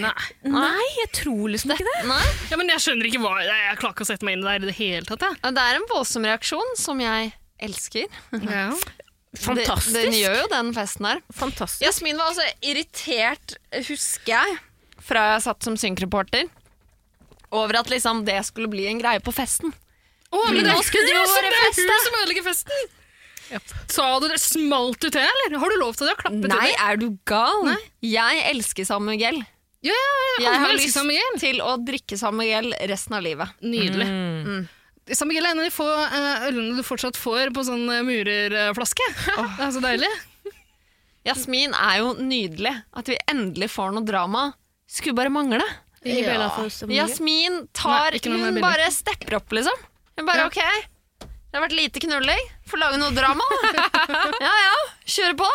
[SPEAKER 4] Nei, jeg tror liksom ikke det.
[SPEAKER 2] Nei.
[SPEAKER 3] ja, men jeg skjønner ikke hva Nei, Jeg klarer ikke å sette meg inn i det her i det hele tatt, jeg.
[SPEAKER 2] Det er en voldsom reaksjon som jeg elsker.
[SPEAKER 4] Mhm. Fantastisk.
[SPEAKER 2] Den, den gjør jo den festen her.
[SPEAKER 4] Fantastisk.
[SPEAKER 2] Jasmin var altså irritert, eh, husker jeg, fra jeg satt som synkreporter, over at liksom det skulle bli en greie på festen.
[SPEAKER 3] Å, men det,
[SPEAKER 2] Nå skulle det jo
[SPEAKER 3] så
[SPEAKER 2] være
[SPEAKER 3] det er
[SPEAKER 2] fest,
[SPEAKER 3] hun
[SPEAKER 2] da.
[SPEAKER 3] som ødelegger festen! Sa du det? Smalt du til, eller? Har du lov til det? Å klappe
[SPEAKER 2] Nei,
[SPEAKER 3] til?
[SPEAKER 2] er du gal? Jeg elsker Samuel.
[SPEAKER 3] Ja, ja, ja.
[SPEAKER 2] Jeg
[SPEAKER 3] Alle
[SPEAKER 2] har
[SPEAKER 3] elsker
[SPEAKER 2] lyst
[SPEAKER 3] Samuel.
[SPEAKER 2] til å drikke Samuel resten av livet.
[SPEAKER 3] Nydelig.
[SPEAKER 4] Mm.
[SPEAKER 3] Mm. Samigel er en av de få eh, ølene du fortsatt får på sånn eh, murerflaske. Det er så deilig.
[SPEAKER 2] Jasmin er jo nydelig. At vi endelig får noe drama, skulle bare mangle.
[SPEAKER 4] Ingen
[SPEAKER 3] Ja.
[SPEAKER 4] bjeller for oss, Emilie.
[SPEAKER 2] Jasmin tar
[SPEAKER 3] Nei, ikke noe med
[SPEAKER 2] Hun
[SPEAKER 3] bilder.
[SPEAKER 2] bare stepper opp, liksom. Hun bare
[SPEAKER 3] Ja.
[SPEAKER 2] OK, det har vært lite knulling. Får lage noe drama. ja ja, kjøre på.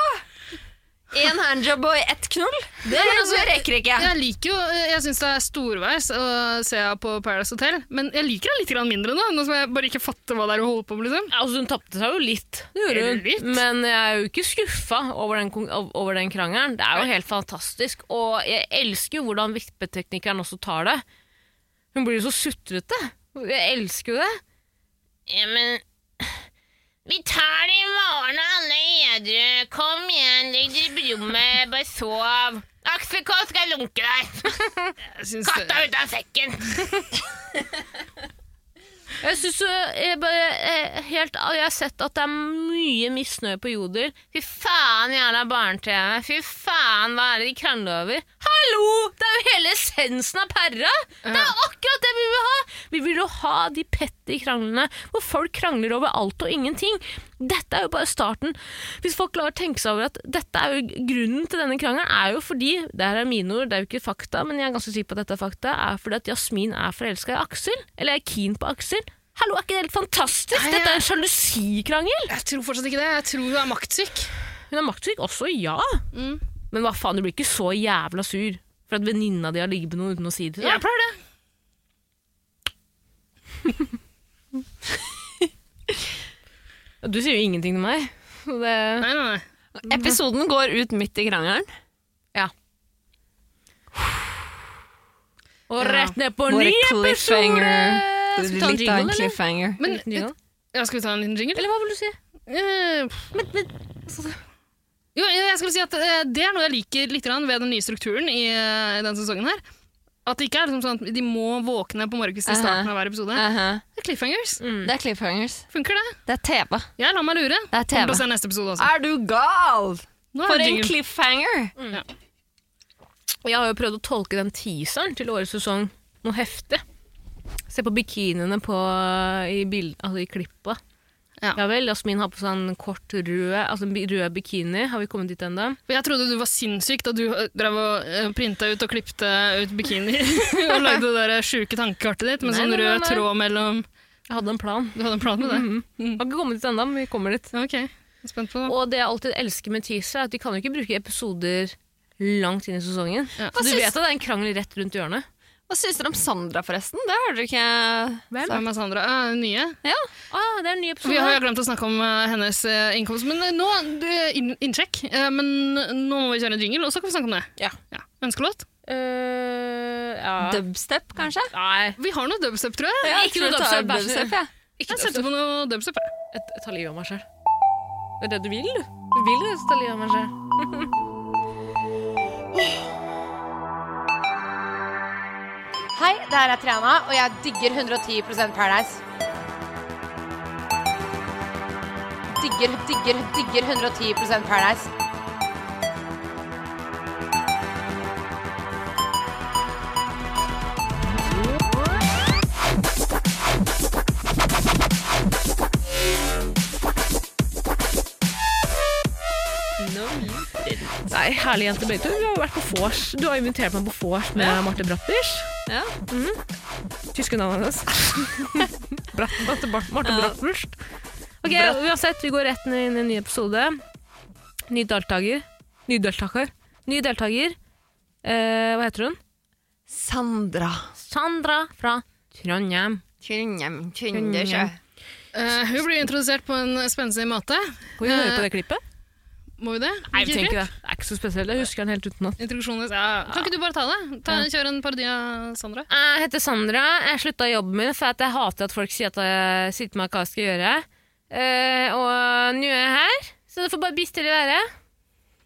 [SPEAKER 2] Én handjob og ett knull? Det,
[SPEAKER 3] altså,
[SPEAKER 2] rekker ikke.
[SPEAKER 3] Jeg liker jo, eh, jeg syns det er storveis å se henne på Paradise Hotel, men jeg liker henne litt grann mindre nå, nå som jeg bare ikke fatter hva det er hun holder på med. liksom.
[SPEAKER 4] Altså, hun tapte seg jo litt, det
[SPEAKER 3] Er
[SPEAKER 4] gjorde hun.
[SPEAKER 3] det litt?
[SPEAKER 4] men jeg er jo ikke skuffa over, den kon- ov- over den krangelen. Det er jo helt fantastisk, og jeg elsker jo hvordan vippeteknikeren også tar det. Hun blir jo så sutrete. Jeg elsker jo det. Ja, men Vi tar det i morgen, alle edru. Kom igjen, legg dere på rommet, bare sov. Aksel K skal lunke deg.
[SPEAKER 3] Jeg synes det.
[SPEAKER 4] ut av sekken! jeg synes jo jeg bare eh, helt, Jeg har sett at det er mye misnøye på Jodel. Fy faen, jævla barne-TV. Fy faen, hva er det de krangler over? Hallo! Det er jo hele essensen av perra! Det er akkurat det vi vil ha! Vi vil jo ha de petty kranglene hvor folk krangler over alt og ingenting. Dette er jo bare starten. Hvis folk klarer å tenke seg over at dette er jo grunnen til denne krangelen, er jo fordi Det her er mine ord, det er jo ikke fakta, men jeg er ganske sikker på at dette er fakta. Er fordi at Jasmin er forelska i Aksel. Eller er keen på Aksel. Hallo, er ikke det helt fantastisk?
[SPEAKER 3] Nei,
[SPEAKER 4] Dette er en
[SPEAKER 3] jeg-
[SPEAKER 4] sjalusikrangel!
[SPEAKER 3] Jeg tror fortsatt ikke det. Jeg tror hun er maktsyk.
[SPEAKER 4] Hun er maktsyk også, ja. Men hva faen, du blir ikke så jævla sur for at venninna di har ligget med noen uten å si det til
[SPEAKER 3] Jeg
[SPEAKER 4] deg.
[SPEAKER 3] pleier det.
[SPEAKER 4] Du sier jo ingenting til meg. så Det...
[SPEAKER 3] Nei, nei, nei.
[SPEAKER 2] Episoden går ut midt i krangelen.
[SPEAKER 4] Og rett ned på en
[SPEAKER 2] Bare
[SPEAKER 4] ny episode!
[SPEAKER 2] cliffhanger.
[SPEAKER 4] Skal vi ta en jingle, eller?
[SPEAKER 2] cliffhanger.
[SPEAKER 3] Men,
[SPEAKER 4] Liten jingle?
[SPEAKER 3] ja, skal vi ta en liten jingle?
[SPEAKER 4] Eller hva vil du si?
[SPEAKER 3] Eh,
[SPEAKER 4] altså,
[SPEAKER 3] jo, jeg skulle si at eh, Det er noe jeg liker litt grann ved den nye strukturen i eh, denne sesongen. her. At det ikke er liksom sånn at de må våkne på morgenkvisten i starten av hver episode. Det er cliffhangers.
[SPEAKER 4] Mm.
[SPEAKER 2] Det er cliffhangers.
[SPEAKER 3] Funker det?
[SPEAKER 2] Det er TV.
[SPEAKER 3] Jeg lar meg lure.
[SPEAKER 2] Det er
[SPEAKER 3] Kommer til å
[SPEAKER 2] TV.
[SPEAKER 3] se neste episode også.
[SPEAKER 2] Er du gal?
[SPEAKER 4] Ah,
[SPEAKER 3] Nå er
[SPEAKER 2] For
[SPEAKER 3] det
[SPEAKER 2] en
[SPEAKER 3] jingle.
[SPEAKER 2] cliffhanger!
[SPEAKER 4] Og Jeg har jo prøvd å tolke den teaseren til årets sesong noe heftig. Se på bikiniene på, i, bild, altså i klippet.
[SPEAKER 3] Ja.
[SPEAKER 4] Ja. vel, Jasmin har på seg en kort rød, altså en bi- rød bikini. Har vi kommet dit ennå?
[SPEAKER 3] For Jeg trodde du var sinnssyk da du eh, drev og eh, printa ut og klipte ut bikinier og lagde det der sjuke tankekartet ditt med
[SPEAKER 4] Nei,
[SPEAKER 3] sånn
[SPEAKER 4] nei, nei,
[SPEAKER 3] rød
[SPEAKER 4] nei.
[SPEAKER 3] tråd mellom
[SPEAKER 4] Jeg hadde en plan.
[SPEAKER 3] Du hadde en plan med det? Mm.
[SPEAKER 4] Mhm. Har ikke kommet dit ennå, men vi kommer dit.
[SPEAKER 3] Ok, jeg er spent på det.
[SPEAKER 4] Og det jeg alltid elsker med teaser, er at de kan jo ikke bruke episoder langt inn i sesongen.
[SPEAKER 3] Ja.
[SPEAKER 4] Så
[SPEAKER 2] Hva
[SPEAKER 4] du
[SPEAKER 2] syns-
[SPEAKER 4] vet at det er en krangel rett rundt hjørnet.
[SPEAKER 2] Hva syns dere om Sandra, forresten? Det har dere ikke
[SPEAKER 3] Så Hvem er Sandra? Eh, nye?
[SPEAKER 4] Ah, det er en ny episode.
[SPEAKER 3] Vi har jo glemt å snakke om eh, hennes eh, innkomst, men eh, nå det- inn- innsjekk. Eh, men nå må vi kjøre en jingle, og så kan vi snakke om det.
[SPEAKER 4] Ja.
[SPEAKER 3] Ønskelåt?
[SPEAKER 4] Øh, ja.
[SPEAKER 2] Dubstep, kanskje?
[SPEAKER 4] Nei.
[SPEAKER 3] Vi har noe dubstep, tror jeg.
[SPEAKER 2] Jeg
[SPEAKER 4] ikke
[SPEAKER 2] tror jeg
[SPEAKER 4] noe
[SPEAKER 2] tar
[SPEAKER 4] dubstep, bæsje.
[SPEAKER 2] dubstep, jeg.
[SPEAKER 4] Ikke
[SPEAKER 3] Jeg setter på noe dubstep. jeg.
[SPEAKER 4] Jeg, jeg tar livet av meg sjøl. Det er det du vil, du. Du vil jo ta livet av meg sjøl.
[SPEAKER 6] Hei, det her er Triana, og jeg digger 110 Paradise. Digger, digger, digger 110 Paradise.
[SPEAKER 4] Nei, herlig jente begge to. Vi har vært på vors. Du har invitert meg på vors med Marte Bratters.
[SPEAKER 2] Ja.
[SPEAKER 4] Tyske navnet hennes. Bratt- Marte Bart- Marte Bratters. Ok, uansett, vi går rett inn i en ny episode. Ny deltaker. Ny deltaker. Ny deltaker. Eh, hva heter hun?
[SPEAKER 2] Sandra.
[SPEAKER 4] Sandra fra Trondheim.
[SPEAKER 2] Trondheim, Trøndersjø.
[SPEAKER 3] Eh, hun blir introdusert på en spenstig måte.
[SPEAKER 4] Kan vi høre på det klippet?
[SPEAKER 3] Må vi det?
[SPEAKER 4] Eh, Nei, vi
[SPEAKER 3] Ikke
[SPEAKER 4] trenger
[SPEAKER 3] fint?
[SPEAKER 4] ikke det. Det er ikke så spesielt. Jeg husker den helt utenat.
[SPEAKER 3] Introduksjonen hennes, ja. Kan ikke du bare ta det? Ta, kjør en parodi av Sandra.
[SPEAKER 4] Jeg heter Sandra. Jeg slutta i jobben min for at jeg hater at folk sier at jeg sitter med hva jeg skal gjøre. Eh, og nå er jeg her, så det får bare bistere være.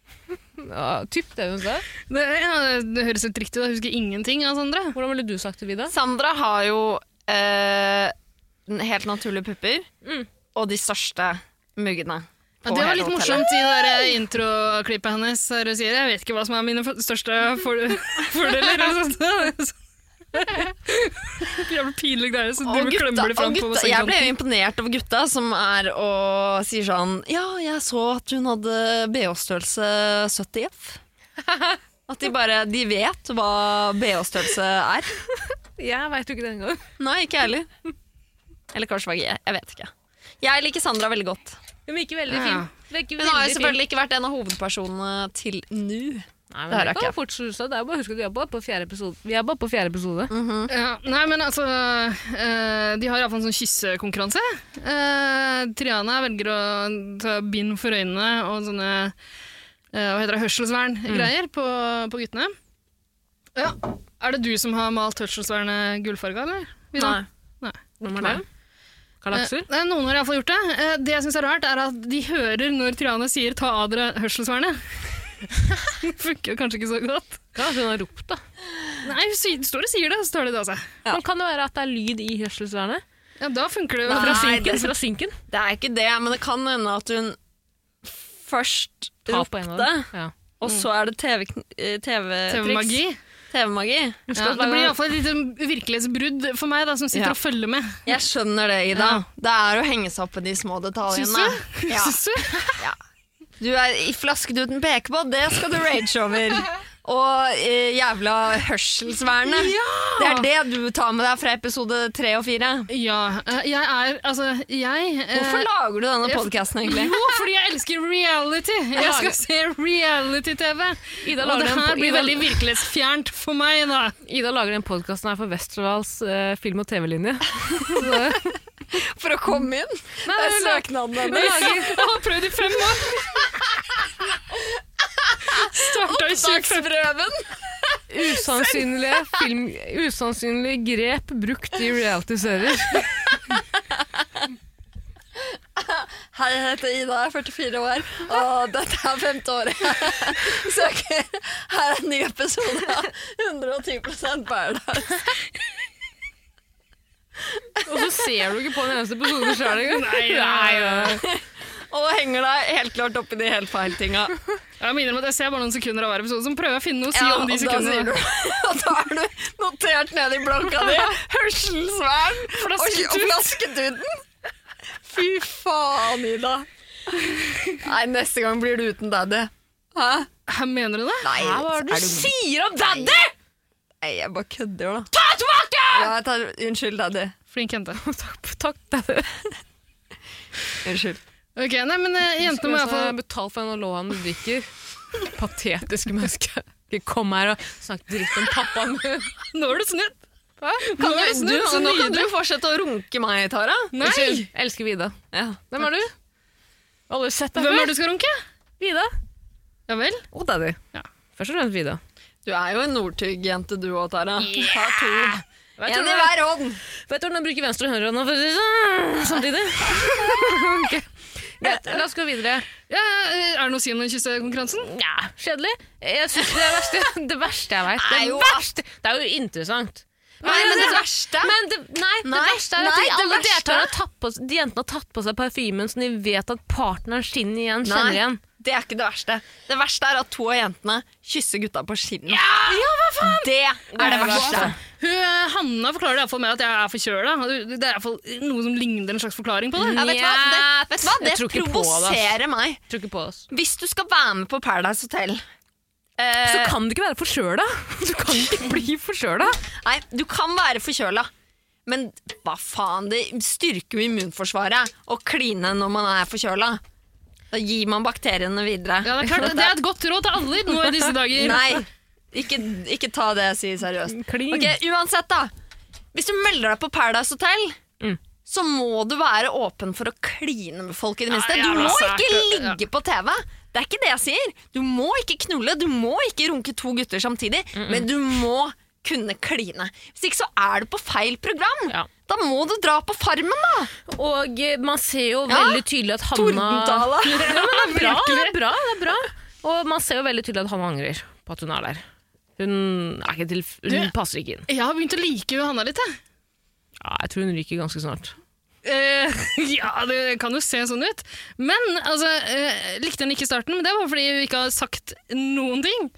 [SPEAKER 4] ja, typ det hun sa.
[SPEAKER 3] Det, ja, det høres helt riktig ut. Jeg husker ingenting av Sandra.
[SPEAKER 4] Hvordan ville du sagt det, Vida?
[SPEAKER 2] Sandra har jo eh, helt naturlige pupper,
[SPEAKER 4] Mm.
[SPEAKER 2] og de største muggene.
[SPEAKER 3] Ja, det var litt morsomt i det der eh, introklippet hennes. der Hun sier 'jeg vet ikke hva som er mine for- største for fordeler'. eller sånt. Jævlig pinlig greie. Så
[SPEAKER 2] Og
[SPEAKER 3] driver og
[SPEAKER 2] gutta,
[SPEAKER 3] klemmer det fram
[SPEAKER 2] og
[SPEAKER 3] på
[SPEAKER 2] gutta, jeg ble
[SPEAKER 3] sengekanten.
[SPEAKER 2] jo imponert over gutta som er og sier sånn Ja, jeg så at hun hadde BH-størrelse 70F. At de bare De vet hva BH-størrelse er.
[SPEAKER 4] Jeg veit jo ikke det engang.
[SPEAKER 2] Nei, ikke jeg heller. Eller kanskje var jeg Jeg vet ikke. Jeg liker Sandra veldig godt.
[SPEAKER 4] Hun gikk veldig
[SPEAKER 3] Ja.
[SPEAKER 4] fin. Det
[SPEAKER 2] Hun
[SPEAKER 4] gikk
[SPEAKER 2] har jo
[SPEAKER 4] veldig fin.
[SPEAKER 2] selvfølgelig ikke vært en av hovedpersonene til nå.
[SPEAKER 4] Nei, men
[SPEAKER 2] Det har
[SPEAKER 4] det
[SPEAKER 2] jeg
[SPEAKER 4] kan
[SPEAKER 2] ikke.
[SPEAKER 4] fort slutte. Det er bare å huske at vi er bare på fjerde episode. Vi er bare på fjerde episode.
[SPEAKER 3] Ja, nei, men altså eh, De har iallfall en sånn kyssekonkurranse. Eh, Triana velger å ta bind for øynene og sånne eh, Hva heter det, hørselsverngreier
[SPEAKER 2] Mm.
[SPEAKER 3] på, på guttene. Ja. Er det du som har malt hørselsvernet gullfarga, eller? Vidar?
[SPEAKER 4] Hvem er det? Karl Aksel?
[SPEAKER 3] Eh, nei, noen har iallfall gjort det. Eh, det jeg syns er rart, er at de hører når Triana sier 'ta av dere hørselsvernet'. Det Funker jo kanskje ikke så godt.
[SPEAKER 4] Karl Aksel har ropt, da.
[SPEAKER 3] Nei, hun sier- står og sier det, og så tar de det av seg.
[SPEAKER 2] Ja.
[SPEAKER 4] Men kan det være at det er lyd i hørselsvernet?
[SPEAKER 3] Ja, Da funker det jo.
[SPEAKER 4] Fra
[SPEAKER 2] Nei,
[SPEAKER 4] synken?
[SPEAKER 2] det-
[SPEAKER 4] Fra synken?
[SPEAKER 2] Det er ikke det, men det kan hende at hun først
[SPEAKER 4] Ta på en av
[SPEAKER 2] ropte,
[SPEAKER 4] dem. Mm. Ja.
[SPEAKER 2] og så er det eh, TV-triks.
[SPEAKER 3] TV-magi.
[SPEAKER 2] TV-magi.
[SPEAKER 3] Ja, det blir iallfall et lite virkelighetsbrudd for meg, da, som sitter
[SPEAKER 2] Ja.
[SPEAKER 3] og følger med.
[SPEAKER 2] Jeg skjønner det, Ida. Det er å henge seg opp i de små
[SPEAKER 3] Syns
[SPEAKER 2] detaljene.
[SPEAKER 3] du?
[SPEAKER 2] Ja.
[SPEAKER 3] Syns du?
[SPEAKER 2] Du er i flasket uten pekebåt, det skal du rage over. Og eh, jævla hørselsvernet. Det er det du tar med deg fra episode tre og fire.
[SPEAKER 3] Ja. eh, Jeg er Altså, jeg eh,
[SPEAKER 2] Hvorfor lager du denne podkasten egentlig?
[SPEAKER 3] Jo, fordi jeg elsker reality! Jeg skal se reality-TV!
[SPEAKER 4] Ida
[SPEAKER 3] Og
[SPEAKER 4] lager
[SPEAKER 3] det
[SPEAKER 4] en po-
[SPEAKER 3] her blir
[SPEAKER 4] Ida-
[SPEAKER 3] veldig virkelighetsfjernt for meg, da.
[SPEAKER 4] Ida lager den podkasten her for Westerdals eh, film- og TV-linje.
[SPEAKER 2] For å komme inn? Det er
[SPEAKER 4] hun lager-
[SPEAKER 2] søknaden
[SPEAKER 4] Hun
[SPEAKER 2] hennes.
[SPEAKER 4] lager,
[SPEAKER 3] Jeg har prøvd i fem år! Starta i 2015.
[SPEAKER 2] Dagsprøven.
[SPEAKER 4] usannsynlige, film, usannsynlige grep brukt i reality-serier.
[SPEAKER 2] Hei, jeg heter Ida, jeg er 44 år, og dette er femte året. Så ok, her er en ny episode av 110 Paradise.
[SPEAKER 4] Og så ser du ikke på en eneste episode sjøl engang.
[SPEAKER 2] Og henger deg helt klart opp i de helt feil tinga.
[SPEAKER 3] Jeg minner om at jeg ser bare noen sekunder av hver episode, så prøver jeg å finne noe å si
[SPEAKER 2] Ja,
[SPEAKER 3] om
[SPEAKER 2] og da
[SPEAKER 3] de
[SPEAKER 2] sier
[SPEAKER 3] sekundene.
[SPEAKER 2] du Og da er du notert ned i blokka di. Hørselsvern og,
[SPEAKER 3] Flasketut.
[SPEAKER 2] og flasketuten. Fy faen, Ida. Nei, neste gang blir du uten daddy. Hæ?
[SPEAKER 3] Hæ, Mener du det?
[SPEAKER 2] Nei,
[SPEAKER 4] Hva er det du
[SPEAKER 2] er du-
[SPEAKER 4] sier om daddy?!
[SPEAKER 2] Nei, jeg bare kødder, da.
[SPEAKER 4] Ta tilbake!
[SPEAKER 2] Ja, jeg tar, unnskyld, daddy.
[SPEAKER 3] Flink jente.
[SPEAKER 4] Takk, takk daddy.
[SPEAKER 2] Unnskyld.
[SPEAKER 3] Ok, nei, men eh, jentene må i hvert fall
[SPEAKER 4] betale for den lånen du drikker. Patetiske mennesker. Ikke kom her og snakk dritt om pappaen min.
[SPEAKER 3] Nå er du snudd!
[SPEAKER 2] Kan
[SPEAKER 3] er
[SPEAKER 2] du,
[SPEAKER 3] det snudd,
[SPEAKER 2] du,
[SPEAKER 3] så
[SPEAKER 2] nå kan du
[SPEAKER 3] nydelig.
[SPEAKER 2] fortsette å runke meg, Tara.
[SPEAKER 3] Nei!
[SPEAKER 4] Unnskyld, jeg elsker Vida.
[SPEAKER 2] Ja.
[SPEAKER 4] Hvem er du? Aldri sett deg
[SPEAKER 3] Hvem er
[SPEAKER 4] før.
[SPEAKER 3] det du skal runke?
[SPEAKER 4] Vida.
[SPEAKER 3] Ja vel?
[SPEAKER 2] Oh, daddy.
[SPEAKER 4] Først og fremst Vida.
[SPEAKER 2] Du er jo en Northug-jente, du òg, Tara. Ta to.
[SPEAKER 4] Vet
[SPEAKER 2] En
[SPEAKER 4] du
[SPEAKER 2] i
[SPEAKER 4] hva-
[SPEAKER 2] hver hånd.
[SPEAKER 4] Vet du hvordan jeg bruker venstre og høyre nå for å si sånn, samtidig? Ok. Greit, la oss gå videre.
[SPEAKER 3] Ja, eh, er det noe å si om den kyssekonkurransen?
[SPEAKER 4] Nja, kjedelig. Jeg synes det er det verste, det verste jeg vet.
[SPEAKER 2] Nei,
[SPEAKER 4] Det,
[SPEAKER 2] jo.
[SPEAKER 4] verste. det er jo interessant.
[SPEAKER 2] Nei, men det verste
[SPEAKER 4] Men det, nei,
[SPEAKER 2] Nei,
[SPEAKER 4] det verste er at
[SPEAKER 2] nei,
[SPEAKER 4] de,
[SPEAKER 2] det
[SPEAKER 4] alle
[SPEAKER 2] verste-
[SPEAKER 4] deltakerne har tatt på, de jentene har tatt på seg parfymen som de vet at partneren sin igjen kjenner igjen.
[SPEAKER 2] det er ikke det verste. Det verste er at to av jentene kysser gutta på kinnet. Det er det verste.
[SPEAKER 3] Hun, eh, Hanna forklarer det i hvert fall med at jeg er forkjøla. Det er i hvert fall noe som ligner en slags forklaring på det.
[SPEAKER 2] Ja, vet du hva? Det, vet du hva?
[SPEAKER 4] Jeg
[SPEAKER 2] det
[SPEAKER 4] tror ikke på det, ass.
[SPEAKER 2] provoserer meg.
[SPEAKER 4] Tror ikke på oss.
[SPEAKER 2] Hvis du skal være med på Paradise Hotel
[SPEAKER 4] Så
[SPEAKER 2] eh,
[SPEAKER 4] kan du ikke være forkjøla! Du kan ikke bli forkjøla!
[SPEAKER 2] Nei, du kan være forkjøla. Men hva faen, det styrker jo immunforsvaret å kline når man er forkjøla. Da gir man bakteriene videre.
[SPEAKER 3] Ja, det er klart. Det er et godt råd til alle nå i disse dager.
[SPEAKER 2] Nei, ikke, ikke ta det jeg sier seriøst.
[SPEAKER 4] Klin.
[SPEAKER 2] Ok, Uansett, da. Hvis du melder deg på Paradise Hotel,
[SPEAKER 4] Mm.
[SPEAKER 2] så må du være åpen for å kline med folk, i det minste.
[SPEAKER 3] Ja,
[SPEAKER 2] Du
[SPEAKER 3] jævla
[SPEAKER 2] må
[SPEAKER 3] sært,
[SPEAKER 2] ikke
[SPEAKER 3] ja.
[SPEAKER 2] ligge på TV. Det er ikke det jeg sier. Du må ikke knulle, du må ikke runke to gutter samtidig, men du må kunne kline. Hvis ikke så er du på feil program.
[SPEAKER 4] Ja.
[SPEAKER 2] Da må du dra på Farmen, da!
[SPEAKER 4] Og eh, man ser jo
[SPEAKER 2] Ja.
[SPEAKER 4] veldig tydelig at Hanna
[SPEAKER 2] Tordendala.
[SPEAKER 4] Ja, men det er bra, det er bra, det er bra. Og man ser jo veldig tydelig at han angrer på at hun er der. Hun, er ikke til, hun
[SPEAKER 3] Du-
[SPEAKER 4] passer ikke inn.
[SPEAKER 3] Jeg har begynt å like Hanna litt, jeg.
[SPEAKER 4] Ja, jeg tror hun ryker ganske snart.
[SPEAKER 3] Eh, ja, det kan jo se sånn ut. Men altså, eh, likte henne ikke i starten, men det var fordi hun ikke har sagt noen ting.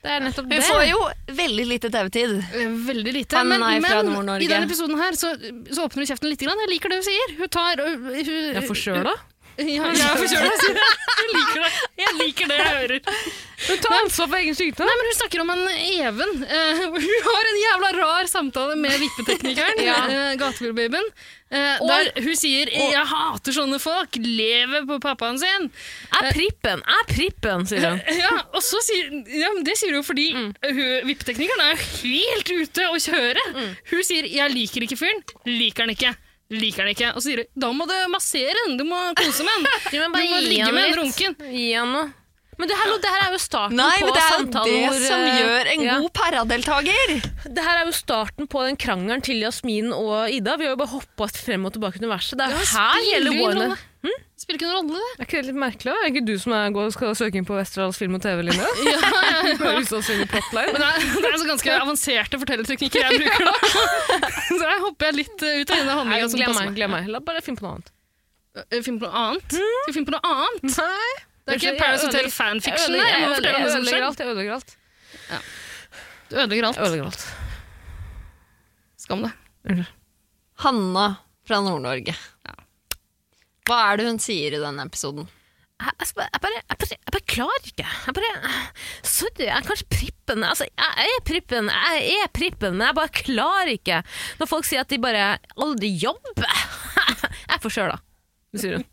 [SPEAKER 4] Det er nettopp
[SPEAKER 2] Hun får jo veldig lite TV-tid.
[SPEAKER 3] Eh, Veldig lite.
[SPEAKER 2] Han
[SPEAKER 3] men
[SPEAKER 2] er fra
[SPEAKER 3] men
[SPEAKER 2] Nord-Norge.
[SPEAKER 3] i denne episoden her så, så åpner hun kjeften litt. Grann. Jeg liker det hun sier. Hun tar øh, hun,
[SPEAKER 4] Jeg får sjøl, da.
[SPEAKER 3] Ja, jeg er forkjøla, sier hun. Jeg liker det. Jeg liker det jeg hører.
[SPEAKER 4] Hun tar ansvar for egen sykdom.
[SPEAKER 3] Nei, men Hun snakker om en Even. Eh, hun har en jævla rar samtale med vippeteknikeren. ja.
[SPEAKER 4] Ja.
[SPEAKER 3] Gatebilbabyen. eh,
[SPEAKER 4] Og-
[SPEAKER 3] der hun sier 'jeg hater sånne folk', lever på pappaen sin.
[SPEAKER 4] Er prippen, er prippen, sier hun.
[SPEAKER 3] Ja, og så sier, ja, men Det sier hun jo fordi
[SPEAKER 4] Mm.
[SPEAKER 3] hun- vippeteknikeren er jo helt ute å kjøre.
[SPEAKER 4] Mm.
[SPEAKER 3] Hun sier 'jeg liker ikke fyren', liker han ikke. Liker han ikke. Og så sier hun da må du massere den, du må kose med den.
[SPEAKER 4] Du må
[SPEAKER 3] Du må ligge med den runken.
[SPEAKER 4] Gi han noe. Men det, hallo, det her er jo starten
[SPEAKER 2] Nei,
[SPEAKER 4] på
[SPEAKER 2] men det er jo
[SPEAKER 4] samtalen
[SPEAKER 2] det
[SPEAKER 4] hvor,
[SPEAKER 2] som
[SPEAKER 4] eh,
[SPEAKER 2] gjør en
[SPEAKER 4] ja.
[SPEAKER 2] god paradeltaker.
[SPEAKER 4] Det her er jo starten på den krangelen til Jasmin og Ida. Vi har jo bare hoppa frem og tilbake i universet. Det er jo her
[SPEAKER 3] spiller
[SPEAKER 4] gjelder
[SPEAKER 3] ingen
[SPEAKER 4] warene.
[SPEAKER 3] rolle. Spiller ikke noen rolle, det.
[SPEAKER 4] Er ikke det litt merkelig? da? Er ikke du som er, går, skal søke inn på Westerdals film- og TV-linje? ja, ja, ja.
[SPEAKER 3] Men det er, det er så ganske avanserte fortellerteknikker jeg bruker da. Så her hopper jeg litt eh, ut av denne handlinga som
[SPEAKER 4] Glem
[SPEAKER 3] passer
[SPEAKER 4] meg.
[SPEAKER 3] meg.
[SPEAKER 4] glem meg. La bare finne på noe annet.
[SPEAKER 3] Eh, Finn på noe annet? Skal vi finne på noe annet?
[SPEAKER 4] Nei.
[SPEAKER 3] Det er ikke Paradise Hotel fanfiction. der. Jeg må fortelle om
[SPEAKER 4] Jeg
[SPEAKER 3] det som
[SPEAKER 4] ødelegger
[SPEAKER 3] skjer.
[SPEAKER 4] alt. Jeg ødelegger alt.
[SPEAKER 3] Du ødelegger
[SPEAKER 4] Jeg
[SPEAKER 3] alt.
[SPEAKER 4] ødelegger alt.
[SPEAKER 3] Skam deg.
[SPEAKER 2] Hanna fra Nord-Norge. Hva er det hun sier i denne episoden?
[SPEAKER 4] Jeg, jeg, bare, jeg, bare, jeg, bare, jeg bare klarer ikke. Jeg bare, sorry, jeg er kanskje prippen. Altså, jeg er prippen, jeg er prippen, men jeg bare klarer ikke. Når folk sier at de bare aldri jobber. Jeg er for sjøl, da. Det sier hun.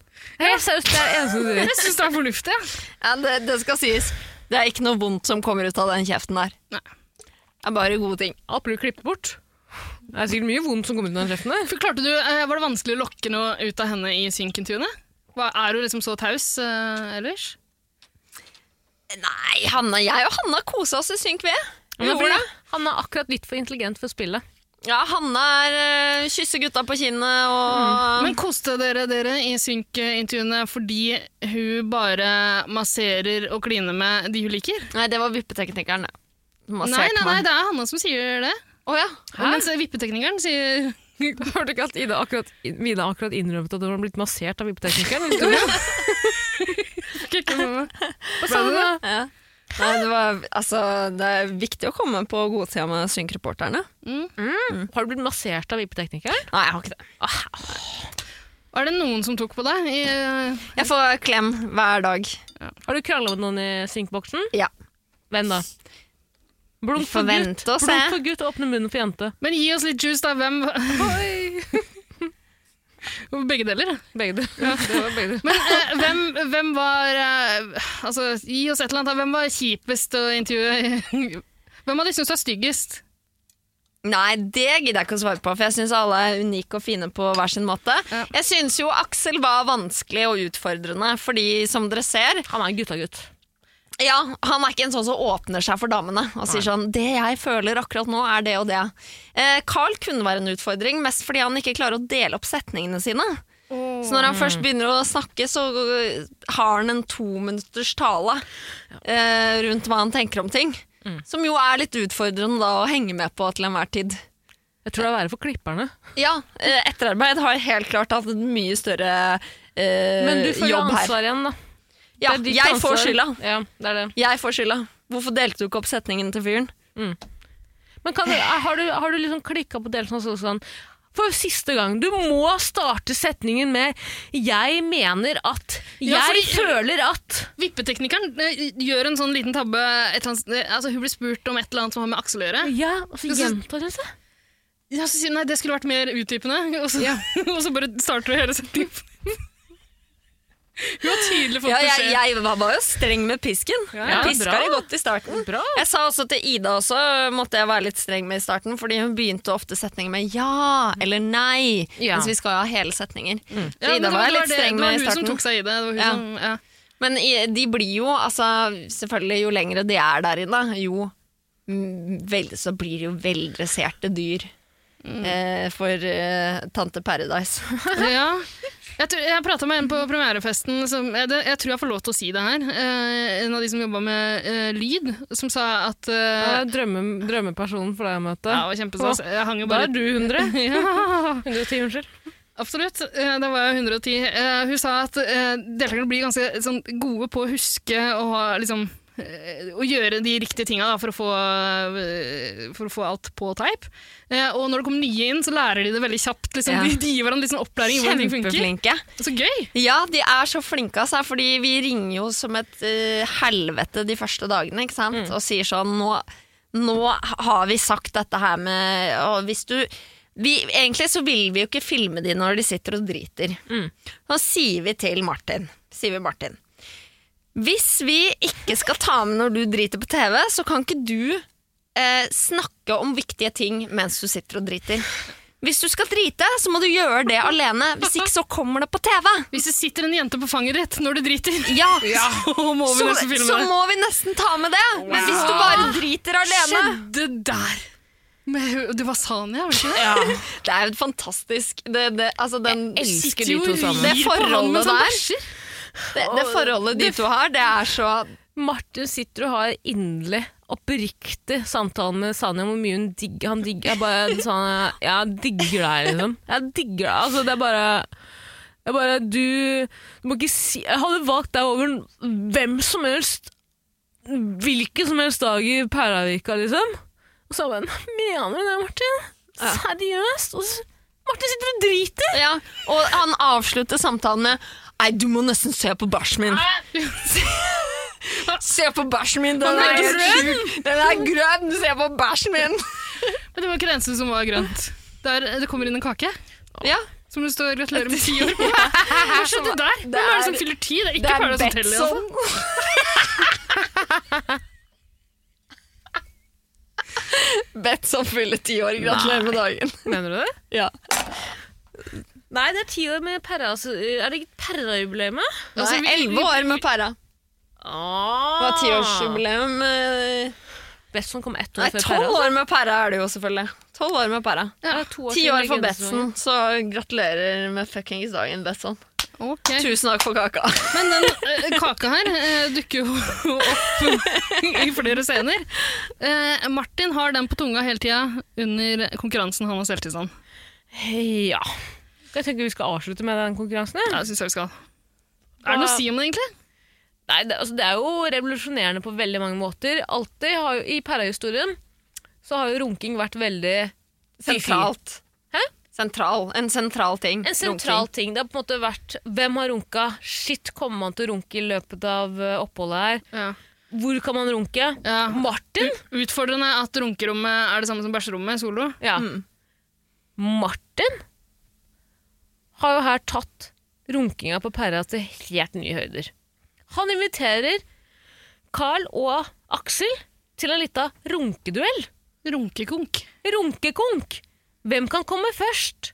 [SPEAKER 4] Helt seriøst, det er det eneste hun sier.
[SPEAKER 3] Jeg syns det er fornuftig. jeg.
[SPEAKER 2] Ja, det, det skal sies. Det er ikke noe vondt som kommer ut av den kjeften der.
[SPEAKER 3] Nei.
[SPEAKER 2] Det er bare gode ting.
[SPEAKER 4] Alt blir klippet bort. Det er sikkert mye vondt som kommer ut av den kjeften der.
[SPEAKER 3] For klarte du, eh, Var det vanskelig å lokke noe ut av henne i synkintunet? Hva- Er hun liksom så taus eh, ellers?
[SPEAKER 2] Nei, Hanna, jeg og Hanna kosa oss i Synk V. Vi gjorde det.
[SPEAKER 4] Han er akkurat litt for intelligent for spillet.
[SPEAKER 2] Ja, Hanna er øh, kysser gutta på kinnet og
[SPEAKER 3] Men koste dere dere i synkintunet fordi hun bare masserer og kliner med de hun liker?
[SPEAKER 2] Nei, det var vippeteknikeren. det. Hun har
[SPEAKER 3] Nei,
[SPEAKER 2] sett
[SPEAKER 3] nei, nei,
[SPEAKER 2] meg.
[SPEAKER 3] det er Hanna som sier det.
[SPEAKER 2] Å ja.
[SPEAKER 3] Mens vippeteknikeren sier
[SPEAKER 4] Hørte ikke at Ida akkurat, Vida akkurat innrømmet at hun var blitt massert av vippeteknikeren? Hva sa du da?
[SPEAKER 2] ja. Nei, det, var, altså, det er viktig å komme på godtida med synkreporterne.
[SPEAKER 4] Har du blitt massert av vippeteknikeren?
[SPEAKER 2] Nei, jeg har ikke det.
[SPEAKER 3] Er det noen som tok på deg? I, eh,
[SPEAKER 2] Jeg får klem hver dag.
[SPEAKER 4] Har du krangla med noen i synkboksen?
[SPEAKER 2] Ja.
[SPEAKER 4] Hvem da? Blunk for gutt,
[SPEAKER 2] Forvente å se.
[SPEAKER 4] blunk for gutt og åpne munnen for jente.
[SPEAKER 3] Men gi oss litt juice, da. Hvem Begge deler.
[SPEAKER 4] Begge deler. Ja, det var begge deler.
[SPEAKER 3] Men eh, hvem, hvem var eh, Altså, gi oss et eller annet. da. Hvem var kjipest å intervjue? Hvem av de syns du er styggest?
[SPEAKER 2] Nei, det gidder jeg ikke å svare på, for jeg syns alle er unike og fine på hver sin måte.
[SPEAKER 3] Ja.
[SPEAKER 2] Jeg syns jo Aksel var vanskelig og utfordrende, fordi som dere ser
[SPEAKER 4] Han er en guttagutt.
[SPEAKER 2] Ja, han er ikke en sånn som åpner seg for damene og sier sånn 'Det jeg føler akkurat nå, er det og det'. Eh, Carl kunne være en utfordring, mest fordi han ikke klarer å dele opp setningene sine. Så når han først begynner å snakke, så øh, har han en tominutters tale eh, rundt hva han tenker om ting. Som jo er litt utfordrende da å henge med på til enhver tid.
[SPEAKER 4] Jeg tror det er verre for klipperne.
[SPEAKER 2] Ja, eh, etterarbeid har helt klart hatt en mye større eh,
[SPEAKER 4] Men du får jo
[SPEAKER 2] jobb her.
[SPEAKER 4] ansvar igjen, da.
[SPEAKER 2] Ja,
[SPEAKER 4] Det er ditt
[SPEAKER 2] jeg
[SPEAKER 4] ansvar.
[SPEAKER 2] får skylda.
[SPEAKER 4] Ja, det er det.
[SPEAKER 2] Jeg får skylda. Hvorfor delte du ikke opp setningen til fyren?
[SPEAKER 4] Men kan, du- har, du, har du liksom klikka på delelsen og så- sånn For siste gang, du må starte setningen med 'jeg mener at', 'jeg
[SPEAKER 3] Ja, fordi-
[SPEAKER 4] føler at'.
[SPEAKER 3] Vippeteknikeren eh, gjør en sånn liten tabbe. Et eller annet, eh, altså, hun blir spurt om et eller annet som har med Aksel å gjøre.
[SPEAKER 4] Ja, og så
[SPEAKER 3] Jeg altså, synes-
[SPEAKER 4] gjentar hun seg.
[SPEAKER 3] Ja, så sier hun, Nei, det skulle vært mer utdypende, og så, og så bare starter du hele setningen. Hun har tydelig fått
[SPEAKER 2] Ja,
[SPEAKER 3] beskjed.
[SPEAKER 2] jeg, jeg var var jo streng med pisken.
[SPEAKER 4] ja,
[SPEAKER 2] jeg piska
[SPEAKER 4] bra.
[SPEAKER 2] det godt i starten.
[SPEAKER 4] Bra.
[SPEAKER 2] Jeg sa også til Ida også, måtte jeg være litt streng med i starten, fordi hun begynte ofte setninger med ja eller nei,
[SPEAKER 4] Ja.
[SPEAKER 2] mens vi skal jo ha hele setninger.
[SPEAKER 3] Mm. Ja,
[SPEAKER 2] Så
[SPEAKER 3] men
[SPEAKER 2] Ida var,
[SPEAKER 3] det var-
[SPEAKER 2] jeg
[SPEAKER 3] det var
[SPEAKER 2] litt
[SPEAKER 3] det-
[SPEAKER 2] streng med i
[SPEAKER 3] Det var hun som
[SPEAKER 2] starten.
[SPEAKER 3] tok seg i det. det var hun
[SPEAKER 2] Ja.
[SPEAKER 3] Som, ja.
[SPEAKER 2] Men i- de blir jo, altså selvfølgelig jo lengre de er der inne, jo mm, vel, så blir de jo veldresserte dyr eh, for eh, Tante Paradise.
[SPEAKER 3] ja. Jeg, tror, jeg prata med en på premierefesten som jeg, det, jeg tror jeg får lov til å si det her. Eh, en av de som jobba med eh, lyd, som sa at eh,
[SPEAKER 4] Ja, drømme, drømmepersonen for deg å møte.
[SPEAKER 3] ja, det var kjempestas. Jeg hang jo
[SPEAKER 4] da
[SPEAKER 3] bare
[SPEAKER 4] er du 100.
[SPEAKER 3] ja.
[SPEAKER 4] 110, unnskyld.
[SPEAKER 3] Absolutt. Eh, Da var jeg 110. Eh, Hun sa at eh, deltakerne blir ganske sånn, gode på å huske og ha, liksom, eh, å gjøre de riktige tinga da, for, å få, eh, for å få alt på teip. Eh, Og når det kommer nye inn, så lærer de det veldig kjapt. Liksom.
[SPEAKER 2] Ja.
[SPEAKER 3] De, de gir hverandre litt sånn opplæring i hvordan ting funker.
[SPEAKER 2] Kjempeflinke.
[SPEAKER 3] Så gøy!
[SPEAKER 2] Ja, de er så flinke av seg, fordi vi ringer jo som et eh, helvete de første dagene, ikke sant? Og sier sånn, nå, nå har vi sagt dette her med, og hvis du... Vi, egentlig så vil vi jo ikke filme de når de sitter og driter. Nå sier vi til Martin, sier vi Martin, hvis vi ikke skal ta med når du driter på TV, så kan ikke du eh, snakke om viktige ting mens du sitter og driter. Hvis du skal drite, så må du gjøre det alene. Hvis ikke så kommer det på TV.
[SPEAKER 3] Hvis det sitter en jente på fanget ditt når du driter,
[SPEAKER 2] Ja,
[SPEAKER 3] så må vi
[SPEAKER 2] så,
[SPEAKER 3] nesten filme
[SPEAKER 2] så
[SPEAKER 3] det.
[SPEAKER 2] må vi nesten ta med det. Men hvis du bare driter alene
[SPEAKER 3] Skjedde der! Med, det var Sanja, var det ikke det?
[SPEAKER 2] Det er jo et fantastisk Det, det, altså den,
[SPEAKER 4] Jeg
[SPEAKER 2] sitter
[SPEAKER 4] elsker de
[SPEAKER 2] jo
[SPEAKER 4] to
[SPEAKER 2] i-
[SPEAKER 4] sammen.
[SPEAKER 2] Det
[SPEAKER 3] Gir på han med
[SPEAKER 2] forholdet
[SPEAKER 3] sånn
[SPEAKER 2] der,
[SPEAKER 3] bæsjer.
[SPEAKER 2] det, det forholdet de to har, det er så
[SPEAKER 4] Martin sitter og har inderlig, oppriktig samtale med Sanja om hvor mye hun digger han digger. Jeg bare sa jeg digger deg, liksom. Jeg digger deg. Altså, det er bare jeg bare, du, du må ikke si Jeg hadde valgt deg over hvem som helst, hvilken som helst dag i Pæravika, liksom. Og så bare Mener du det, Martin? Seriøst? Og så, Martin sitter og driter!
[SPEAKER 2] ja. Og han avslutter samtalen med Nei, du må nesten se på bæsjen min. Se på bæsjen min, den
[SPEAKER 3] er
[SPEAKER 2] er grønn! Den er grønn, se på bæsjen min!
[SPEAKER 3] Men det var ikke det eneste som var grønt. Der, det kommer inn en kake.
[SPEAKER 2] Ja,
[SPEAKER 3] Som det står 'gratulerer med ti år' på. Hva skjedde der? Hvem er det som fyller ti? Det er
[SPEAKER 2] det
[SPEAKER 3] ikke
[SPEAKER 2] er
[SPEAKER 3] Paradise Hotel. Altså.
[SPEAKER 2] Betson.
[SPEAKER 4] altså?
[SPEAKER 2] Betson fyller ti år. Gratulerer med dagen.
[SPEAKER 4] Mener du det?
[SPEAKER 2] Ja.
[SPEAKER 4] Nei, det er ti år med pæra... Er det ikke pærajubileet?
[SPEAKER 3] Altså, vi-
[SPEAKER 2] Nei, elleve år med pæra.
[SPEAKER 4] Ah.
[SPEAKER 2] Det var tiårsjubileum eh,
[SPEAKER 4] Besson kom ett år
[SPEAKER 2] Nei,
[SPEAKER 4] før
[SPEAKER 2] tolv år med pæra er det jo, selvfølgelig. Tolv år med pæra.
[SPEAKER 4] Ja,
[SPEAKER 2] Ti år for Betson, så gratulerer med fuckings dagen, Betson.
[SPEAKER 3] Ok.
[SPEAKER 4] Eh.
[SPEAKER 2] Tusen takk for kaka.
[SPEAKER 3] Men den eh, kaka her eh, dukker jo opp i flere scener. Eh, Martin har den på tunga hele tida under konkurransen han har selvtilstand.
[SPEAKER 4] altså. Hei, ja. Jeg tenker vi skal avslutte med den konkurransen. Ja.
[SPEAKER 3] Ja, det syns jeg vi skal. Er det noe å si om det, egentlig?
[SPEAKER 4] Nei, det, altså, det er jo revolusjonerende på veldig mange måter. Alltid har jo, I pærahistorien så har jo runking vært veldig
[SPEAKER 2] Sentralt.
[SPEAKER 4] Hæ?
[SPEAKER 2] Sentral. En sentral ting.
[SPEAKER 4] En sentral ting. Det har på en måte vært hvem har runka? Shit, kommer man til å runke i løpet av eh, oppholdet her?
[SPEAKER 3] Ja.
[SPEAKER 4] Hvor kan man runke?
[SPEAKER 3] Ja.
[SPEAKER 4] Martin?
[SPEAKER 3] Utfordrende at runkerommet er det samme som bæsjerommet, solo.
[SPEAKER 4] Ja. Martin har jo her tatt runkinga på pæra til helt nye høyder. Han inviterer Carl og Aksel til en lita runkeduell.
[SPEAKER 3] Runkekonk.
[SPEAKER 4] Runkekonk! Hvem kan komme først?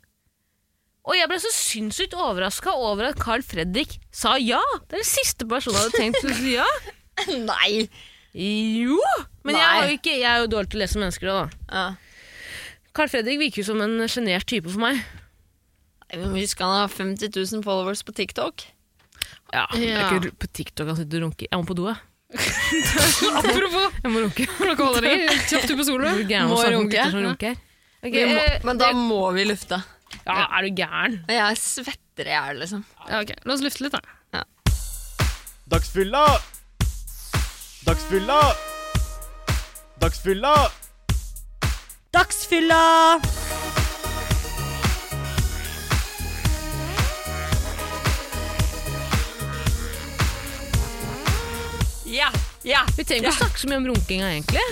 [SPEAKER 4] Og jeg ble så sinnssykt overraska over at Carl Fredrik sa ja! Det er den siste personen jeg hadde tenkt skulle si ja.
[SPEAKER 2] Nei!
[SPEAKER 4] Jo! Men jeg, har jo ikke, jeg er jo dårlig til å lese mennesker, da.
[SPEAKER 2] Ja.
[SPEAKER 4] Carl Fredrik virker jo som en sjenert type for meg.
[SPEAKER 2] Nei, Vi må huske han har 50 000 followers på TikTok.
[SPEAKER 4] Ja, men Det er
[SPEAKER 3] Ja.
[SPEAKER 4] ikke på TikTok han sitter og runker. Jeg må på do, jeg.
[SPEAKER 3] Apropos
[SPEAKER 4] Jeg må runke.
[SPEAKER 3] klokkeholderi, kjapt ut på solo.
[SPEAKER 4] Er du gæren
[SPEAKER 2] Må
[SPEAKER 4] å snakke om
[SPEAKER 2] runke?
[SPEAKER 4] gutter som runker? Ok,
[SPEAKER 2] Vi må,
[SPEAKER 4] eh,
[SPEAKER 2] men da må vi lufte.
[SPEAKER 4] ja, er du gæren?
[SPEAKER 2] Jeg svetter i hjel, liksom.
[SPEAKER 3] Ja, ok. La oss lufte litt, da.
[SPEAKER 7] Dagsfylla! Dagsfylla! Dagsfylla!
[SPEAKER 8] Dagsfylla!
[SPEAKER 2] Ja, ja.
[SPEAKER 4] Vi trenger ikke å snakke så mye om runkinga, egentlig.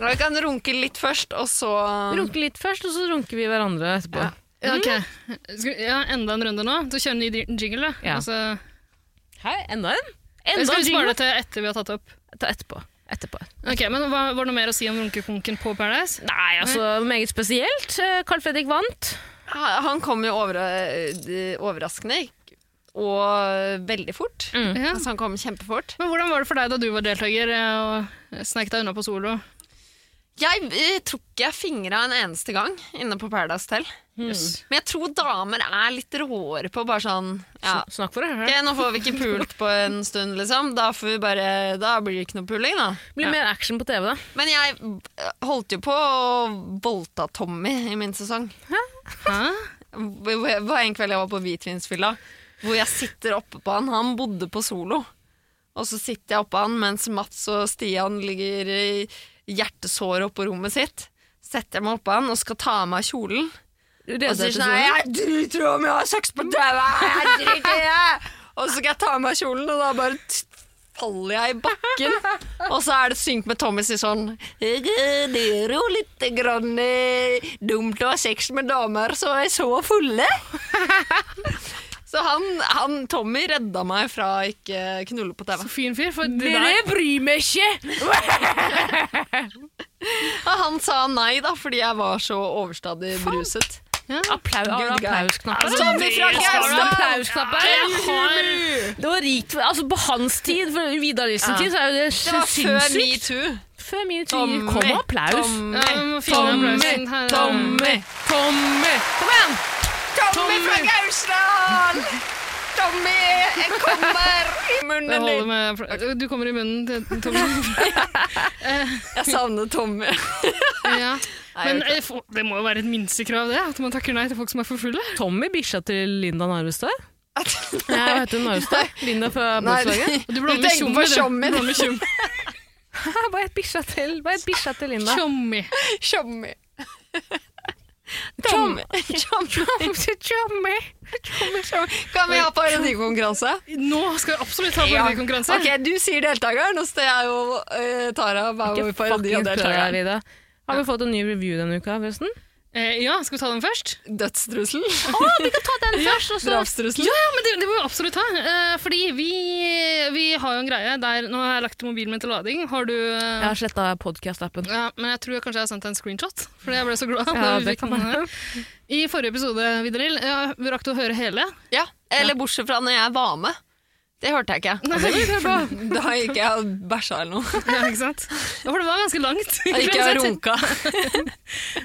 [SPEAKER 2] Vi kan runke litt først, og så
[SPEAKER 4] Vi runker litt først, og så runker vi hverandre etterpå.
[SPEAKER 3] Ja,
[SPEAKER 4] Mm.
[SPEAKER 3] ok. Skal vi, ja, enda en runde nå? Du kjører en ny di- jingle, da.
[SPEAKER 4] Ja.
[SPEAKER 3] Altså,
[SPEAKER 4] Hei, enda en?
[SPEAKER 3] eller
[SPEAKER 4] Enda
[SPEAKER 3] skal
[SPEAKER 4] en
[SPEAKER 3] vi spare det til etter vi har tatt det opp?
[SPEAKER 4] Ta etterpå. etterpå.
[SPEAKER 3] Ok, men hva, Var det noe mer å si om runkekonken på Paradise?
[SPEAKER 4] Nei, altså, meget spesielt. Eh, Carl Fredrik vant.
[SPEAKER 2] Han kom jo over, de- overraskende og veldig fort.
[SPEAKER 4] Mm.
[SPEAKER 3] Ja.
[SPEAKER 2] Altså, han kom kjempefort.
[SPEAKER 3] Men Hvordan var det for deg da du var deltaker eh, og snek deg unna på solo?
[SPEAKER 2] Jeg, eh, tror ikke jeg fingra en eneste gang inne på Paradise Tell.
[SPEAKER 3] Yes.
[SPEAKER 2] Men jeg tror damer er litt råere på bare sånn ja.
[SPEAKER 4] Sn- Snakk for deg
[SPEAKER 2] Ok,
[SPEAKER 4] sjøl.
[SPEAKER 2] nå får vi ikke pult på en stund, liksom. Da, får vi bare, da blir det ikke noe puling, da.
[SPEAKER 4] Blir mer action på TV, da.
[SPEAKER 2] Men jeg eh, holdt jo på å voldta Tommy i min sesong.
[SPEAKER 3] Hæ?
[SPEAKER 2] Det var en kveld jeg var på hvitvinsfylla, hvor jeg sitter oppe på han. Han bodde på solo. Og så sitter jeg oppå han mens Mats og Stian ligger i hjertesåret oppå rommet sitt. Setter jeg meg oppå han og skal ta av meg kjolen. Og så sier sånn «Nei, Jeg driter i om jeg har sex på TV! Jeg driter i det!» Og så skal jeg ta av meg kjolen, og da bare t- faller jeg i bakken. Og så er det synk med Tommy sier sånn Det er jo litt grann eh, dumt å ha sex med damer som er så fulle. Så han, han Tommy redda meg fra å ikke knulle på TV.
[SPEAKER 3] Så fin fyr. For det der
[SPEAKER 4] Dere bryr meg ikke!
[SPEAKER 2] Og han sa nei, da, fordi jeg var så overstadig bruset.
[SPEAKER 4] Applaus. Har du
[SPEAKER 2] Good guy.
[SPEAKER 4] applausknapper?
[SPEAKER 2] Tommy fra
[SPEAKER 4] Har du
[SPEAKER 2] Gausdal!
[SPEAKER 4] applausknapper?
[SPEAKER 3] Jeg har
[SPEAKER 4] Det var rikt. Altså, på hans tid, for Vidar Nilsens tid, så er jo det
[SPEAKER 2] Det var før
[SPEAKER 4] sinnssykt.
[SPEAKER 2] metoo.
[SPEAKER 4] Før min tid. Kom og applaus.
[SPEAKER 3] ja, vi må finne applausen her. eh,
[SPEAKER 4] Tommy! Kom igjen!
[SPEAKER 2] Tommy fra Gausdal! Tommy, jeg kommer i
[SPEAKER 3] Det
[SPEAKER 2] munnen
[SPEAKER 3] holder
[SPEAKER 2] din.
[SPEAKER 3] med applaus. Du kommer i munnen til Tommy.
[SPEAKER 2] Jeg savner Tommy.
[SPEAKER 3] Ja. Men
[SPEAKER 2] jeg
[SPEAKER 3] eh, for- det må jo være et minstekrav, det? At man takker nei til folk som er for fulle?
[SPEAKER 4] Tommy, bikkja til Linda Narvestad? Nei, hva heter hun Narvestad? Linda fra Bondslaget?
[SPEAKER 3] Og Du
[SPEAKER 2] Du tenker på Tjommi.
[SPEAKER 3] Du blander tjommi.
[SPEAKER 4] Hva het bikkja til, hva het bikkja til Linda?
[SPEAKER 3] Tjommi.
[SPEAKER 2] Tommy. Tommy.
[SPEAKER 4] Tommy!
[SPEAKER 2] Kan vi ha parodikonkurranse?
[SPEAKER 3] Nå skal vi absolutt ha
[SPEAKER 2] Ja.
[SPEAKER 3] parodikonkurranse.
[SPEAKER 2] Ok, Du sier deltakeren, og så er jeg og eh, Tara hver vår
[SPEAKER 4] Ikke
[SPEAKER 2] parodi av
[SPEAKER 4] fucking prøv deg,
[SPEAKER 2] deltakeren.
[SPEAKER 4] Vida. Har vi fått en ny review denne uka, forresten?
[SPEAKER 3] Eh, ja, skal vi ta den først?
[SPEAKER 2] Dødstrussel.
[SPEAKER 4] Ta den først, og
[SPEAKER 2] Drapstrussel.
[SPEAKER 3] Ja, men det, det må vi absolutt ha. Eh, fordi vi, vi har jo en greie der Nå har jeg lagt mobilen min til lading. Har du eh,
[SPEAKER 4] Jeg har sletta podkast-appen.
[SPEAKER 3] ja, Men jeg tror jeg kanskje jeg har sendt deg en screenshot. Fordi jeg ble så glad.
[SPEAKER 4] Ja,
[SPEAKER 3] da vi
[SPEAKER 4] det
[SPEAKER 3] fikk
[SPEAKER 4] kan
[SPEAKER 3] den her. I forrige episode, Vidril, ja, vi rakk du å høre hele?
[SPEAKER 2] Ja, Eller bortsett fra når jeg var med. Det hørte jeg ikke.
[SPEAKER 3] Nei, det er bra.
[SPEAKER 2] Da gikk jeg og bæsja eller noe.
[SPEAKER 3] Ja, ikke sant? Ja, For det var ganske langt.
[SPEAKER 2] Da gikk jeg og runka.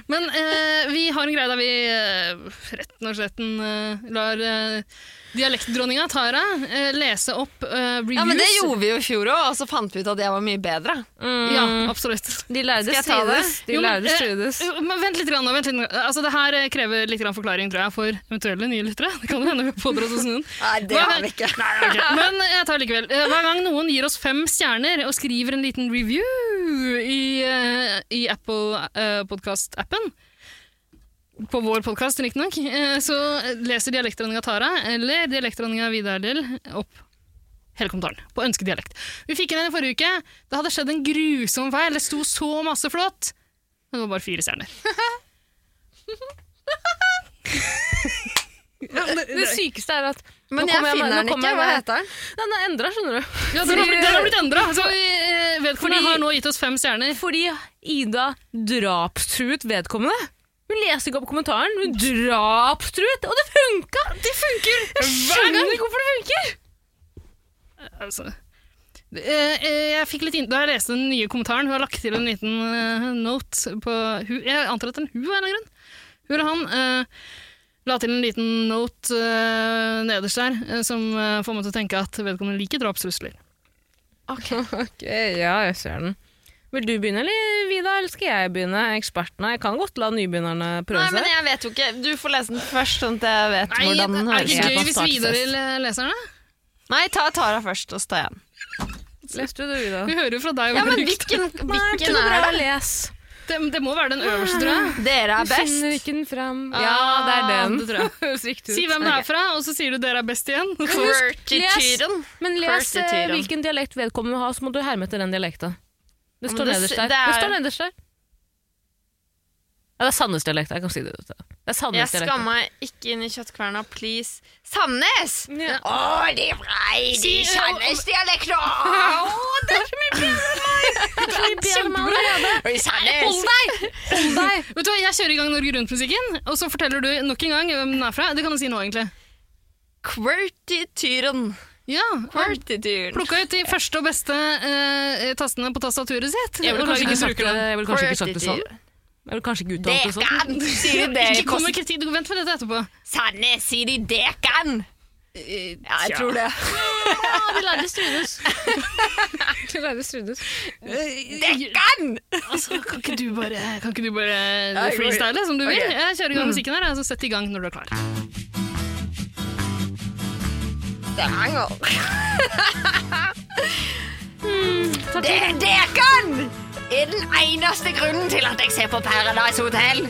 [SPEAKER 3] Men eh, vi har en greie der vi eh, retten og sletten eh, lar eh, dialektdronninga Tara eh, lese opp eh, reviews.
[SPEAKER 2] Ja, men Det gjorde vi jo i fjor òg, og så fant vi ut at jeg var mye bedre.
[SPEAKER 3] Ja, absolutt.
[SPEAKER 4] Mm. De lærde
[SPEAKER 2] Skal jeg ta det?
[SPEAKER 4] strides. De
[SPEAKER 3] Jo, men,
[SPEAKER 4] lærde
[SPEAKER 3] eh,
[SPEAKER 4] strides.
[SPEAKER 3] jo, Men vent litt. Grann, nå, vent litt nå. altså, det her eh, krever litt grann forklaring tror jeg, for eventuelle nye lyttere. Det kan jo hende vi pådrar oss noen.
[SPEAKER 2] Nei, det
[SPEAKER 3] Hva-
[SPEAKER 2] har vi ikke.
[SPEAKER 3] Nei, ok. Men jeg tar likevel. Eh, Hver gang noen gir oss fem stjerner og skriver en liten review i, eh, i Apple eh, podcast-appen, på vår podkast riktignok, eh, så leser dialektdronninga Tara eller dialektdronninga Vidar Lill opp hele kommentaren på ønskedialekt. Vi fikk inn en i forrige uke. Det hadde skjedd en grusom feil. Det sto så masse flott, men det var bare fire stjerner.
[SPEAKER 4] Ja, det, det sykeste er at
[SPEAKER 2] eh, Men
[SPEAKER 4] nå
[SPEAKER 2] jeg
[SPEAKER 4] kommer
[SPEAKER 2] finner
[SPEAKER 4] nå
[SPEAKER 2] den
[SPEAKER 4] kommer
[SPEAKER 2] ikke.
[SPEAKER 4] jeg
[SPEAKER 2] Hva
[SPEAKER 4] med-
[SPEAKER 2] heter den?
[SPEAKER 4] Den er endra, skjønner du.
[SPEAKER 3] Ja, den har blitt, den har blitt endra! Så eh,
[SPEAKER 4] Fordi-
[SPEAKER 3] vedkommende har nå gitt oss fem stjerner.
[SPEAKER 4] Fordi Ida drapstruet vedkommende. Hun leste ikke opp kommentaren, hun drapstruet, og det funka! Det funker! Jeg skjønner ikke hvorfor det funker!
[SPEAKER 3] Altså. Eh, eh, Jeg fikk litt inn... Da jeg leste den nye kommentaren, hun har lagt til en liten eh, note på hun, Jeg antar at det er en hun av en eller annen grunn. Hun eller han eh, la til en liten note eh, nederst der eh, som eh, får meg til å tenke at vedkommende liker drapstrusler.
[SPEAKER 4] ok, ja, jeg ser den. Vil du begynne, eller Vida, eller skal jeg begynne? Ekspertene. Jeg kan godt la nybegynnerne prøve
[SPEAKER 2] Nei, men
[SPEAKER 4] seg.
[SPEAKER 2] jeg vet jo ikke. Du får lese den først, sånn at jeg vet
[SPEAKER 3] Nei,
[SPEAKER 2] hvordan den
[SPEAKER 3] er det
[SPEAKER 2] høres
[SPEAKER 3] ikke
[SPEAKER 2] ut.
[SPEAKER 3] gøy hvis
[SPEAKER 4] startfest.
[SPEAKER 3] Vidar vil eh, lese den? da?
[SPEAKER 2] Nei, ta Tara først, og så tar jeg den.
[SPEAKER 4] Leste du det, Vida?
[SPEAKER 3] Vi hører jo fra deg
[SPEAKER 2] Ja,
[SPEAKER 3] hver
[SPEAKER 2] men
[SPEAKER 3] uke.
[SPEAKER 2] hvilken, hvilken
[SPEAKER 4] er
[SPEAKER 2] er
[SPEAKER 4] det?
[SPEAKER 2] det?
[SPEAKER 4] Les.
[SPEAKER 3] Det, det må være den øverste, tror jeg.
[SPEAKER 2] Dere er best.
[SPEAKER 4] Finner ikke den fram.
[SPEAKER 3] Ah,
[SPEAKER 4] den.
[SPEAKER 3] det tror jeg.
[SPEAKER 4] Høres riktig
[SPEAKER 2] Mm.
[SPEAKER 4] ut.
[SPEAKER 3] Si hvem det er fra, og så sier du 'dere er best igjen'.
[SPEAKER 2] Quirky-tyren.
[SPEAKER 4] Men les
[SPEAKER 2] First i
[SPEAKER 4] eh,
[SPEAKER 2] Tyrion.
[SPEAKER 4] hvilken dialekt vedkommende har, så må du herme etter den dialekta. Det
[SPEAKER 2] Men
[SPEAKER 4] står
[SPEAKER 2] det s-
[SPEAKER 4] nederst der.
[SPEAKER 2] det
[SPEAKER 4] Det,
[SPEAKER 2] er-
[SPEAKER 4] står nederst der. Ja, det er Sandnes dialekt. Jeg kan si det. vet du. Det er
[SPEAKER 2] Jeg
[SPEAKER 4] Sandnes
[SPEAKER 2] skammer
[SPEAKER 4] dialekt.
[SPEAKER 2] meg ikke inn i kjøttkverna, please. Sandnes!
[SPEAKER 4] Ja.
[SPEAKER 2] Å, det er brei, det er Sandnes-dialekt, da! Å, det er så mye bedre enn meg! Oi, Sandnes!
[SPEAKER 3] Vet du hva, Jeg kjører i gang Norge Rundt-musikken, og så forteller du nok en gang hvem den er fra. Det kan du si nå, egentlig.
[SPEAKER 2] Quirty-tyren.
[SPEAKER 3] Ja,
[SPEAKER 2] Quirty-tyren.
[SPEAKER 3] Plukka ut de første og beste eh, tastene på tastaturet sitt.
[SPEAKER 4] Jeg ville kanskje ikke sagt
[SPEAKER 3] Beklager,
[SPEAKER 4] det, jeg ville kanskje ikke sagt det sånn.
[SPEAKER 2] Quirky-tyren.
[SPEAKER 4] Jeg ville kanskje ikke uttalt det sånn.
[SPEAKER 2] Dekan! Sier de det i
[SPEAKER 3] Ikke kom
[SPEAKER 2] posten?
[SPEAKER 3] med kritikk. Du, vent med dette etterpå.
[SPEAKER 2] Sandnes, sier de dekan? Ja, jeg tror det.
[SPEAKER 4] Ja, de lærde strides. de lærde strides.
[SPEAKER 2] Dekan!
[SPEAKER 3] Altså, kan ikke du bare, kan ikke du bare
[SPEAKER 2] jeg går-
[SPEAKER 3] freestyle som du vil?
[SPEAKER 2] Ok.
[SPEAKER 3] Jeg kjører i gang musikken her, så altså, sett i gang når du er klar.
[SPEAKER 2] Stavanger.
[SPEAKER 4] takk.
[SPEAKER 2] Hmm, Det Dekan er den eneste grunnen til at jeg ser på Paradise Hotel.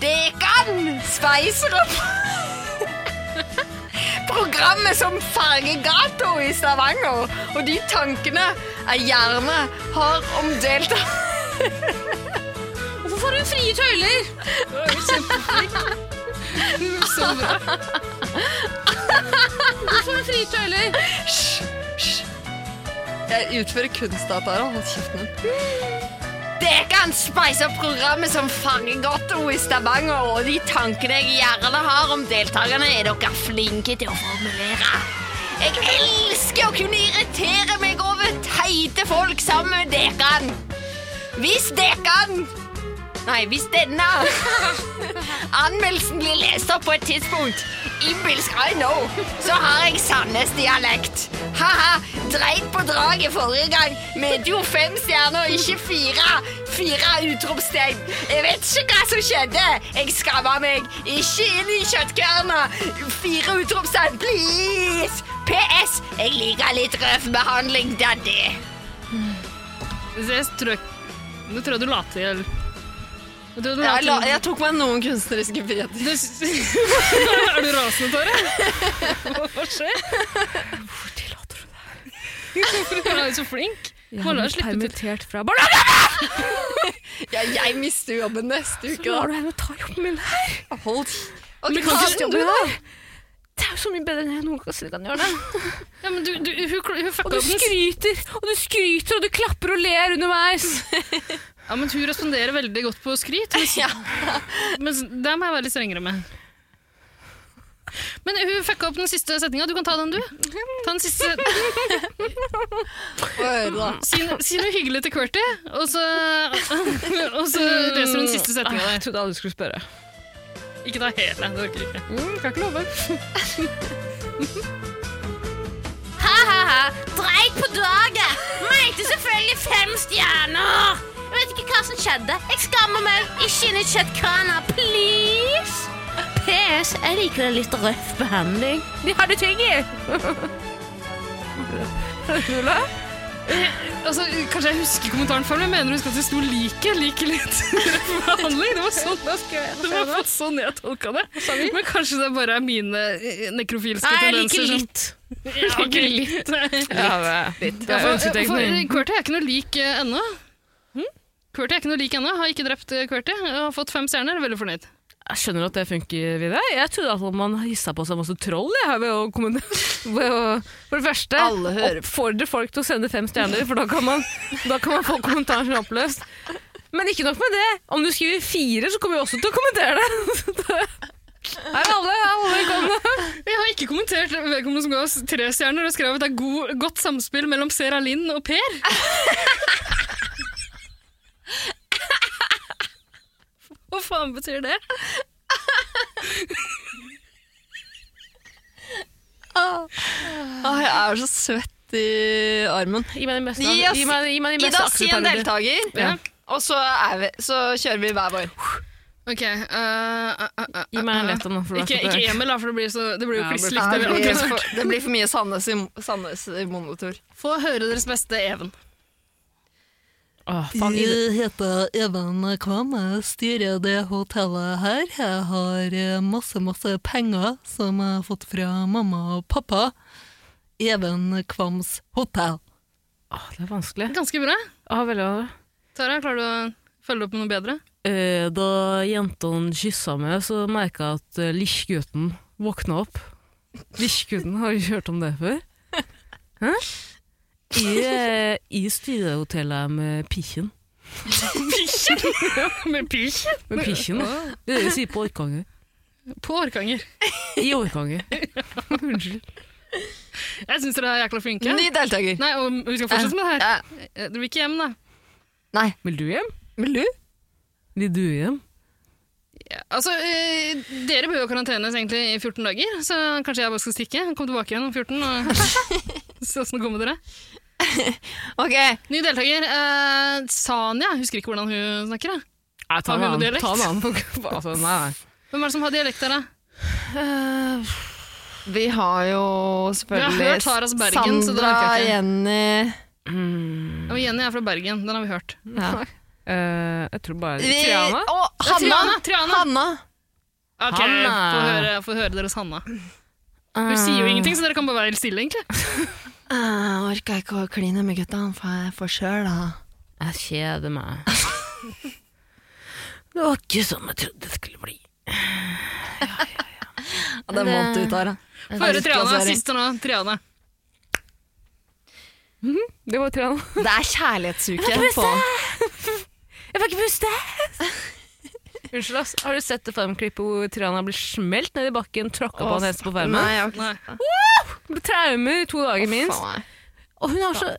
[SPEAKER 2] Dekan sveiser opp programmet som farger gata i Stavanger. Og de tankene jeg gjerne har om delta...
[SPEAKER 4] Hvorfor får hun frie tøyler?
[SPEAKER 3] Så bra.
[SPEAKER 4] Hvorfor får hun frie tøyler?
[SPEAKER 2] Jeg utfører kunstdata. Hold kjeften din. Dekan speiser opp programmet som fanger godt i Stavanger, og de tankene jeg gjerne har om deltakerne, er dere flinke til å formulere. Jeg elsker å kunne irritere meg over teite folk sammen med Dekan. Hvis Dekan Nei, hvis denne anmeldelsen blir lest opp på et tidspunkt, Ibelsk I know, så har jeg Sandnes-dialekt. Ha-ha, dreit på draget forrige gang med jo fem stjerner, ikke fire. Fire utropstegn. Jeg vet ikke hva som skjedde. Jeg skamma meg. Ikke inn i kjøttkverna. Fire utropstegn, please. PS. Jeg liker litt røff behandling, daddy.
[SPEAKER 3] Jeg tror jeg, nå tror jeg du la til. Jeg tror du la til.
[SPEAKER 2] tok meg noen kunstneriske friheter.
[SPEAKER 3] Du s- er du rasende, Tare? Hva skjer? Hvor tillater du det? Hun er jo så flink. Må la henne slippe til.
[SPEAKER 4] Permittert fra barnehagen!
[SPEAKER 2] Ja, jeg mister jobben neste
[SPEAKER 4] du henne ta jobben min her?
[SPEAKER 2] Hold
[SPEAKER 3] Men kan ikke-
[SPEAKER 4] Det er jo så mye bedre enn jeg noen gang kan gjøre det.
[SPEAKER 3] Ja, men du, du, hun, kl- hun
[SPEAKER 4] Og
[SPEAKER 3] fucka
[SPEAKER 4] du
[SPEAKER 3] opp den
[SPEAKER 4] skryter, og du skryter, og du klapper og ler underveis.
[SPEAKER 3] Ja, men hun responderer veldig godt på skryt, mens, mens der må jeg være litt strengere med. Men hun fucka opp den siste setninga. Du kan ta den, du. Ta den siste set- Si, no- si noe hyggelig til Qwerty, og så, og så leser hun den siste setninga der.
[SPEAKER 4] trodde alle skulle spørre.
[SPEAKER 3] Ikke ta hele. Det orker jeg ikke.
[SPEAKER 4] kan ikke love.
[SPEAKER 8] Ha-ha-ha, dreit på draget. Mente selvfølgelig fem stjerner. Jeg vet ikke hva som skjedde. Jeg skammer meg. Ikke inn i kjøttkrana, please. PS, jeg liker det litt røff behandling. De hadde ting i.
[SPEAKER 3] Altså, kanskje jeg husker kommentaren før, men jeg mener du husker at det sto 'like'? Like litt behandling? Det var sånn det var fått sånn jeg tolka det. Men kanskje det bare er mine eh, nekrofilske
[SPEAKER 4] Nei, jeg liker
[SPEAKER 3] tendenser. som-
[SPEAKER 4] litt.
[SPEAKER 3] Ja, ok.
[SPEAKER 2] Ja, det,
[SPEAKER 3] Ja,
[SPEAKER 2] er
[SPEAKER 3] for,
[SPEAKER 2] ønsketenkning.
[SPEAKER 3] for Qwerty er ikke noe lik eh, ennå. Qwerty er ikke noe lik ennå. Har ikke drept eh, Qwerty. Jeg Har fått fem stjerner. Veldig fornøyd.
[SPEAKER 4] Jeg skjønner at det funker, Vidar. Jeg trodde at man hissa på seg masse troll. Jeg, ved å kommen- ved å, for det første,
[SPEAKER 2] Alle hører
[SPEAKER 4] oppfordre folk til å sende fem stjerner, for da kan man, da kan man få kommentaren sin oppløst. Men ikke nok med det. Om du skriver fire, så kommer vi også til å kommentere det. Så det. Her er alle, her er alle velkomne.
[SPEAKER 3] Jeg har ikke kommentert vedkommende som ga oss tre stjerner og skrev at det er god, godt samspill mellom Sera Linn og Per. Hva faen betyr det?
[SPEAKER 2] Åh, jeg er så svett i armen.
[SPEAKER 4] Gi meg de mest,
[SPEAKER 2] Gi oss-
[SPEAKER 4] gi meg, gi meg de
[SPEAKER 2] Gi
[SPEAKER 4] mest
[SPEAKER 2] oss en
[SPEAKER 4] akseptable.
[SPEAKER 2] deltaker,
[SPEAKER 4] Ja.
[SPEAKER 2] og så, er vi, så kjører vi hver vår.
[SPEAKER 3] Ok, eh, eh, eh, eh,
[SPEAKER 4] Gi meg en lett en, da, for det er
[SPEAKER 3] Ikke,
[SPEAKER 4] så
[SPEAKER 3] ikke
[SPEAKER 4] fælt.
[SPEAKER 3] Emil, da, for det blir, så, det blir jo
[SPEAKER 4] Ja, det
[SPEAKER 3] kliss
[SPEAKER 4] blir
[SPEAKER 3] likt. det vi
[SPEAKER 2] det,
[SPEAKER 3] akkurat
[SPEAKER 2] blir
[SPEAKER 3] har hørt.
[SPEAKER 2] for, det blir for mye Sandnes i, Sandnes i monotur.
[SPEAKER 3] Få høre deres beste Even.
[SPEAKER 4] Åh, faen, gi det.
[SPEAKER 9] heter Even Kvam, jeg styrer det hotellet her. Jeg har eh, masse, masse penger som jeg har fått fra mamma og pappa. Even Kvams hotell.
[SPEAKER 4] Åh, det er vanskelig.
[SPEAKER 3] Ganske bra.
[SPEAKER 4] Åh, veldig vanskelig.
[SPEAKER 3] Tara, klarer du å følge opp med noe bedre?
[SPEAKER 4] Eh, Da jentene kyssa meg, så merka jeg at eh, lillgutten våkna opp. Lillgutten, har du ikke hørt om det før? Hæ? I, eh, i styrehotellet med pikkjen.
[SPEAKER 3] Med pysj?
[SPEAKER 4] Med pikkjen, da. Det er det vi sier på Orkanger.
[SPEAKER 3] På Orkanger.
[SPEAKER 4] I Orkanger. Unnskyld.
[SPEAKER 3] Jeg syns dere er jækla flinke.
[SPEAKER 2] Ny deltaker.
[SPEAKER 3] Nei, og vi skal fortsette med det her.
[SPEAKER 2] Ja.
[SPEAKER 3] Eh, Dere vil ikke hjem, da?
[SPEAKER 4] Vil du hjem?
[SPEAKER 2] Vil du?
[SPEAKER 4] Vil du hjem?
[SPEAKER 3] Altså, eh, Dere bør jo karantenes egentlig i 14 dager, så kanskje jeg bare skal stikke. Kom tilbake igjen om 14 og se åssen det går med dere.
[SPEAKER 2] Ok,
[SPEAKER 3] Ny deltaker, eh, Sanja. Husker ikke hvordan hun snakker. da.
[SPEAKER 4] Nei, ta en
[SPEAKER 3] Har vi noe
[SPEAKER 4] annen.
[SPEAKER 3] dialekt?
[SPEAKER 4] Ta en annen. Altså, nei, nei.
[SPEAKER 3] Hvem er det som har dialekt der, da?
[SPEAKER 2] Eh, vi har jo selvfølgelig
[SPEAKER 3] Vi har hørt Taras Bergen, så det
[SPEAKER 2] Sandra,
[SPEAKER 3] orker jeg ikke.
[SPEAKER 2] Jenny
[SPEAKER 3] Ja, men Jenny er fra Bergen, den har vi hørt.
[SPEAKER 4] Eh, jeg tror bare
[SPEAKER 2] vi,
[SPEAKER 4] Triana?
[SPEAKER 2] Å, Hanna!
[SPEAKER 3] Triana! Triana.
[SPEAKER 2] Hanna.
[SPEAKER 3] Ok,
[SPEAKER 4] Hanna.
[SPEAKER 3] Få høre, få høre deres Hanna. Hun sier jo ingenting, så dere kan bare være helt stille, egentlig.
[SPEAKER 2] Jeg orker ikke å kline med gutta, for jeg får sjøl, da.
[SPEAKER 4] Jeg kjeder meg. det var ikke som jeg trodde det skulle bli.
[SPEAKER 2] Det er vondt ut her, da.
[SPEAKER 3] Få høre Triana. Siste nå. Triana.
[SPEAKER 4] Det var Triana.
[SPEAKER 2] Det er kjærlighetsuke på
[SPEAKER 4] Jeg får ikke puste! Unnskyld, ass. Har du sett det farmklippet hvor Triana blir smelt ned i bakken, tråkka på en hest på farmen?
[SPEAKER 2] Nei, jeg har ikke
[SPEAKER 3] Nei.
[SPEAKER 4] Med Traumer i to dager minst.
[SPEAKER 2] faen meg.
[SPEAKER 4] Og hun har så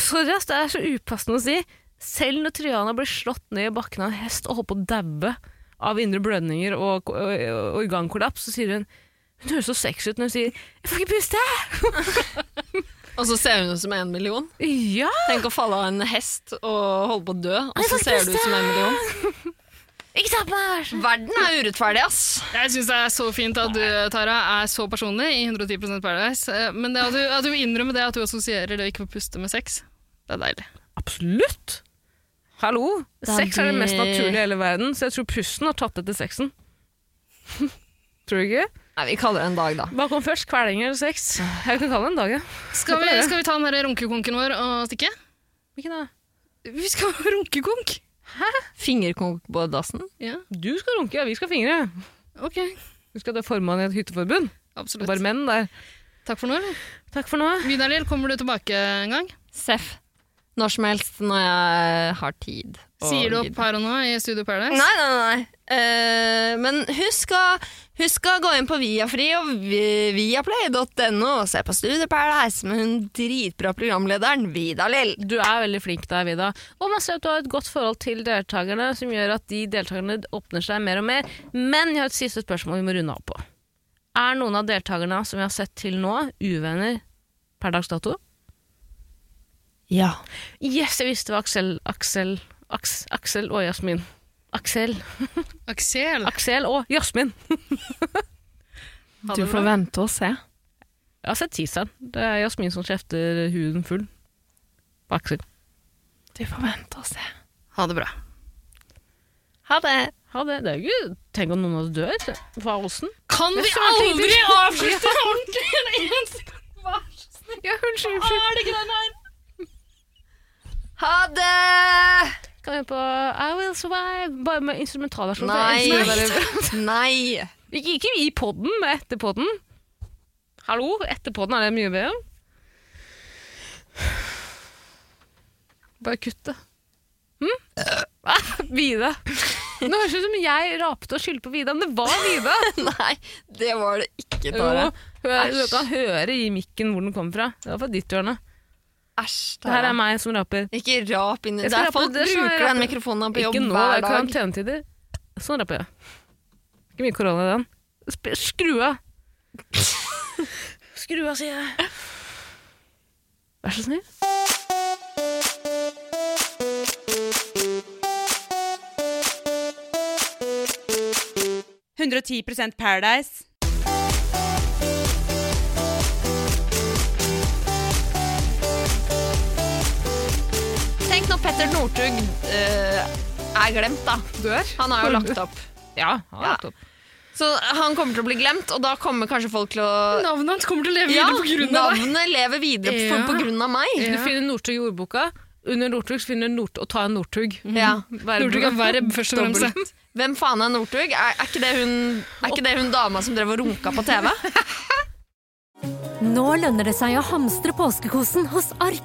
[SPEAKER 4] Sorry, ass, det er så upassende å si. Selv når Triana blir slått ned i bakken av en hest og holdt på å daue av indre blødninger og, og, og organkollaps, så sier hun Hun høres så sexy ut når hun sier 'jeg får ikke puste'.
[SPEAKER 2] Og så ser hun ut som en million.
[SPEAKER 4] Ja!
[SPEAKER 2] Tenk å falle av en hest og holde på å dø, og så ser du ut som en million.
[SPEAKER 4] Ikke ta på meg, vær så
[SPEAKER 2] Verden er urettferdig, ass.
[SPEAKER 3] Jeg syns det er så fint at du, Tara, er så personlig i 110 Paradise. eh, Men det at du, at du innrømmer det at du assosierer det å ikke få puste med sex, det er deilig.
[SPEAKER 4] Absolutt! Hallo!
[SPEAKER 1] Da
[SPEAKER 4] Sex er det
[SPEAKER 1] blir-
[SPEAKER 4] mest naturlige i hele verden, så jeg tror pusten har tatt etter sexen. tror du ikke?
[SPEAKER 2] Nei, vi kaller det en dag, da.
[SPEAKER 4] Hva kom først, kveling eller sex? Jeg kan kalle det en dag, ja.
[SPEAKER 3] Skal vi, skal vi ta den her runkekonken vår og stikke?
[SPEAKER 4] Hvilken da?
[SPEAKER 3] Vi skal ha runkekonk!
[SPEAKER 2] Fingerkonk på dassen.
[SPEAKER 3] Ja,
[SPEAKER 4] Du skal runke, ja, vi skal fingre.
[SPEAKER 3] ok.
[SPEAKER 4] Du skal ta formann i et hytteforbund. Det er
[SPEAKER 3] Absolutt.
[SPEAKER 4] bare menn der.
[SPEAKER 3] Takk for nå, eller?
[SPEAKER 4] Takk for nå.
[SPEAKER 3] Vidar-Lill, kommer du tilbake en gang?
[SPEAKER 2] Seff. Når som helst, når jeg har tid. og
[SPEAKER 3] Sier du
[SPEAKER 2] gidder.
[SPEAKER 3] opp her og nå i Studio Paradise?
[SPEAKER 2] Nei, nei, nei. nei. Eh, men husk å, husk å gå inn på Viafri og vi- viaplay.no og se på Studio Paradise med hun dritbra programlederen Vida Lill.
[SPEAKER 4] Du er veldig flink der, Vida. Og man ser at du har et godt forhold til deltakerne, som gjør at de deltakerne åpner seg mer og mer. Men jeg har et siste spørsmål vi må runde av på. Er noen av deltakerne som vi har sett til nå, uvenner per dags dato?
[SPEAKER 2] Ja.
[SPEAKER 4] Yes, jeg visste det var Aksel Aksel Aks, Aksel og Jasmin. Aksel
[SPEAKER 3] Aksel!
[SPEAKER 4] Aksel og Jasmin!
[SPEAKER 3] Ha det bra.
[SPEAKER 2] vente og se.
[SPEAKER 4] Jeg har sett teaseren. Det er Jasmin som kjefter huden full. på Aksel.
[SPEAKER 3] Du får vente og se. Ha det bra.
[SPEAKER 2] Ha det.
[SPEAKER 4] Ha det. Det er jo ikke Tenk om noen av oss dør fra åssen.
[SPEAKER 3] Kan vi
[SPEAKER 4] Jeg sa det
[SPEAKER 3] aldri
[SPEAKER 4] ikke.
[SPEAKER 3] avslutte ordentlig en eneste gang? Vær så snill.
[SPEAKER 4] Ja, unnskyld,
[SPEAKER 3] Hva er det greiene her?
[SPEAKER 2] Ha det!
[SPEAKER 4] Kan vi høre på I Will Survive, bare med instrumentalversjon? for jeg elsker det.
[SPEAKER 2] Nei. Nei.
[SPEAKER 4] Ikke, ikke i podden, men etter podden. Hallo, etter podden er det mye bedre. Bare kutt det. Hm? Vida. Nå høres det ut som jeg rapte og skyldte på Vida, men det var Vida.
[SPEAKER 2] Nei, det var det ikke, Tara.
[SPEAKER 4] Jo, hør, du
[SPEAKER 2] Æsj.
[SPEAKER 4] kan høre i mikken hvor den kommer fra. Det var fra ditt hjørne.
[SPEAKER 2] Æsj,
[SPEAKER 4] Det her
[SPEAKER 2] Tara.
[SPEAKER 4] er meg som raper.
[SPEAKER 2] Ikke rap inn i
[SPEAKER 4] Jeg
[SPEAKER 2] det.
[SPEAKER 4] skal
[SPEAKER 2] er
[SPEAKER 4] rappe-
[SPEAKER 2] Folk
[SPEAKER 4] det er sånn jeg
[SPEAKER 2] bruker den
[SPEAKER 4] rapper.
[SPEAKER 2] mikrofonen på jobb
[SPEAKER 4] Ikke nå, det
[SPEAKER 2] hver dag.
[SPEAKER 4] er karantenetider. Sånn rapper jeg. Ikke mye korona i den. Sp- Skru av! Skru av, sier jeg. Vær så snill.
[SPEAKER 2] Tenk når Petter Northug eh, er glemt, da. Dør? Han har jo lagt opp.
[SPEAKER 4] Ja, ha
[SPEAKER 2] Ja.
[SPEAKER 4] det topp.
[SPEAKER 2] Så han kommer til å bli glemt, og da kommer kanskje folk til å
[SPEAKER 3] Navnet hans kommer til å leve
[SPEAKER 2] Ja,
[SPEAKER 3] videre på grunn av deg.
[SPEAKER 2] navnet lever videre på,
[SPEAKER 3] Ja.
[SPEAKER 2] på grunn av meg.
[SPEAKER 4] Du finner Northug i ordboka. Under Northug så finner du Nort og ta en Northug.
[SPEAKER 2] Ja.
[SPEAKER 4] Verden.
[SPEAKER 3] Northug er verb, først og fremst.
[SPEAKER 2] Dobbelt. Hvem faen er Northug? Er, er, ikke det hun- er ikke det hun dama som drev og runka på TV?
[SPEAKER 1] Nå lønner det seg å hamstre påskekosen hos Ark.